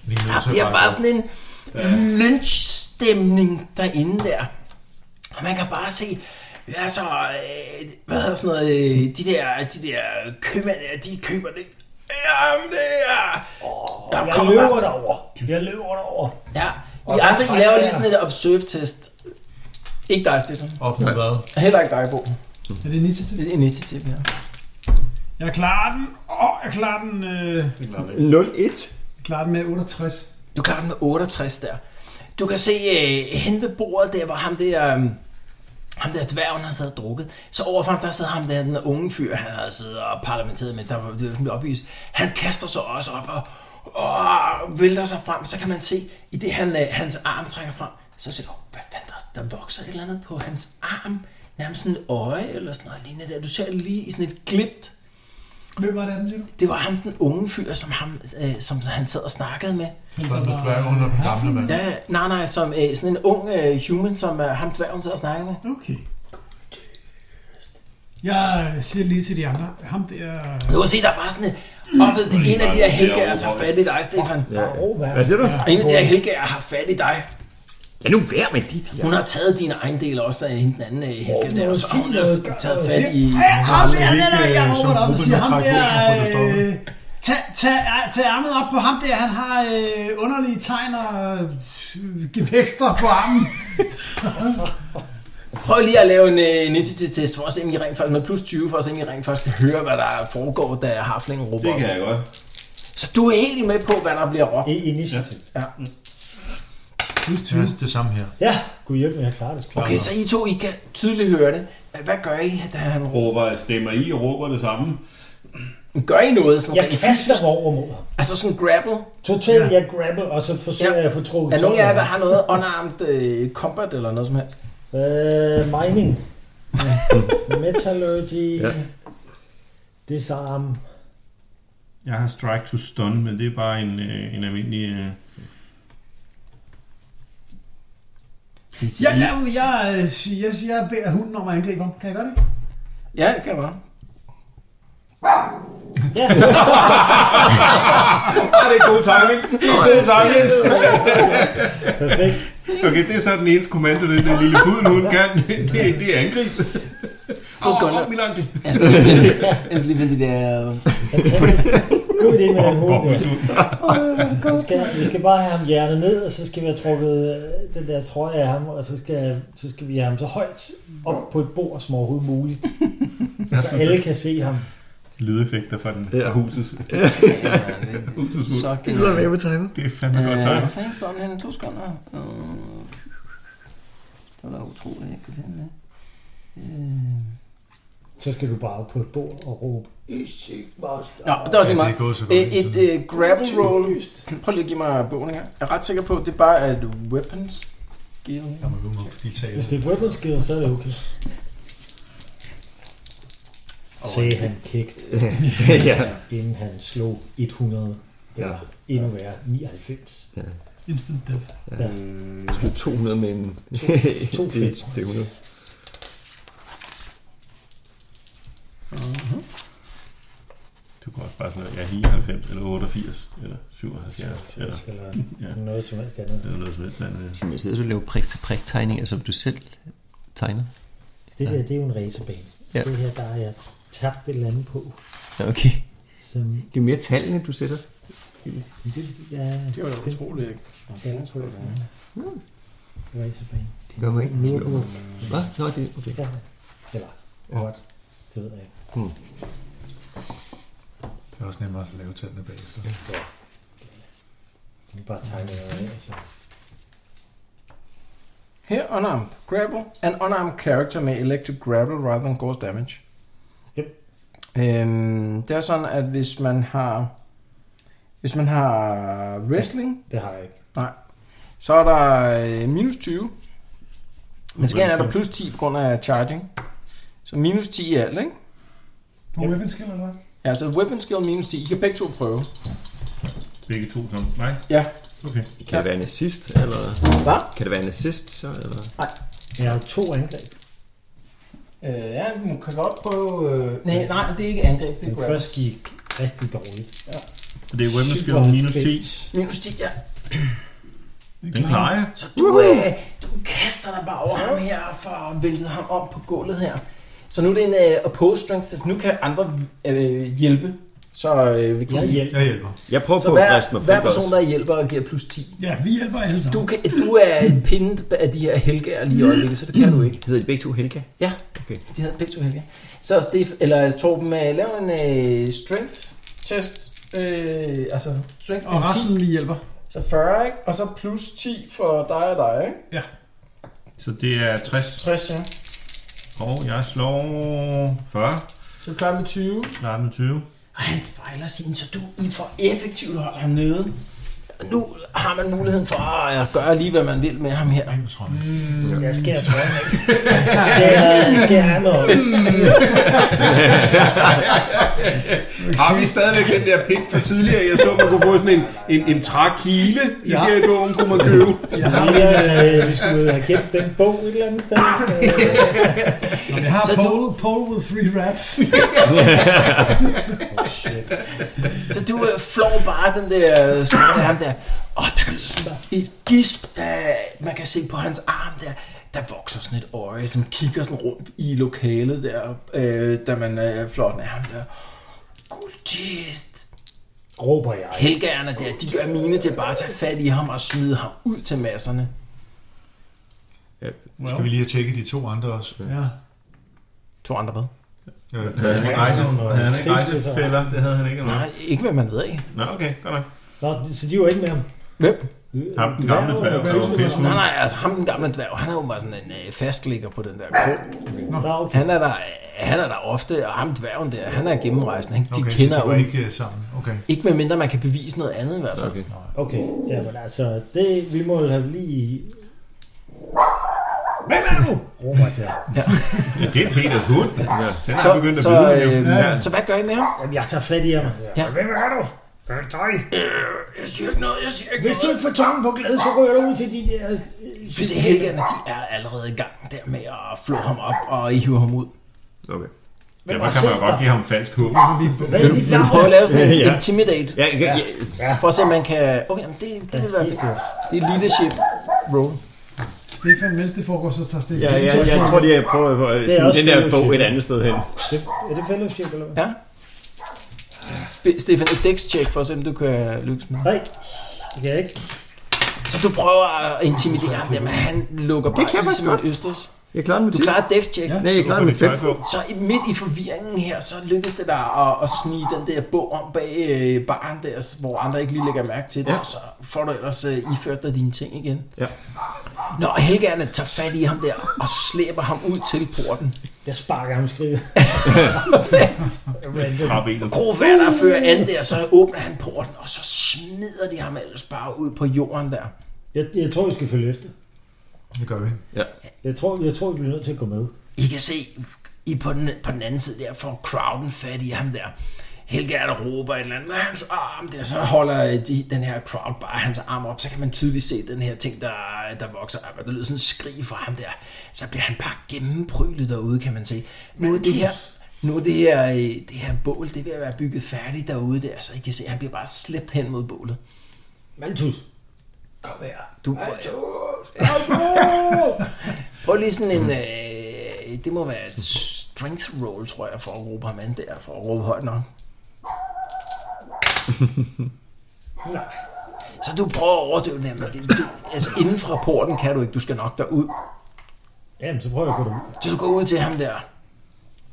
Speaker 7: Vi er nødt til
Speaker 2: bliver
Speaker 7: at bakke
Speaker 2: bare
Speaker 7: op.
Speaker 2: sådan en lynchstemning derinde der. Og man kan bare se, altså, øh, hvad hedder sådan noget, øh, de der, de der købmænd, der, de køber det. Jamen, det er... der kommer
Speaker 4: Jeg
Speaker 2: bare
Speaker 4: løber
Speaker 2: sådan,
Speaker 4: derover. Jeg løber derover.
Speaker 2: ja.
Speaker 4: Og
Speaker 2: I
Speaker 4: så
Speaker 2: andre, I
Speaker 4: trækker
Speaker 2: laver
Speaker 4: jeg.
Speaker 2: lige sådan et observe-test. Ikke dig, Stefan.
Speaker 7: Op med hvad?
Speaker 2: Heller ikke dig, Bo.
Speaker 8: Er det initiativ?
Speaker 2: Det er initiativ her.
Speaker 8: Jeg klarer den. Åh, oh, jeg klarer den, øh,
Speaker 5: 0-1.
Speaker 8: jeg klarer den med 68.
Speaker 2: Du klarer den med 68 der. Du kan se øh, hen ved bordet der, hvor ham der, øh, ham der dværgen har siddet og drukket. Så overfor ham, der sidder ham der, den unge fyr, han har siddet og parlamenteret med, der var det var opvist. Han kaster sig også op og, og vælter sig frem. Så kan man se, i det han, øh, hans arm trækker frem, så ser du, hvad fanden der, der vokser et eller andet på hans arm. Nærmest sådan et øje eller sådan noget lignende der. Du ser lige i sådan et glimt,
Speaker 8: Hvem var det andet, siger du?
Speaker 2: det var ham den unge fyr, som, ham, øh, som han sad og snakkede med.
Speaker 7: Sådan med dværgen og den gamle mand.
Speaker 2: Ja, nej, nej, som øh, sådan en ung øh, human, som øh, ham dværgen sidder og snakker med.
Speaker 8: Okay. Jeg siger lige til de andre, ham der...
Speaker 2: Du kan se, der er bare sådan et opved, det en af de der helgager tager fat i dig, Stefan.
Speaker 5: Ja. oh, Hvad siger du?
Speaker 2: En af de der helgager har fat i dig.
Speaker 5: Ja, nu vær med det der.
Speaker 2: Hun har taget dine egen del også af hende den anden øh, helgager der, og så har hun også taget fat i...
Speaker 8: Ja, ham der,
Speaker 7: vi
Speaker 8: der,
Speaker 7: ikke,
Speaker 8: der, jeg
Speaker 7: øh, som
Speaker 8: råber op og
Speaker 7: gruppe
Speaker 8: siger,
Speaker 7: med
Speaker 8: ham
Speaker 7: træk
Speaker 8: der...
Speaker 7: våben og få det stoppet.
Speaker 8: øh, Tag, tag, ar- tag armet op på ham der, han har øh, underlige tegn og øh, gevækster på armen.
Speaker 2: Prøv lige at lave en øh, nitty-test for at se, om I rent faktisk med plus 20, for at se, om I rent faktisk kan høre, hvad der foregår, da Haflingen råber.
Speaker 6: Det
Speaker 2: op.
Speaker 6: kan jeg godt.
Speaker 2: Så du er helt med på, hvad der bliver råbt.
Speaker 4: I initiativ.
Speaker 7: Plus 20. Det er det samme her.
Speaker 4: Ja, gud hjælp med, jeg klarer det. sgu.
Speaker 2: Okay, så I to, I kan tydeligt høre det. Hvad gør I, da han råber?
Speaker 6: Råber, stemmer I og råber det samme.
Speaker 2: Gør I noget? Sådan
Speaker 4: Jeg
Speaker 2: rent
Speaker 4: kaster mig over mod ham.
Speaker 2: Altså sådan grapple.
Speaker 4: Totalt, jeg grabber, og så forsøger
Speaker 2: Ja.
Speaker 4: jeg at få trukket
Speaker 2: Er nogen af jer, der
Speaker 4: toppen
Speaker 2: har noget unarmed øh, combat eller noget som helst?
Speaker 4: af ham. Øh, mining. Metallurgy.
Speaker 5: Ja.
Speaker 4: Disarm.
Speaker 6: Jeg har strike to stun, men det er bare en, øh, en almindelig... Øh,
Speaker 8: Ja, ja, jeg, øh, siger- jeg, siger, jeg beder hunden om at angribe ham. Kan jeg gøre det?
Speaker 2: Ja, det kan jeg
Speaker 4: Ja,
Speaker 6: Ah, det er god timing. Det er timing.
Speaker 4: perfekt.
Speaker 6: Okay, det er så den eneste kommando, den der lille pudelhund kan. Det, er- det er angreb.
Speaker 2: Så skal
Speaker 6: Åh,
Speaker 2: jeg
Speaker 6: åh, min ankel.
Speaker 2: Jeg skal lige finde- jeg skal lige finde det der...
Speaker 4: Fantastisk. God idé med den hoved. der.
Speaker 6: Bobbelshund.
Speaker 4: Vi skal, vi skal bare have ham hjernet ned, og så skal vi have trukket øh, den der trøje af ham, og så skal, så skal vi have ham så højt op på et bord som overhovedet muligt. Så alle kan se ham.
Speaker 6: Lydeffekter fra, den, fra huset. Husets hund.
Speaker 2: Så
Speaker 5: Gider med med timer.
Speaker 6: Det er fandme godt
Speaker 2: Øh,
Speaker 6: tegn.
Speaker 2: Hvor fanden står den henne? To sekunder. Øh, Det var da utroligt, jeg kan finde det.
Speaker 4: Så skal du bare op på et bord og råbe.
Speaker 2: Nå, det var også lige
Speaker 7: Ja, det
Speaker 2: meget.
Speaker 7: er gået så godt.
Speaker 2: Et, et øh, grapple roll. Prøv lige at give mig bogen her. Jeg er ret sikker på, at det bare er et weapons. Givet.
Speaker 7: Jeg må gå med de taler.
Speaker 4: Hvis det er et weapons skill, så er det okay. Sagde han kægt,
Speaker 5: ja.
Speaker 4: inden han slog 100. Eller endnu værre, 99.
Speaker 8: Instant death.
Speaker 5: Sådan 200 med en...
Speaker 4: to
Speaker 5: det,
Speaker 4: fedt.
Speaker 5: det er 100.
Speaker 6: Du kan også bare sådan noget, jeg er 99, eller 88, eller 77, eller,
Speaker 4: Eller
Speaker 6: Ja.
Speaker 4: noget som helst andet.
Speaker 6: eller noget som helst øh, andet.
Speaker 10: Som jeg sidder og laver prik til prik tegninger, som du selv tegner.
Speaker 4: Det der, det er jo en racerbane.
Speaker 10: Ja.
Speaker 4: Det her, der har jeg tabt et eller andet på.
Speaker 10: Ja, Okay.
Speaker 4: Som,
Speaker 5: Det er mere tallene, du sætter.
Speaker 4: Men det, ja,
Speaker 2: Det var jo utroligt.
Speaker 4: taler på det. Mm. Det var ikke så pænt.
Speaker 5: Gør mig ikke
Speaker 4: Nu er
Speaker 5: klogere. Hvad? Nå, det okay.
Speaker 4: Ja, det var. Godt. Det ved jeg ikke.
Speaker 7: Det er også nemmere at lave tallene bagefter.
Speaker 4: Vi bare tegne noget af. altså. Så.
Speaker 2: Her unarmed grapple. An unarmed character may elect to grapple rather than cause damage.
Speaker 4: Yep.
Speaker 2: Øhm, det er sådan, at hvis man har... Hvis man har wrestling,
Speaker 4: Det har jeg ikke.
Speaker 2: så er der øh, minus 20. Men skal er der plus 10 på grund af charging. Så minus 10 i alt, ikke?
Speaker 3: På weapon skill eller hvad?
Speaker 2: Ja, så weapon skill minus 10. I kan begge to prøve.
Speaker 6: Begge to sammen. Nej,
Speaker 2: Ja.
Speaker 6: okay.
Speaker 5: Kan det være en assist, eller...
Speaker 2: Hvad?
Speaker 5: Kan det være en assist, så, eller...
Speaker 4: Jeg har jo to angreb.
Speaker 2: Øh, ja, man kan godt prøve... Øh, nej, nej, det er ikke angreb, det er
Speaker 4: Den
Speaker 2: grapple.
Speaker 4: første gik rigtig dårligt.
Speaker 6: Så det er weapon skill minus 10.
Speaker 2: Minus 10, ja.
Speaker 6: Den klarer jeg.
Speaker 2: Så du, øh, du kaster dig bare over ham her og får væltet ham om på gulvet her. Så nu er det en øh, opposed strength test. Nu kan andre øh, hjælpe. Så øh, vi kan
Speaker 4: Jeg
Speaker 2: lige-
Speaker 4: hjælper.
Speaker 7: Jeg hjælper.
Speaker 5: Jeg prøver
Speaker 2: Så
Speaker 5: på at riste
Speaker 2: hver,
Speaker 5: mig
Speaker 2: hver
Speaker 5: fri
Speaker 2: person, der hjælper, giver plus 10.
Speaker 3: Ja, vi hjælper alle sammen.
Speaker 2: Du, kan, du er pindet af de her helgaer lige i øjeblikket, så det kan du ikke.
Speaker 5: Hedder de begge to Helga?
Speaker 2: Ja,
Speaker 5: Okay.
Speaker 2: de hedder begge to helgaer. Så Stef, eller Torben, øh, lav en øh, strength test. Øh, altså strength
Speaker 3: Og
Speaker 2: med 10.
Speaker 3: resten lige hjælper.
Speaker 2: Så 40, ikke? Og så plus 10 for dig og dig, ikke?
Speaker 6: Så det er 60.
Speaker 2: 60, ja.
Speaker 6: Og jeg slår 40.
Speaker 2: Så er du klar med 20.
Speaker 6: Klarer den med 20.
Speaker 2: Og han fejler sin, så du I for effektivt holder ham nede. Og Nu har man muligheden for at gøre lige, hvad man vil med ham her.
Speaker 4: Jeg skærer trøjen af. Jeg skærer- skærer ham op.
Speaker 9: Har vi stadigvæk den der pik fra tidligere? Jeg så, man kunne få sådan en, en, en trækile i ja. Birgården, kunne man købe.
Speaker 4: Jeg har lige, øh, vi skulle have gemt den bog et eller andet sted. Øh,
Speaker 3: Nå, men jeg har
Speaker 2: Så du-
Speaker 3: pole, pole with three rats.
Speaker 4: shit.
Speaker 2: Så du øh, flår bare den der øh, skulder af ham der. Og der kan sådan bare et gisp, der man kan se på hans arm der. Der vokser sådan et øje, som kigger sådan rundt i lokalet der, øh, da man øh, flår den af ham der. Guldtist!
Speaker 4: Råber jeg.
Speaker 2: Helgerne der, de gør mine til bare at tage fat i ham og smide ham ud til masserne.
Speaker 7: Skal vi lige have tjekket de to andre også?
Speaker 3: ja.
Speaker 2: To andre hvad?
Speaker 7: Ja,
Speaker 6: Havde han ikke rejse, havde han ikke rejsefælder? Det havde han ikke. eller hvad?
Speaker 2: Nej, ikke hvad man ved af.
Speaker 6: Nå, okay. Godt nok.
Speaker 4: Nå, så de var ikke med ham.
Speaker 2: Hvem?
Speaker 6: Ham, den gamle dværg, der var pisse.
Speaker 2: Nej, nej, altså ham den gamle dværg, han er jo bare sådan en øh, fastligger på den der krog.
Speaker 4: Nå, okay.
Speaker 2: Han er der, øh, han er der ofte, og ham dværgen der, han er gennemrejsende. Ikke? De
Speaker 7: Okay,
Speaker 2: okay,
Speaker 7: så
Speaker 2: kender
Speaker 7: de
Speaker 2: jo
Speaker 7: var
Speaker 2: ikke.
Speaker 7: ikke øh, sammen. Okay.
Speaker 2: ikke med mindre man kan bevise noget andet i hvert fald.
Speaker 5: Okay.
Speaker 4: Okay, ja, men altså, det, vi må jo have lige... Hvem er du? Råber jeg til ham.
Speaker 6: Ja, det er Peters hund. Den
Speaker 2: Så,
Speaker 6: er begyndt at
Speaker 2: så,
Speaker 6: bide. den jo.
Speaker 2: øh,
Speaker 6: Ja.
Speaker 2: ja. så hvad gør I med ham?
Speaker 4: Jamen, jeg tager fat i ham. Altså.
Speaker 2: Ja.
Speaker 4: Hvem er du? Hvad er det dig?
Speaker 2: Jeg siger ikke noget, jeg siger ikke
Speaker 4: Hvis du ikke får tongen på glæde, så ryger du ud til de der...
Speaker 2: Hvis I helgerne, de er allerede i gang der med at flå ham op, og I hiver ham ud.
Speaker 5: Okay.
Speaker 6: Derfor kan man jo godt give ham falsk håb.
Speaker 4: Hvad er dit
Speaker 2: Vil du
Speaker 4: navn?
Speaker 2: prøve at lave sådan en
Speaker 5: Ja.
Speaker 2: intimidate?
Speaker 5: Ja, ja, ja.
Speaker 2: For at se, om man kan... Okay, men det, det vil være fedt. Det er leadership roll.
Speaker 3: Stefan, mens det foregår, så tager Stefan.
Speaker 5: ja, ja, jeg tror, det er jeg prøver at
Speaker 4: Det er
Speaker 5: smide
Speaker 4: også
Speaker 5: den der bog
Speaker 4: fellowship.
Speaker 5: et andet sted hen.
Speaker 4: Det- Er det fellowship, eller hvad?
Speaker 2: Ja. Be- Stefan, et dex check for at se, om du kan lykkes med det.
Speaker 4: Nej, det kan jeg ikke.
Speaker 2: Så du prøver at intimidere ham der, men han lukker bare
Speaker 5: kan jeg
Speaker 2: i
Speaker 5: faktisk
Speaker 2: som et
Speaker 5: godt.
Speaker 2: østers.
Speaker 5: Jeg klarer den med
Speaker 2: Du
Speaker 5: 10.
Speaker 2: klarer et dex check.
Speaker 5: Nej, jeg klarer den med 5.
Speaker 6: Tøj på.
Speaker 2: Så i- midt i forvirringen her, så lykkes det dig at, at snige den der bog om bag øh, baren der, hvor andre ikke lige lægger mærke til det, ja.
Speaker 5: Ja.
Speaker 2: og så får du ellers øh, iført dig dine ting igen.
Speaker 5: Ja.
Speaker 2: Nå, og Helgerne tager fat i ham der og slæber ham ud til porten.
Speaker 4: Jeg sparker ham i skridt.
Speaker 6: Krabbenet.
Speaker 2: Grofatter fører an der, så åbner han porten, og så smider de ham ellers bare ud på jorden der.
Speaker 4: Jeg, jeg tror, vi skal følge efter.
Speaker 7: Det gør vi.
Speaker 4: Jeg tror, jeg tror, vi bliver nødt til at gå med.
Speaker 2: I kan se, I på den, på den anden side der får crowden fat i ham der. Helge er der råber et eller andet med hans arm der, så holder øh, de, den her crowd bare hans arm op, så kan man tydeligt se den her ting, der, der vokser op, og der lyder sådan en skrig fra ham der. Så bliver han bare gennemprylet derude, kan man se. Nu er det her, nu er det her, øh, det her bål, det er ved at være bygget færdigt derude der, så I kan se, at han bliver bare slæbt hen mod bålet.
Speaker 4: Malthus.
Speaker 2: Kom her. Du, Prøv lige sådan en... Øh, det må være et strength roll, tror jeg, for at råbe ham an der, for at råbe højt nok. Så du prøver at overdøve den her, men det, det, altså inden fra porten kan du ikke, du skal nok derud.
Speaker 4: Jamen, så prøver jeg at gå derud.
Speaker 2: Så du går ud til ham der,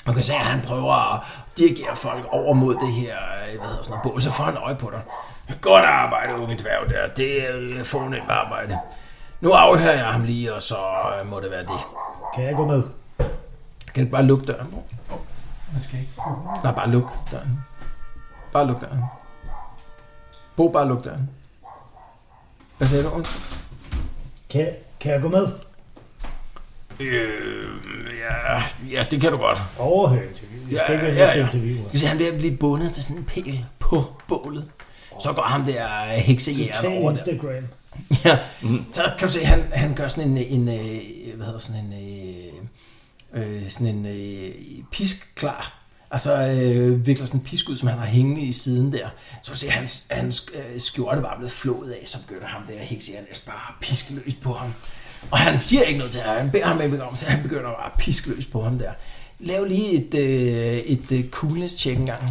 Speaker 2: og kan se, at han prøver at dirigere folk over mod det her, øh, hvad hedder sådan noget, bål, så får han øje på dig. Godt arbejde, unge dværg der. Det er øh, fornemt arbejde. Nu afhører jeg ham lige, og så øh, må det være det.
Speaker 4: Kan jeg gå med?
Speaker 2: Kan du ikke bare lukke døren? Man skal ikke Nej, bare luk døren. Bare luk døren. Bo, bare luk døren. Hvad sagde du? Undskyld.
Speaker 4: Kan, kan jeg gå med?
Speaker 2: Øh, ja, ja, det kan du godt.
Speaker 4: Overhør interviewet. Jeg skal
Speaker 2: Ja,
Speaker 4: ikke
Speaker 2: ja,
Speaker 4: være med til
Speaker 2: ja.
Speaker 4: interviewer.
Speaker 2: Du ser, han bliver blive bundet til sådan en pæl på bålet. Så går ham der heksejæren
Speaker 4: Tag
Speaker 2: over der.
Speaker 4: Instagram.
Speaker 2: Ja, så kan du se, han, han gør sådan en, en, øh, hvad hedder sådan en, øh, øh, sådan en øh, pisk klar. Altså øh, vikler sådan en pisk ud, som han har hængende i siden der. Så kan du se, hans, hans øh, skjorte var blevet flået af, så begynder ham der hekseren ellers bare at piske løs på ham. Og han siger ikke noget til ham, han beder ham ikke om, så han begynder bare at piske løs på ham der. Lav lige et, øh, et øh, coolness-check engang.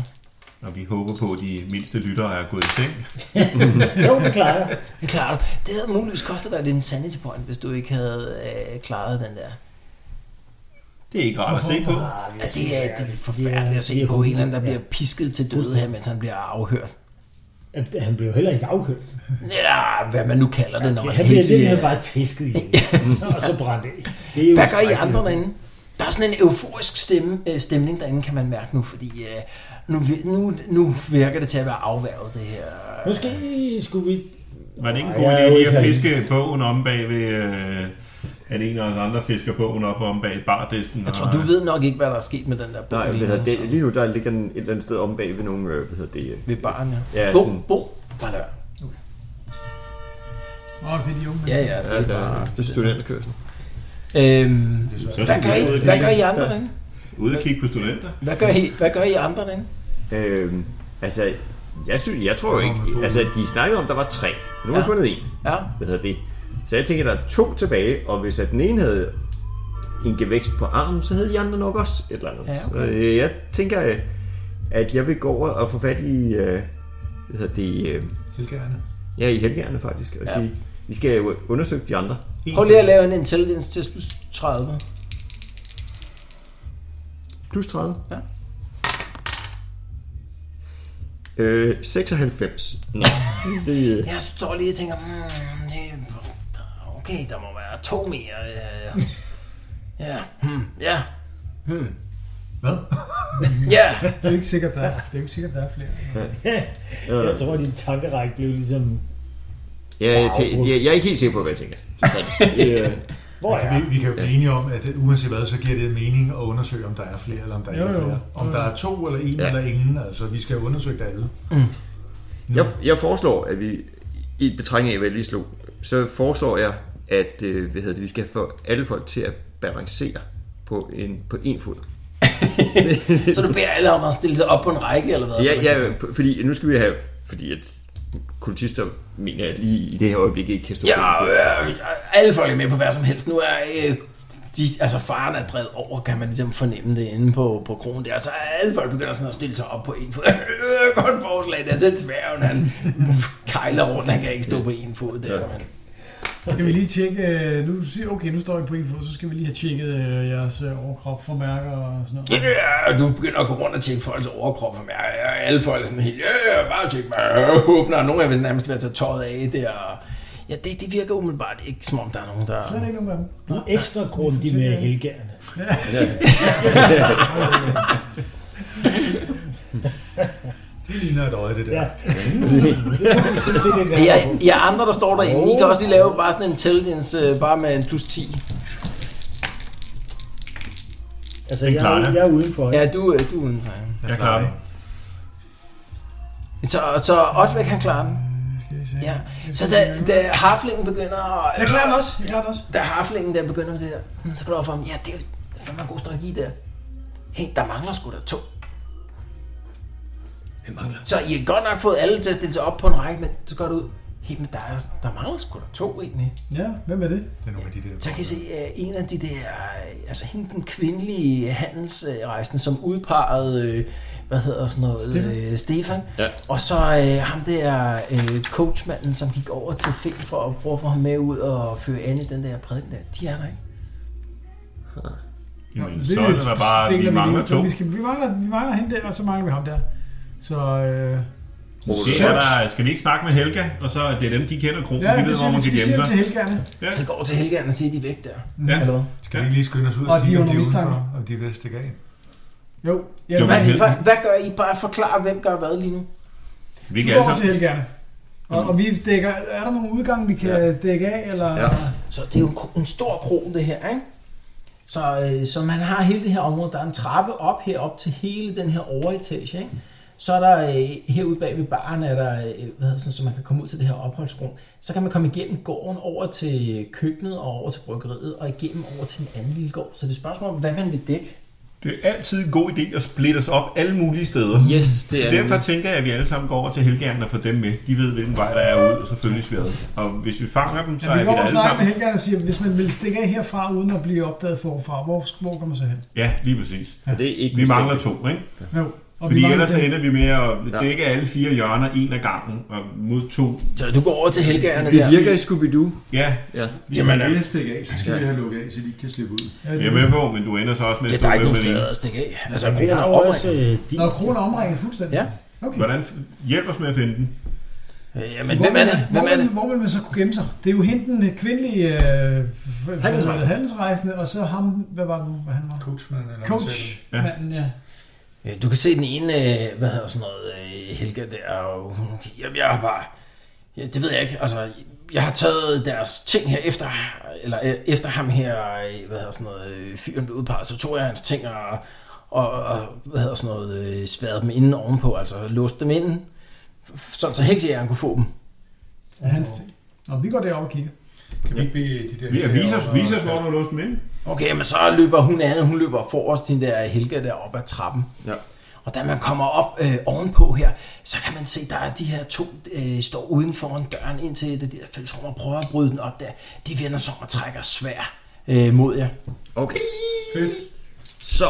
Speaker 6: Og vi håber på, at de mindste lyttere er gået i seng.
Speaker 4: Jo, det klarer jeg.
Speaker 2: Det klarer du. Det havde muligvis kostet dig lidt en sanity point, hvis du ikke havde øh, klaret den der.
Speaker 6: Det er ikke rart at se på.
Speaker 2: Ja, det er, det er forfærdeligt at
Speaker 4: det
Speaker 2: se
Speaker 4: er
Speaker 2: på en eller anden, der
Speaker 4: ja.
Speaker 2: bliver pisket til døde her, mens han bliver afhørt.
Speaker 4: At Han blev jo heller ikke afhørt.
Speaker 2: Ja, hvad man nu kalder det, når man
Speaker 4: Han blev
Speaker 2: hekser-
Speaker 4: lidt her bare tæsket i. Og så brændt af. Det er jo
Speaker 2: Hvad gør I andre
Speaker 4: skrækkeligt.
Speaker 2: derinde? Der er sådan en euforisk stemme, øh, stemning derinde, kan man mærke nu, fordi øh, nu, vi- nu, nu virker det til at være afværget, det her.
Speaker 4: Måske skulle vi...
Speaker 6: Var det ikke en
Speaker 4: Ej,
Speaker 6: god
Speaker 4: jeg
Speaker 6: idé
Speaker 4: er
Speaker 6: lige at
Speaker 4: udkaldt.
Speaker 6: fiske bogen om bag ved... Øh, at en af os andre fisker bogen op om bag bardisken.
Speaker 2: Jeg tror, du ved nok ikke, hvad der er sket med den der bog.
Speaker 5: Nej, hvad hedder
Speaker 2: lige nu,
Speaker 5: det,
Speaker 2: så-
Speaker 5: lige nu der ligger den et eller andet sted om bag ved nogle, øh, hvad hedder det, øh,
Speaker 2: Ved barn, ja.
Speaker 5: Ja,
Speaker 2: bo,
Speaker 5: sådan-
Speaker 2: bo, bare lad være.
Speaker 3: Åh, det er de unge.
Speaker 2: Ja, ja, det er bare...
Speaker 5: studenterkørsel.
Speaker 2: Øhm, hvad gør I, hvad gør I andre derinde?
Speaker 6: Ude og kigge på studenter.
Speaker 2: Hvad gør I, hvad gør I andre derinde?
Speaker 5: Øhm, altså, jeg, synes, jeg tror jo ikke, altså de snakkede om, der var tre. Nu har
Speaker 2: Ja.
Speaker 5: vi fundet en.
Speaker 2: Ja,
Speaker 5: Hvad hedder det? Så jeg tænker, der er to tilbage, og hvis at den ene havde en gevækst på armen, så havde de andre nok også et eller andet.
Speaker 2: Ja, okay.
Speaker 5: Så, øh, jeg tænker, øh, at jeg vil gå over og få fat i, øh, hvad hedder det, øh,
Speaker 7: Helgerne.
Speaker 5: ja, i helgerne faktisk, og ja. sige, vi skal jo undersøge de andre.
Speaker 2: prøv lige at lave en intelligence test plus 30.
Speaker 5: Plus 30.
Speaker 2: Ja.
Speaker 5: Øh, 96. Nå, det, øh,
Speaker 2: Jeg står lige og tænker, mm, det, okay, der må være to mere. øh, Ja, hmm, ja,
Speaker 7: Hvad?
Speaker 2: ja.
Speaker 3: Det er jo ikke sikkert, der er, det er jo ikke sikkert, der er flere.
Speaker 5: eller-
Speaker 4: Jeg tror, at din tankerække blev ligesom...
Speaker 5: Ja, jeg, tæ- jeg, jeg er ikke helt sikker på, hvad jeg tænker. Det er-
Speaker 4: Hvor er jeg?
Speaker 7: Vi, vi kan jo blive enige om, at uanset hvad, så giver det mening at undersøge, om der er flere eller om der ikke
Speaker 3: Jo,
Speaker 7: er
Speaker 3: jo.
Speaker 7: flere. Om der er to eller en
Speaker 5: Ja.
Speaker 7: ja. eller ingen, altså vi skal jo undersøge det alle.
Speaker 2: Mm.
Speaker 5: jeg, jeg foreslår, at vi i betragtning af, hvad jeg lige slog, så foreslår jeg, at øh, hvad hedder det, vi skal få alle folk til at balancere på en, på en fod.
Speaker 2: Så du beder alle om at stille sig op på en række, eller hvad?
Speaker 5: Ja, ja, p- fordi nu skal vi have, fordi at kultister mener jeg lige i det her øjeblik ikke kan stå
Speaker 2: Ja,
Speaker 5: på en fod.
Speaker 2: øh, alle folk er med på hvad som helst. Nu er øh, de, altså faren er drevet over, kan man ligesom fornemme det inde på, på kronen der. Så alle folk begynder sådan at stille sig op på en fod. Øh, godt forslag, det er selv sværgen, han kejler rundt, han kan ikke stå på en fod der. Men.
Speaker 3: Skal vi lige tjekke, øh, nu, siger- okay, nu står jeg på en fod, så skal vi lige have tjekket øh, jeres øh, overkrop for mærker og sådan noget.
Speaker 2: Ja, og du begynder at gå rundt og tjekke folks overkrop for mig. Ja, alle folk er sådan helt, ja, ja, bare tjek mig. Jeg åbner, og nogle af dem vil nærmest ved at tage tøjet af der. Ja, det, det virker umiddelbart ikke, som om der er nogen, der...
Speaker 3: Så er der ikke nogen af dem.
Speaker 4: Du er ekstra grundig med helgerne.
Speaker 7: Det ligner et øje, det der.
Speaker 4: Ja.
Speaker 7: Ja.
Speaker 4: Det er sådan, det er.
Speaker 2: Ja, ja, andre, der står derinde, I kan også lige lave bare sådan en intelligence, øh, bare med en plus 10.
Speaker 4: Altså,
Speaker 6: Den
Speaker 4: jeg,
Speaker 6: klarer
Speaker 4: er-
Speaker 6: det.
Speaker 4: jeg er udenfor.
Speaker 2: Ja, du, øh, du er udenfor.
Speaker 6: Jeg klarer den.
Speaker 2: ja. Så, så Otvæk, han klarer den.
Speaker 3: Skal vi se.
Speaker 2: Ja. Så da, da harflingen begynder at...
Speaker 3: Jeg klarer den også, jeg klarer den også.
Speaker 2: Da harflingen der begynder med det der, hmm, så går det op for ham, ja, det er jo det er fandme en god strategi der. Hey, der mangler sgu da to. Hvem mangler? Så I har godt nok fået alle til at stille sig op på en række, men så går det ud. Jamen, der, er, der mangler sgu da to egentlig.
Speaker 3: Ja, hvem er det?
Speaker 7: Det er nogle af de der...
Speaker 2: Så kan I se uh, en af de der, øh, altså hende den kvindelige handelsrejsende, som udpegede, øh, hvad hedder sådan noget, Stefan. Øh, Stefan.
Speaker 9: Ja.
Speaker 2: Og så øh, ham der øh, coachmanden, som gik over til Finn for at prøve at få ham med ud og føre an i den der prædiken der. De er der ikke.
Speaker 6: Jamen, så er det da bare,
Speaker 3: stikker
Speaker 6: vi mangler
Speaker 3: lige ud, så
Speaker 6: to.
Speaker 3: Vi, skal, vi, mangler, vi mangler hende der, og så mangler vi ham der. Så øh,
Speaker 6: Det er der, skal vi ikke snakke med Helga? Og så er det dem, de kender krogen.
Speaker 3: ja,
Speaker 6: de
Speaker 3: det
Speaker 6: ved, hvor
Speaker 3: synes
Speaker 6: man
Speaker 3: jeg,
Speaker 6: kan
Speaker 3: vi skal
Speaker 6: gemme
Speaker 3: sige til
Speaker 6: dig.
Speaker 3: Helgerne.
Speaker 6: Ja.
Speaker 2: Så går til Helgaen og siger, at de er væk der.
Speaker 6: Ja.
Speaker 2: Eller hvad?
Speaker 7: Skal vi ikke lige skynde os ud
Speaker 3: Og
Speaker 7: og
Speaker 3: de er
Speaker 7: kigge, om de
Speaker 3: under
Speaker 7: er
Speaker 3: mistanke.
Speaker 7: udenfor, om de er ved at stikke af?
Speaker 3: Jo, ja,
Speaker 6: Jo,
Speaker 3: vi
Speaker 2: Hvad,
Speaker 6: Helga.
Speaker 2: I, bare, hvad gør I? Bare forklare, hvem gør hvad lige nu?
Speaker 6: Vi kan
Speaker 3: går over
Speaker 6: alle
Speaker 3: til
Speaker 6: sammen.
Speaker 3: Helgerne. Og, og vi dækker, er der nogle udgange, vi kan ja. dække af? Eller?
Speaker 9: Ja.
Speaker 2: Så det er jo en, kro- en stor krog, det her, ikke? Så, øh, så man har hele det her område. Der er en trappe op herop til hele den her overetage, ikke? Så er der øh, herude bag ved baren, er der, øh, hvad hedder, sådan, så man kan komme ud til det her opholdsrum. Så kan man komme igennem gården over til køkkenet og over til bryggeriet og igennem over til den anden lille gård. Så det er et spørgsmål om, hvad man vil dække.
Speaker 6: Det er altid en god idé at splitte os op alle mulige steder.
Speaker 10: Yes, det er
Speaker 6: Derfor tænker jeg, at vi alle sammen går over til Helgerne og får dem med. De ved, hvilken vej der er ud, og så følges vi ad. Og hvis vi fanger dem, så
Speaker 3: Ja, vi
Speaker 6: er vi
Speaker 3: går
Speaker 6: der
Speaker 3: over og
Speaker 6: alle
Speaker 3: snakker med
Speaker 6: sammen.
Speaker 3: Helgerne og siger, hvis man vil stikke af herfra, uden at blive opdaget forfra, hvor, hvor kommer man så hen?
Speaker 6: Ja, lige præcis.
Speaker 9: Det er ikke
Speaker 6: Vi
Speaker 9: mistænkt.
Speaker 6: mangler to, ikke?
Speaker 3: Jo, og
Speaker 6: Fordi ellers så
Speaker 3: dem.
Speaker 6: ender vi med at
Speaker 9: Ja.
Speaker 6: dække alle fire hjørner en af gangen og mod to.
Speaker 2: Så du går over til helgerne
Speaker 5: Det
Speaker 2: der.
Speaker 5: virker i Scooby-Doo.
Speaker 6: Ja,
Speaker 7: Hvis Jamen,
Speaker 2: øh,
Speaker 7: vi vil stikke af, så skal vi have lukket af, så de ikke kan slippe ud.
Speaker 3: Ja,
Speaker 6: jeg er med på, men du ender så også med
Speaker 2: Ja,
Speaker 6: at
Speaker 2: der er ikke
Speaker 6: stå
Speaker 2: nogen
Speaker 6: med med
Speaker 2: steder
Speaker 6: en.
Speaker 2: at stikke af. Altså,
Speaker 4: Vi
Speaker 2: kroner
Speaker 4: har jo
Speaker 2: over.
Speaker 4: også øh, din...
Speaker 3: Når kroner omringer fuldstændig.
Speaker 2: Ja.
Speaker 3: Okay.
Speaker 6: Hvordan hjælper os med at finde den?
Speaker 2: Jamen, hvem er det? Hvem
Speaker 3: hvor,
Speaker 2: er det?
Speaker 3: Vil, hvor vil man så kunne gemme sig? Det er jo hende den kvindelige øh, f- f-
Speaker 5: Handelsrejsende.
Speaker 3: handelsrejsende, og så ham, hvad var det nu, hvad han var?
Speaker 7: Coachman eller
Speaker 3: Coach,
Speaker 6: Ja.
Speaker 3: ja. manden, ja.
Speaker 2: Øh, Du kan se den ene, øh, hvad hedder sådan noget, øh, Helga der, og hun, jamen jeg har bare, ja, det ved jeg ikke, altså, jeg har taget deres ting her efter, eller øh, efter ham her, øh, hvad hedder sådan noget, øh, fyren blev udpeget, så tog jeg hans ting og, og, og hvad hedder sådan noget, øh, spærrede dem inden ovenpå, altså låste dem inden, sådan så heksejæren kunne få dem.
Speaker 3: ja hans ting. Nå, vi går derop og kigger.
Speaker 7: Kan vi ikke bede de der...
Speaker 6: Vi
Speaker 7: de der
Speaker 6: viser os,
Speaker 7: over-
Speaker 6: viser os, hvor du har låst dem ind.
Speaker 2: Okay, men så løber hun an, og hun løber forrest den der Helga der op ad trappen.
Speaker 5: Ja.
Speaker 2: Og da man kommer op øh, ovenpå her, så kan man se, der er de her to, øh, står uden foran døren ind til det der fællesrum og prøver at bryde den op der. De vender sig om og trækker svær øh, mod jer.
Speaker 5: Okay.
Speaker 6: Fedt.
Speaker 5: Så.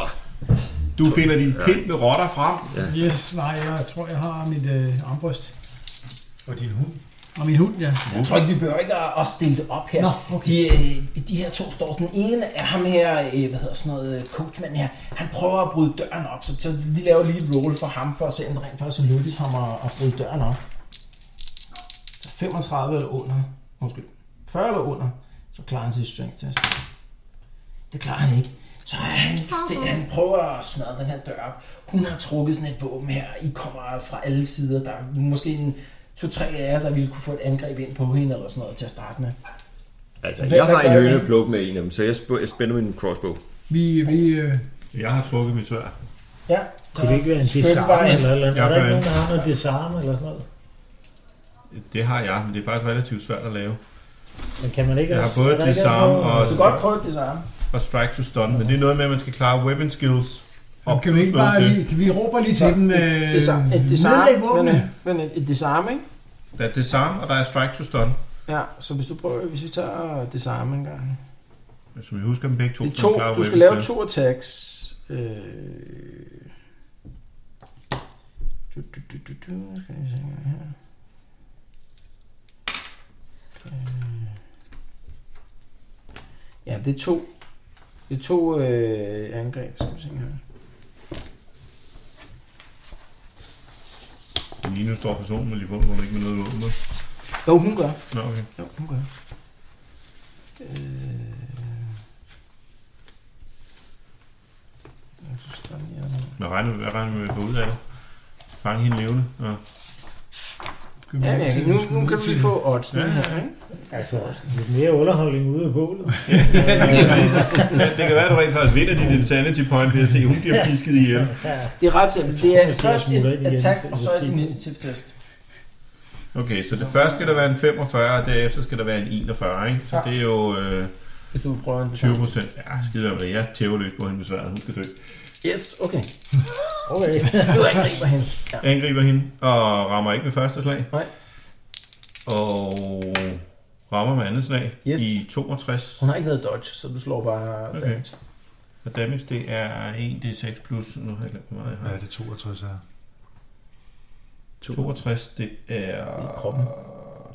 Speaker 6: Du finder din pind med rotter frem.
Speaker 3: Yes, nej, jeg tror, jeg har mit øh, armbryst.
Speaker 7: Og din hund.
Speaker 3: Og min hund, ja.
Speaker 2: Jeg tror ikke, vi behøver ikke at, at stille det op her.
Speaker 3: Nå, okay.
Speaker 2: de, øh, de her to står. Den ene er ham her, øh, hvad hedder sådan noget, øh, coachmand her. Han prøver at bryde døren op, så, så vi laver lige et roll for ham, for at se, om det rent faktisk lykkes ham at, at bryde døren op. Så 35 eller under. Undskyld. 40 eller under. Så klarer han sit strength test. Det klarer han ikke. Så er han, det, han prøver at smadre den her dør op. Hun har trukket sådan et våben her. I kommer fra alle sider. Der er måske en to-tre af jer, der ville kunne få et angreb ind på hende eller sådan noget til at starte med.
Speaker 5: Altså,
Speaker 2: Hvad-
Speaker 5: jeg
Speaker 2: hvad
Speaker 5: har en
Speaker 2: gør
Speaker 5: høne
Speaker 2: I?
Speaker 5: at plukke med en af dem, så jeg, sp- jeg spænder min crossbow.
Speaker 3: Vi, vi, øh,
Speaker 6: Jeg har trukket mit svær.
Speaker 2: Ja.
Speaker 4: Kunne det ikke være en disarm
Speaker 2: bare en.
Speaker 4: eller et eller andet?
Speaker 6: Jeg
Speaker 4: Er der ikke
Speaker 6: gør
Speaker 4: nogen, der har noget disarm eller sådan noget?
Speaker 6: Det har jeg, men det er faktisk relativt svært at lave.
Speaker 4: Men kan man ikke
Speaker 6: Jeg har
Speaker 4: også...
Speaker 6: både
Speaker 4: er der ikke
Speaker 6: disarm
Speaker 4: også noget-
Speaker 2: Du kan godt prøve det samme.
Speaker 6: Og strike to stun, men det er noget med, at man skal klare weapon skills.
Speaker 3: og kan vi
Speaker 6: plus
Speaker 3: ikke
Speaker 6: noget
Speaker 3: bare
Speaker 6: til.
Speaker 3: lige, kan vi råber lige til dem, øh,
Speaker 2: Det samme. Et det samme.
Speaker 3: nedlæg
Speaker 2: Men,
Speaker 3: våbnene.
Speaker 2: øh, men et, et det samme, ikke?
Speaker 6: Der er disarm, og der er strike to stun.
Speaker 2: Ja, så hvis du prøver, hvis vi tager det samme en gang.
Speaker 6: Som jeg husker dem begge to,
Speaker 2: Det er
Speaker 6: så man
Speaker 2: to,
Speaker 6: klarer
Speaker 2: du skal
Speaker 6: weapon
Speaker 2: lave
Speaker 6: skills.
Speaker 2: to attacks. Øh... Du, du, du, du, du. Skal vi se engang her. Øh. Ja, det er to. Det er to øh, angreb, skal vi se engang her.
Speaker 6: Men Lige nu står personen med lige på, hvor man ikke med noget våben. med.
Speaker 2: Jo, hun gør.
Speaker 6: Nå, okay.
Speaker 2: Jo, hun gør. Øh... Jeg synes, der er lige noget.
Speaker 6: Nå, regner, hvad regner vi med at få ud af det? Fange hende levende. Nå.
Speaker 3: Skal vi
Speaker 2: Ja,
Speaker 3: råbe
Speaker 2: ja,
Speaker 3: til dem, skal
Speaker 2: nu,
Speaker 3: vi
Speaker 2: nu kan du
Speaker 3: råbe til
Speaker 2: lige
Speaker 3: dem?
Speaker 2: få oddsene
Speaker 6: Ja.
Speaker 2: her, ikke?
Speaker 4: Altså, lidt mere underholdning ude af bålet.
Speaker 6: det kan være, at du rent faktisk vinder dit insanity point ved at se, at hun bliver pisket ihjel.
Speaker 2: Det er ret simpelt. Det
Speaker 4: tror,
Speaker 2: er
Speaker 4: måske,
Speaker 2: først
Speaker 4: jeg smutter
Speaker 2: et
Speaker 4: ind igen,
Speaker 2: attack,
Speaker 4: for
Speaker 2: og
Speaker 4: at
Speaker 2: så
Speaker 4: se
Speaker 2: et
Speaker 4: det.
Speaker 2: initiativtest.
Speaker 6: Okay, så det første skal der være en 45, og derefter skal der være en 41, ikke? Så det er jo øh,
Speaker 2: Hvis du prøver en
Speaker 6: 20 procent. Ja, skider med. Jeg tæver løs på hende med sværet. Hun skal dø.
Speaker 2: Yes, okay.
Speaker 4: Okay.
Speaker 2: Så du angriber hende. Ja.
Speaker 6: Angriber hende og rammer ikke med første slag.
Speaker 2: Nej.
Speaker 6: Og rammer med andet slag
Speaker 2: Yes.
Speaker 6: i 62.
Speaker 2: Hun har ikke noget dodge, så du slår bare
Speaker 6: Okay.
Speaker 2: okay. damage.
Speaker 6: Og damage, det er 1 d6 plus... Nu har jeg glemt, hvor meget jeg
Speaker 7: Hvad
Speaker 6: har.
Speaker 7: er det 62 er?
Speaker 6: 62, det er...
Speaker 2: Det er kroppen.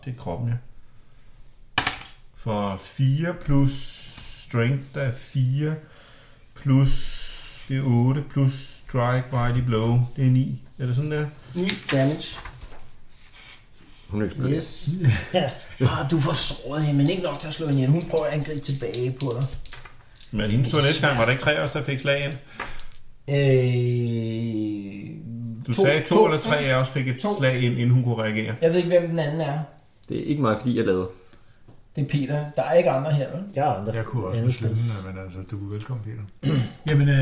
Speaker 6: Det er kroppen, ja. For 4 plus strength, der er 4 plus... Det er 8 plus strike, mighty blow, det er 9. Er det sådan der?
Speaker 2: 9 damage.
Speaker 9: Hun eksploderer.
Speaker 2: Yes. Ah, du får såret hende, men ikke nok til at slå hende ihjel. Hun prøver at angribe tilbage på dig.
Speaker 6: Men inden på
Speaker 2: Det er
Speaker 6: næste gang, var det ikke 3 af os, der fik slag ind?
Speaker 2: Øh,
Speaker 6: Du
Speaker 2: To-
Speaker 6: sagde 2
Speaker 2: to,
Speaker 6: eller 3 af os fik et
Speaker 2: To.
Speaker 6: slag ind, inden hun kunne reagere.
Speaker 2: jeg ved ikke, hvem den anden er.
Speaker 5: Det er ikke mig, fordi jeg lavede.
Speaker 2: Det er Peter. Der er ikke andre her, vel?
Speaker 4: Jeg er andre.
Speaker 7: Jeg kunne også
Speaker 4: andet
Speaker 7: med slyngen,
Speaker 4: sted.
Speaker 7: men altså, du er velkommen, Peter.
Speaker 3: Jamen, øh,
Speaker 2: Så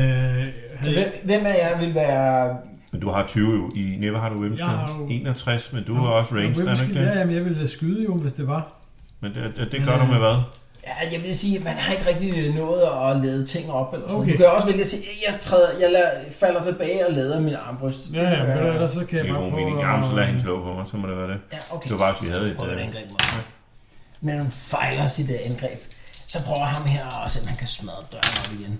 Speaker 3: havde,
Speaker 2: hvem, hvem af jer vil være...
Speaker 6: Men du har 20 jo. I Never har du Wimston.
Speaker 3: Jeg har jo-
Speaker 6: 61, men du har også range, er du ikke
Speaker 3: Ja,
Speaker 6: det?
Speaker 3: jamen, jeg ville skyde jo, hvis det var.
Speaker 6: Men det, det, det
Speaker 3: Men,
Speaker 6: gør du
Speaker 3: øh,
Speaker 6: med hvad?
Speaker 2: Ja, jeg vil sige, at man har ikke rigtig nået at lade ting op. Eller sådan. Okay.
Speaker 3: Okay.
Speaker 2: Du kan også vælge at sige, at jeg, træder, jeg lader, falder tilbage og lader min armbryst.
Speaker 3: Ja, ja, men
Speaker 2: det,
Speaker 3: ellers så kan
Speaker 6: Det
Speaker 3: jeg
Speaker 6: er
Speaker 3: bare
Speaker 6: god
Speaker 3: prøve
Speaker 6: mening. Jamen, så lad hende slå på mig, så må det være det.
Speaker 2: ja, okay.
Speaker 6: Det var bare, hvis vi havde et...
Speaker 2: prøver et
Speaker 6: øh,
Speaker 2: angreb mod ham. Men han fejler sit øh, angreb. Så prøver ham her og se, om han kan smadre døren op igen.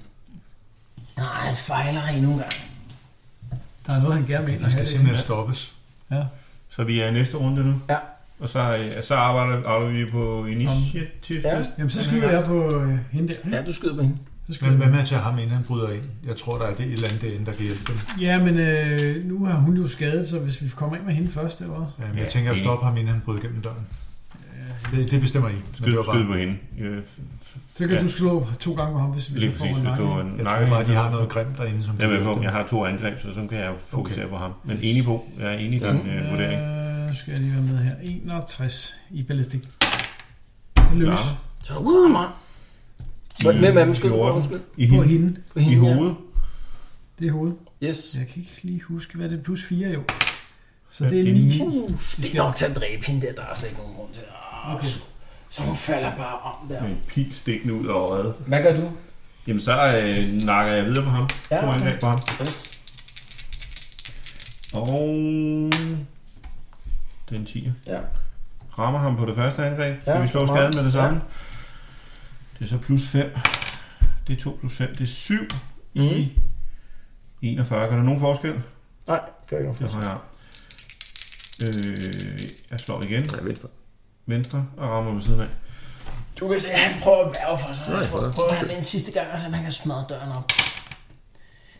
Speaker 2: Nej, han fejler endnu en gang.
Speaker 3: Der er noget, han gerne vil
Speaker 7: Det skal simpelthen stoppes.
Speaker 6: Så vi er i næste runde nu.
Speaker 2: Ja.
Speaker 6: Og så, øh, så arbejder, arbejder vi på initiativ.
Speaker 2: Ja.
Speaker 3: Jamen, så skyder jeg på øh, hende der. ikke?
Speaker 2: du skyder på hende.
Speaker 3: Så skyder
Speaker 7: Men
Speaker 3: jeg.
Speaker 7: hvad med at tage ham, inden han bryder ind? Jeg tror, der er det et eller andet derinde, der kan hjælpe dem.
Speaker 3: Ja, men øh, nu har hun jo skadet, så hvis vi kommer ind med hende først, eller hvad?
Speaker 7: Øhm, Jeg
Speaker 6: Ja,
Speaker 7: tænker at
Speaker 6: enig.
Speaker 7: stoppe ham, inden han bryder igennem døren. Det, det bestemmer I. Men det
Speaker 6: Skyd,
Speaker 7: var
Speaker 6: skyd
Speaker 7: bare,
Speaker 6: på hende. Ja,
Speaker 3: Så kan
Speaker 6: Ja.
Speaker 3: ja. du slå to gange med ham, hvis vi
Speaker 6: lige
Speaker 3: så får
Speaker 6: præcis,
Speaker 3: en
Speaker 6: hvis du
Speaker 3: nakke.
Speaker 6: en
Speaker 7: jeg tror bare, de har noget grimt derinde, som
Speaker 6: Jeg,
Speaker 7: kan
Speaker 6: ved
Speaker 7: hjælpe
Speaker 6: på,
Speaker 7: dem.
Speaker 6: jeg har to angreb, så sådan kan jeg fokusere på ham. Men enig på. Jeg er enig i
Speaker 5: Ja.
Speaker 6: den øh, vurdering.
Speaker 3: Øh, skal jeg lige være med her. 61 i ballistik. Det løs.
Speaker 6: Larmer.
Speaker 2: Så uh, du rammer.
Speaker 6: I
Speaker 2: Hvem af dem skyder du?
Speaker 6: 14.
Speaker 2: Undskyld.
Speaker 6: I
Speaker 3: På
Speaker 6: hende.
Speaker 3: hende.
Speaker 2: På
Speaker 6: I
Speaker 2: hende, ja.
Speaker 6: hovedet.
Speaker 3: Det er hovedet.
Speaker 2: Yes.
Speaker 3: Jeg kan ikke lige huske, hvad det er. Plus 4 jo. Så
Speaker 6: Ja,
Speaker 3: det er
Speaker 6: det er
Speaker 3: 9.
Speaker 2: Uh, det er nok til at dræbe hende der. Der er slet ikke nogen grund til det. Ah,
Speaker 3: Okay.
Speaker 2: Så, så hun falder bare om der.
Speaker 6: Med en pil stikkende ud af øjet.
Speaker 2: Hvad gør du?
Speaker 6: Jamen så øh, nakker jeg videre på ham.
Speaker 2: Ja,
Speaker 6: To
Speaker 2: okay.
Speaker 6: angreb på ham.
Speaker 2: Yes.
Speaker 6: Og... Det er en 10'er.
Speaker 2: Ja.
Speaker 6: rammer ham på det første angreb. Skal
Speaker 2: Ja,
Speaker 6: vi slå
Speaker 2: meget.
Speaker 6: skaden med det samme?
Speaker 2: Ja.
Speaker 6: Det er så plus 5. Det er 2 plus 5. Det er 7
Speaker 2: Mm.
Speaker 6: i 41. Gør der nogen forskel?
Speaker 2: Nej, gør ikke noget
Speaker 6: Det har jeg. Øh, jeg slår igen.
Speaker 5: Nej, venstre.
Speaker 6: Venstre og rammer ved siden af.
Speaker 2: Du kan se, at han prøver at værve for sig.
Speaker 5: Nej,
Speaker 2: Han prøver,
Speaker 5: for-
Speaker 2: prøver han en sidste gang, og så man kan smadre døren op.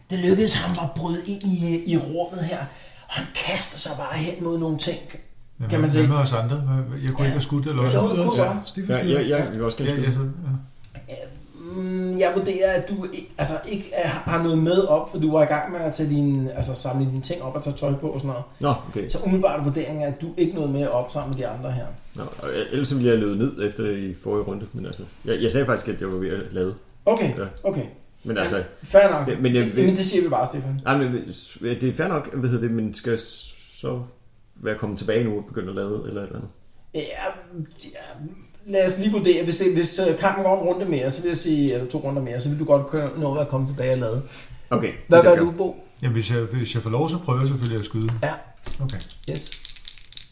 Speaker 2: Det lykkedes ham at bryde ind i, i rummet her. Og han kaster sig bare hen mod nogle ting.
Speaker 7: Men
Speaker 2: kan man
Speaker 7: hvad
Speaker 2: sige.
Speaker 7: med os andre? Hvad- Jeg kunne ikke have skudt eller også.
Speaker 2: Jo, det kunne godt.
Speaker 5: Ja, ja, ja, vi vil også
Speaker 7: Ja,
Speaker 5: gerne
Speaker 7: ja,
Speaker 5: skyde.
Speaker 7: så, ja.
Speaker 2: Mm, jeg vurderer, at du i- altså, ikke er, har noget med op, for du var i gang med at tage din, altså, samle dine ting op og tage tøj på og sådan noget.
Speaker 5: Nå, okay.
Speaker 2: Så umiddelbart vurderingen er, at du ikke noget med op sammen med de andre her.
Speaker 5: Nå, og ellers så ville jeg løbe ned efter det i forrige runde, men altså, jeg, jeg sagde faktisk, at jeg var ved at lade.
Speaker 2: Okay,
Speaker 5: Ja.
Speaker 2: okay.
Speaker 5: Men altså,
Speaker 2: Fair nok.
Speaker 5: Det- men jeg
Speaker 2: det,
Speaker 5: vil-
Speaker 2: men det siger vi bare, Stefan.
Speaker 5: nej, men det er fair nok, hvad hedder det, men skal jeg så være kommet tilbage nu og begynde at lade eller et eller andet?
Speaker 2: Ja, ja, lad os lige vurdere. Hvis, det, hvis øh, kampen går en runde mere, så vil jeg sige, eller to runder mere, så vil du godt kunne nå at komme tilbage og lade.
Speaker 5: Okay.
Speaker 2: Hvad
Speaker 5: det
Speaker 2: gør
Speaker 5: er
Speaker 2: du,
Speaker 5: godt.
Speaker 2: Bo?
Speaker 7: Jamen, hvis jeg, hvis jeg får lov, så prøver jeg selvfølgelig at skyde.
Speaker 2: Ja.
Speaker 7: Okay.
Speaker 2: Yes.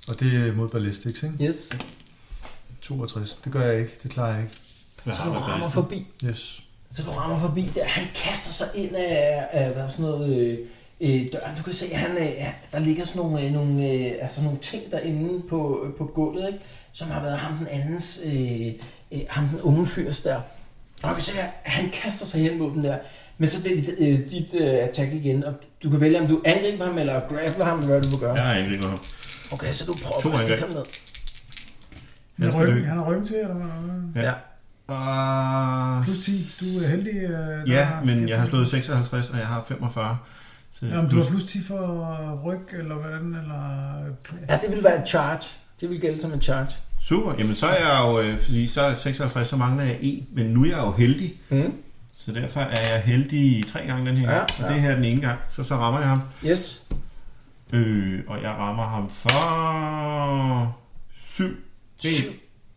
Speaker 7: Og det er mod ballistics, ikke?
Speaker 2: Yes.
Speaker 7: 62. Det gør jeg ikke. Det klarer jeg ikke.
Speaker 6: Hvad
Speaker 2: Så
Speaker 6: har
Speaker 2: du
Speaker 6: du
Speaker 2: rammer
Speaker 6: faktisk?
Speaker 2: forbi.
Speaker 7: Yes.
Speaker 2: Så du rammer forbi der. Han kaster sig ind af, af hvad er sådan noget, øh, øh, døren. Du kan se, han, øh, ja, der ligger sådan nogle, øh, nogle, øh, altså nogle ting derinde på, øh, på gulvet, ikke? som har været ham den andens, øh, øh, ham den unge fyrs der. Og du kan se, at han kaster sig hen mod den der. Men så bliver det øh, dit øh, attack igen, og du kan vælge, om du angriber ham, eller grappler ham, eller hvad du vil gøre.
Speaker 6: Jeg har angrebet ham.
Speaker 2: Okay, så du
Speaker 6: To
Speaker 2: prøver at stikke
Speaker 6: angreb.
Speaker 2: ham ned.
Speaker 3: Han
Speaker 6: Han
Speaker 3: har
Speaker 6: skal
Speaker 3: ryggen,
Speaker 6: dø.
Speaker 3: han har ryggen til, eller hvad?
Speaker 6: Ja.
Speaker 2: Ja.
Speaker 6: Uh,
Speaker 3: Plus 10. Du er heldig. øh, der
Speaker 6: ja, men jeg har
Speaker 3: skidt.
Speaker 6: slået 56, og jeg har 45. Så
Speaker 3: Jamen, du
Speaker 6: plus-
Speaker 3: har plus 10 for ryg, eller hvordan, eller...
Speaker 2: Ja, det vil være et charge. Det vil gælde som en charge.
Speaker 6: Super, jamen så er jeg jo, øh, fordi så er 56, så mangler jeg en, men nu er jeg jo heldig.
Speaker 2: Mm.
Speaker 6: Så derfor er jeg heldig i tre gange den her.
Speaker 2: Ja,
Speaker 6: gang.
Speaker 2: ja.
Speaker 6: Og det her er den ene gang, så så rammer jeg ham.
Speaker 2: Yes.
Speaker 6: Øh, og jeg rammer ham for 7,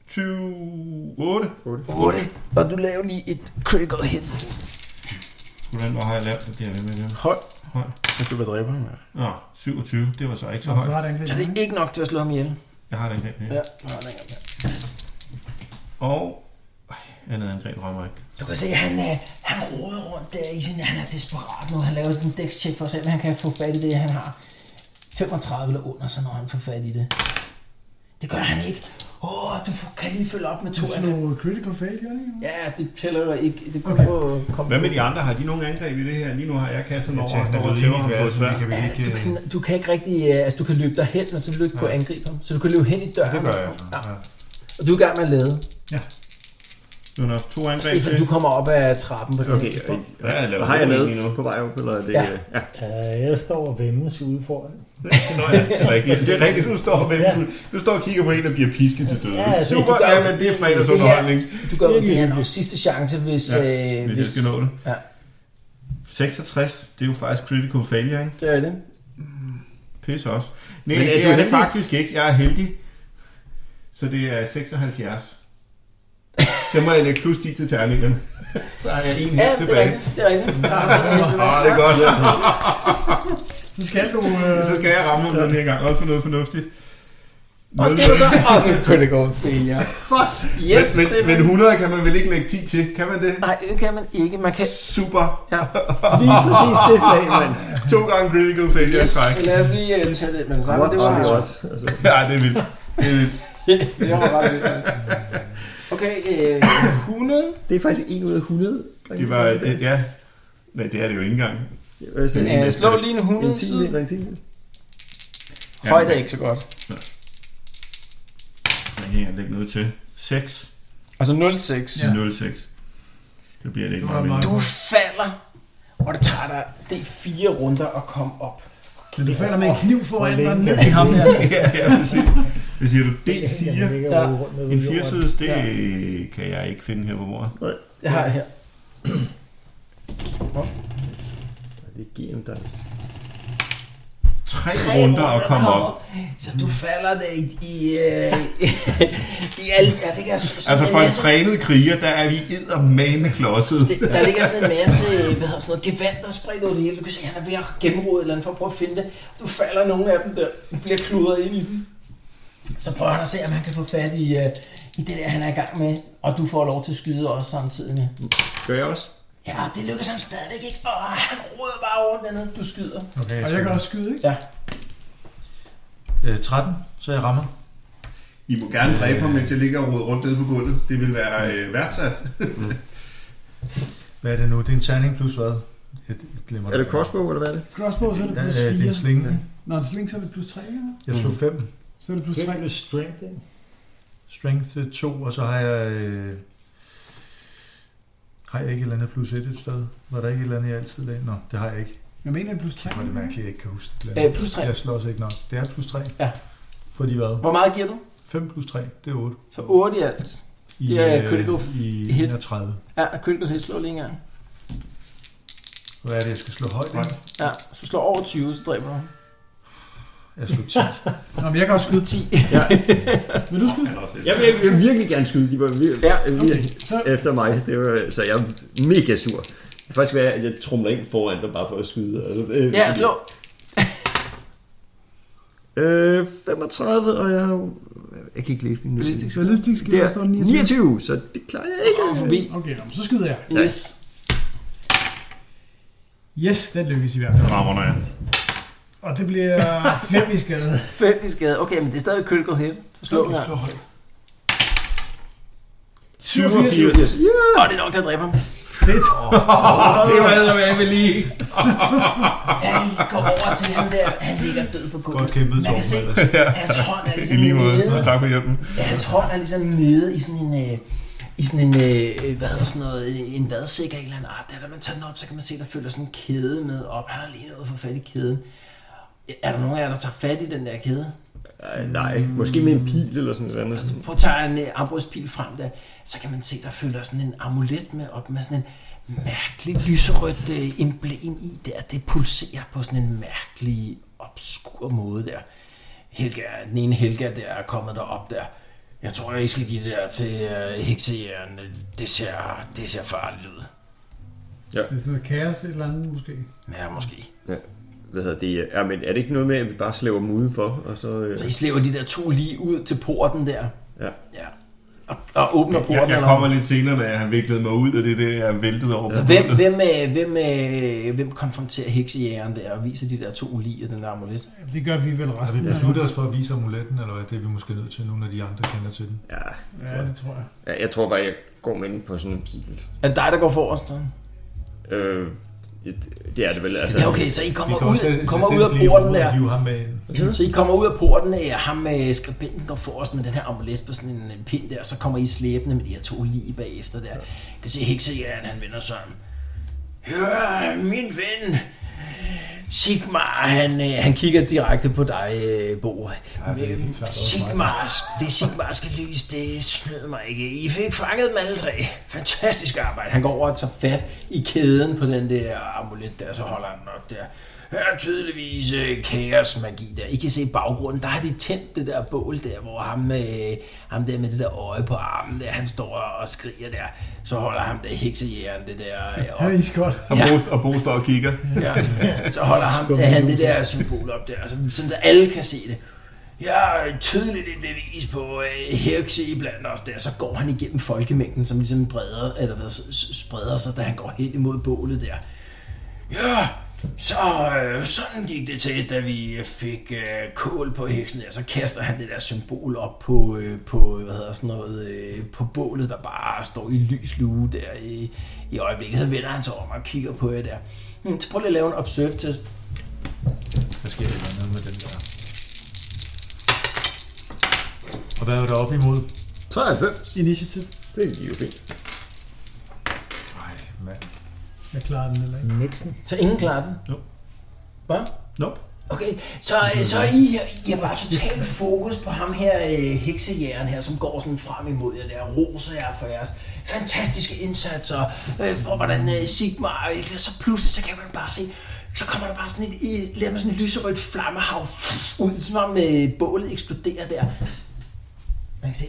Speaker 6: 20, 8.
Speaker 2: 8. Og du laver lige et critical hit.
Speaker 6: Hvordan hvor har jeg lavet det? Det er jeg ved med det.
Speaker 2: Høj.
Speaker 6: Høj.
Speaker 2: Du vil dræbe ham, ja.
Speaker 6: Nå, 27, det var så ikke så
Speaker 3: Du
Speaker 6: højt.
Speaker 3: har et angreb.
Speaker 2: Så det er ikke nok til at slå ham ihjel.
Speaker 6: Jeg har den her.
Speaker 2: Ja, nu har jeg den her.
Speaker 6: Og øh, andet angreb rammer ikke.
Speaker 2: Du kan se, at han, øh, han roder rundt der i sin... Han er desperat nu. Han laver sådan en dækstjek for at se, om han kan få fat i det, han har. 35 eller under, så når han får fat i det. Det gør han ikke. Åh, oh, du får- kan lige følge op med to
Speaker 3: Det
Speaker 2: angreb.
Speaker 3: slog critical fail, gør det ikke?
Speaker 2: Ja, det tæller jo ikke. Det kommer okay. på... Kom
Speaker 6: Hvad med de andre? Har de nogen angreb i det her? Lige nu har jeg kastet mig
Speaker 7: Jeg
Speaker 6: over,
Speaker 7: tænker,
Speaker 6: og
Speaker 7: der
Speaker 6: står
Speaker 7: er
Speaker 6: og
Speaker 7: lige
Speaker 6: tæver
Speaker 7: et
Speaker 6: ham på et
Speaker 7: værelse, vi
Speaker 6: svær.
Speaker 7: kan vel
Speaker 2: Ja,
Speaker 7: ikke...
Speaker 2: du, kan, du kan ikke rigtig... øh, Altså, du kan løbe derhen, men så vil du ikke kunne angribe ham. Så du kan løbe hen i døren.
Speaker 6: Det gør jeg.
Speaker 2: og sådan noget. Ja. Og du er i gang med at lade.
Speaker 6: Nu er der to angreb
Speaker 2: Stefan,
Speaker 6: til.
Speaker 2: du kommer op ad trappen på det okay,
Speaker 5: Okay,
Speaker 2: tidspunkt.
Speaker 6: Ja, jeg laver
Speaker 5: og har jeg
Speaker 6: hovedet
Speaker 5: lavet
Speaker 6: lige nu.
Speaker 5: på vej op? Eller er det,
Speaker 2: Ja.
Speaker 5: øh, ja.
Speaker 4: Øh, jeg står og vemmes ude foran.
Speaker 6: Nå ja, det er rigtigt. Det er rigtigt, du står, ved, du, du står og kigger på en, der bliver pisket til døde.
Speaker 4: Ja, altså,
Speaker 6: Super,
Speaker 2: det gør-
Speaker 6: ja, men det er fredagsunderholdning.
Speaker 2: Du gør jo det her nok sidste chance, hvis...
Speaker 6: Ja,
Speaker 2: øh,
Speaker 6: Hvis jeg skal nå det.
Speaker 2: Ja.
Speaker 6: 66, det er jo faktisk critical failure, ikke?
Speaker 2: Det er det.
Speaker 6: Pisse også. Nej,
Speaker 5: Men er
Speaker 6: det
Speaker 5: du
Speaker 6: er det
Speaker 5: heldig?
Speaker 6: faktisk ikke. Jeg er heldig. Så det er 76. Det må jeg lægge plus 10 til terningerne. Så har jeg en
Speaker 2: Ja,
Speaker 6: her
Speaker 2: det er
Speaker 6: tilbage.
Speaker 2: rigtigt. Det er rigtigt. Så har du den helt tilbage.
Speaker 6: Åh, det er godt.
Speaker 3: Så skal du... Øh,
Speaker 6: Så skal jeg ramme ham den her gang. Også for noget fornuftigt.
Speaker 2: Og det er så også en critical failure. Yes,
Speaker 6: men,
Speaker 2: Stefan.
Speaker 6: men 100 kan man vel ikke lægge 10 til? Kan man det?
Speaker 2: Nej, det kan man ikke. Man kan...
Speaker 6: Super.
Speaker 2: Ja.
Speaker 5: Lige præcis det slag, mand.
Speaker 6: To gange critical
Speaker 2: Yes,
Speaker 6: failure yes. træk.
Speaker 2: så lad os lige øh, tage det med det samme.
Speaker 5: What
Speaker 2: Det var,
Speaker 5: are the odds? Altså,
Speaker 6: Ja, det er vildt. Det er vildt.
Speaker 2: det var ret vildt. altså. Okay, øh, 100.
Speaker 5: det er faktisk 1 ud af 100.
Speaker 6: Det var, det, ja. Nej, det er det jo ikke engang.
Speaker 5: Hvad siger jeg?
Speaker 2: Øh, slå lige en
Speaker 5: En
Speaker 2: 100
Speaker 5: tiende, eller
Speaker 2: side.
Speaker 5: en tiende.
Speaker 2: Højde er ikke så godt.
Speaker 6: Jeg kan ikke lægge noget til. 6.
Speaker 2: Altså 0,6.
Speaker 6: Ja. 06. Det bliver det ikke
Speaker 3: Det
Speaker 6: meget
Speaker 3: var
Speaker 6: mindre.
Speaker 2: Du falder, og det tager dig det er fire runder at komme op.
Speaker 3: du falder med en kniv foran dig ned i ham der.
Speaker 6: ja, ja, præcis. Hvad siger du? D4?
Speaker 4: Jeg ligger
Speaker 2: Ja.
Speaker 4: ude rundt nede
Speaker 6: En
Speaker 4: ved jorden.
Speaker 6: firesides, det kan jeg ikke finde her på bordet.
Speaker 2: Det har jeg her.
Speaker 5: Det er GM Dice.
Speaker 6: Tre, runder at komme op.
Speaker 2: Så du falder der i... i, øh, i alt, ja, det kan, sådan
Speaker 6: Altså for en
Speaker 2: masse,
Speaker 6: trænet kriger, der er vi eddermame klodset.
Speaker 2: det, der ligger sådan en masse øh, hvad hedder sådan noget, gevand, der er spredt ud det hele. Du kan se, at han er ved at gennemrode et eller andet for at prøve at finde det. Du falder nogle af dem der, Du bliver kludret ind i dem. Så prøver han at se, om han kan få fat i, øh, i det der, han er i gang med. Og du får lov til at skyde også samtidig med.
Speaker 5: Gør jeg også?
Speaker 2: Ja, det lykkes ham stadigvæk ikke. Åh, han roder bare rundt dernede. Du skyder.
Speaker 7: Okay,
Speaker 3: Og jeg kan også skyde, ikke?
Speaker 7: øh, 13, så jeg rammer.
Speaker 6: I må gerne dræbe ham, mens jeg ligger og roder rundt nede på gulvet. Det vil være øh, værdsat.
Speaker 7: Hvad er det nu? Det er en terning plus hvad? Jeg, jeg glemmer
Speaker 5: Er det crossbow, eller hvad er det?
Speaker 3: Crossbow, så er det
Speaker 7: Ja,
Speaker 3: plus
Speaker 7: ja, det er
Speaker 3: 4.
Speaker 7: en slinge. ikke?
Speaker 3: Når en sling, så er det plus 3, ikke?
Speaker 7: Jeg
Speaker 2: Mm.
Speaker 7: slog 5.
Speaker 3: Så er det plus
Speaker 4: Det
Speaker 3: 3.
Speaker 4: er med strength, ikke?
Speaker 7: Strength øh, 2, og så har jeg... Øh, har jeg ikke et eller andet plus 1 et sted? Var der ikke et eller andet, jeg altid lagde? Nå, det har jeg ikke.
Speaker 3: Jeg mener, det er plus 3.
Speaker 7: Det var det mærkeligt, jeg ikke kan huske det.
Speaker 2: Øh, plus 3.
Speaker 7: Jeg slår også ikke nok. Det er plus 3.
Speaker 2: Ja.
Speaker 7: Fordi hvad?
Speaker 2: Hvor meget giver du?
Speaker 7: 5 plus 3, det er 8.
Speaker 2: Så 8 i alt.
Speaker 7: I,
Speaker 2: Det er
Speaker 7: øh,
Speaker 2: critical
Speaker 7: I
Speaker 2: hit.
Speaker 7: 31.
Speaker 2: Ja, critical hit slår lige en gang.
Speaker 7: Hvad er det, jeg skal slå højt? ikke?
Speaker 2: Ja, så du slår over 20, så dræber du ham.
Speaker 7: Jeg slog 10.
Speaker 3: Nå, men jeg kan også skyde.
Speaker 2: 10.
Speaker 3: Vil du skyde?
Speaker 5: Jeg vil, jeg vil virkelig gerne skyde. De var vir-
Speaker 2: Ja,
Speaker 5: ja,
Speaker 3: Okay,
Speaker 5: virkelig
Speaker 3: så
Speaker 5: efter mig. Det var, så jeg er mega sur. Det kan faktisk være, at jeg trumler ind foran dig bare for at skyde. Altså, øh,
Speaker 2: Ja, slå.
Speaker 5: Øh, 35, og jeg... har jo- Jeg kan ikke læse min
Speaker 2: Ballistic skill.
Speaker 3: ballistisk skill, der
Speaker 5: Der,
Speaker 3: står 29.
Speaker 5: 29, så det klarer jeg ikke.
Speaker 2: Og forbi.
Speaker 3: Okay, nå, men så skyder jeg.
Speaker 2: Yes.
Speaker 3: Yes, den lykkes i hvert fald.
Speaker 6: Rammer jeg.
Speaker 3: Og det bliver 5 i skade.
Speaker 2: 5 i skade. Okay, men det er stadig critical hit. Så slå okay, her.
Speaker 7: slå højt.
Speaker 5: 87. Yeah!
Speaker 2: Og det er nok til at dræbe ham.
Speaker 3: Fedt.
Speaker 6: Det var eddermame lige.
Speaker 2: Han går over til ham der. Han ligger død på gulvet.
Speaker 7: Godt kæmpet,
Speaker 2: Man kan
Speaker 7: Torben,
Speaker 2: se,
Speaker 7: ellers.
Speaker 2: hans hånd er
Speaker 6: I
Speaker 2: ligesom
Speaker 6: lige måde.
Speaker 2: nede.
Speaker 6: Og tak for hjælpen.
Speaker 2: Ja, hans hånd er ligesom nede i sådan en... Øh, i sådan en, øh, hvad hedder sådan noget, en- en vadsæk af en eller anden art. Der, da man tager den op, så kan man se, der følger sådan en kæde med op. Han har lige nået at få fat i kæden. Er der nogen af jer, der tager fat i den der kæde?
Speaker 5: Ej, nej, måske med en pil eller sådan noget andet.
Speaker 2: Prøv at tage en øh, armbrystpil frem der, så kan man se, der følger sådan en amulet med op med sådan en mærkelig lyserødt øh, emblem i der. Det pulserer på sådan en mærkelig obskur måde der. Helga, den ene Helga der er kommet derop der. Jeg tror, jeg skal give det der til øh, heksejæren. Det ser, det ser farligt ud.
Speaker 3: Det er sådan noget kaos et eller andet, måske.
Speaker 2: Ja, måske.
Speaker 9: hvad hedder det, ja, men er det ikke noget med, at vi bare slæver dem udenfor? Og så, øh,
Speaker 2: Så I slæver de der to lige ud til porten der.
Speaker 9: Ja.
Speaker 2: ja. Og, og åbner porten.
Speaker 6: Jeg, jeg
Speaker 2: eller-
Speaker 6: kommer lidt senere, da han viklede mig ud af det der, jeg væltede over.
Speaker 2: Så
Speaker 6: på
Speaker 2: hvem,
Speaker 6: gulvet.
Speaker 2: hvem, øh, hvem, øh, hvem konfronterer heksejægeren der og viser de der to lige af den der amulet?
Speaker 8: Det gør vi vel
Speaker 7: Har
Speaker 8: resten
Speaker 7: vi
Speaker 8: af
Speaker 7: besluttet os for at vise amuletten, eller hvad? Det er vi måske nødt til nu, når de andre kender til den.
Speaker 9: ja,
Speaker 8: Ja, det tror jeg.
Speaker 9: ja, jeg tror bare, jeg går med den på sådan en pil.
Speaker 2: Er det dig, der går forrest? så?
Speaker 7: Altså,
Speaker 9: Øh, det, det er det vel, altså.
Speaker 2: Ja, okay, så I kommer
Speaker 7: kan også
Speaker 2: ud,
Speaker 7: lade-
Speaker 2: kommer
Speaker 7: lade
Speaker 2: ud af
Speaker 7: den blive i
Speaker 2: porten
Speaker 7: rummet og
Speaker 2: der.
Speaker 7: Hive ham med ind.
Speaker 2: Så I kommer ud af porten, og ham med skribenten går forrest med den her amulet på sådan en, en pind der, og så kommer I slæbende med de her to lige bagefter der. I kan se heksejæren, han vender sig om. Hør, min ven, Sigmar, han, øh, han kigger direkte på dig, øh, Bo.
Speaker 7: det er helt klart også mig.
Speaker 2: Sigmar, det Sigmarske lys, det snød mig ikke. I fik fanget dem alle tre. Fantastisk arbejde. Han går over og tager fat i kæden på den der amulet der, så holder han den op der. Her er tydeligvis øh, kaosmagi der. I kan se i baggrunden, der har de tændt det der bål der, hvor ham, øh, ham der med det der øje på armen der, han står og skriger der. Så holder ham der heksejægeren det der øh, op.
Speaker 8: Ja, iskold.
Speaker 6: Og,
Speaker 2: Ja.
Speaker 6: Bo, og Bo står og kigger.
Speaker 2: Ja. Så holder ham, ja, han det der symbol op der, så, sådan så alle kan se det. Jeg er tydeligt et bevis på øh, hekse i blandt os der. Så går han igennem folkemængden, som ligesom breder, eller hvad, s- s- spreder sig, da han går hen imod bålet der. Ja, så øh, sådan gik det til, da vi fik øh, kål på heksen der. Så kaster han det der symbol op på, øh, på hvad hedder sådan noget, øh, på bålet, der bare står i lys lue der i, i øjeblikket. Så vender han sig om og kigger på det der. Hmm, så prøv lige at lave en observe-test.
Speaker 7: Der sker et eller andet med den der. Og hvad var der op imod?
Speaker 5: 93.
Speaker 8: Initiativ.
Speaker 5: Det er lige okay.
Speaker 7: Nej, mand.
Speaker 8: Jeg klarer den heller ikke.
Speaker 4: Nixon.
Speaker 2: Så ingen klarer den?
Speaker 6: Nope.
Speaker 2: Hvad?
Speaker 6: Nope.
Speaker 2: Okay, så, så er I, I har bare totalt fokus på ham her, øh, heksejægeren her, som går sådan frem imod jer der, roser jer for jeres fantastiske indsatser, øh, for hvordan øh, Sigmar, og så pludselig, så kan man bare se, så kommer der bare sådan et, et, et sådan et lyserødt flammehav ud, som om øh, bålet eksploderer der. Man kan se,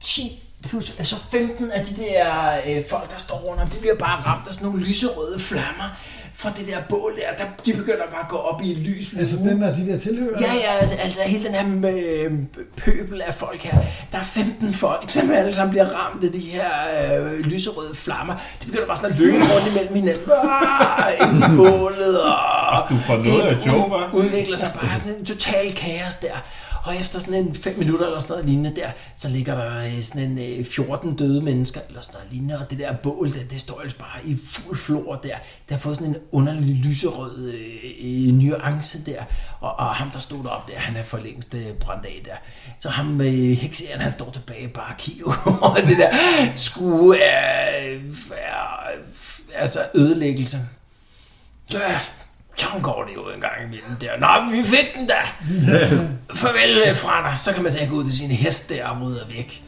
Speaker 2: 10 plus, altså 15 af de der øh, folk, der står rundt om, de bliver bare ramt af sådan nogle lyserøde flammer fra det der bål der, der de begynder bare at gå op i lys.
Speaker 8: Altså
Speaker 2: lue.
Speaker 8: den der, de der tilhører.
Speaker 2: Mm. Ja, ja, altså, altså hele den her øh, pøbel af folk her. Der er 15 folk, som alle sammen bliver ramt af de her øh, lyserøde flammer. De begynder bare sådan at løbe rundt imellem hinanden. Ah, ind i bålet, og
Speaker 6: Du får noget af et show, hva'?
Speaker 2: udvikler sig bare sådan en total kaos der. Og efter sådan en 5 minutter eller sådan noget lignende der, så ligger der øh, sådan en øh, 14 døde mennesker eller sådan noget lignende, og det der bål der, det står altså bare i fuld flor der. Der har fået sådan en underlig lyserød øh, øh, nuance der, og, og ham der stod deroppe der, han er for længst øh, brændt af der. Så ham med øh, hekseren, han står tilbage bare og kigger over det der skue af, af, altså ødelæggelse. Ja, sådan går det jo en gang imellem der. Nå, men vi fik den da. Farvel øh, fra dig. Så kan man sige, gå ud til sin hest der og rydde væk.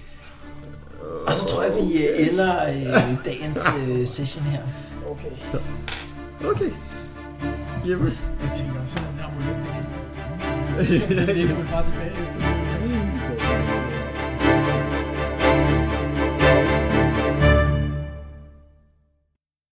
Speaker 2: Og så tror jeg, vi øh, ender øh, dagens øh, session her.
Speaker 5: Okay. Jamen.
Speaker 8: Jeg tænker også, at den her amulet, det kan- det er sgu bare tilbage efter det.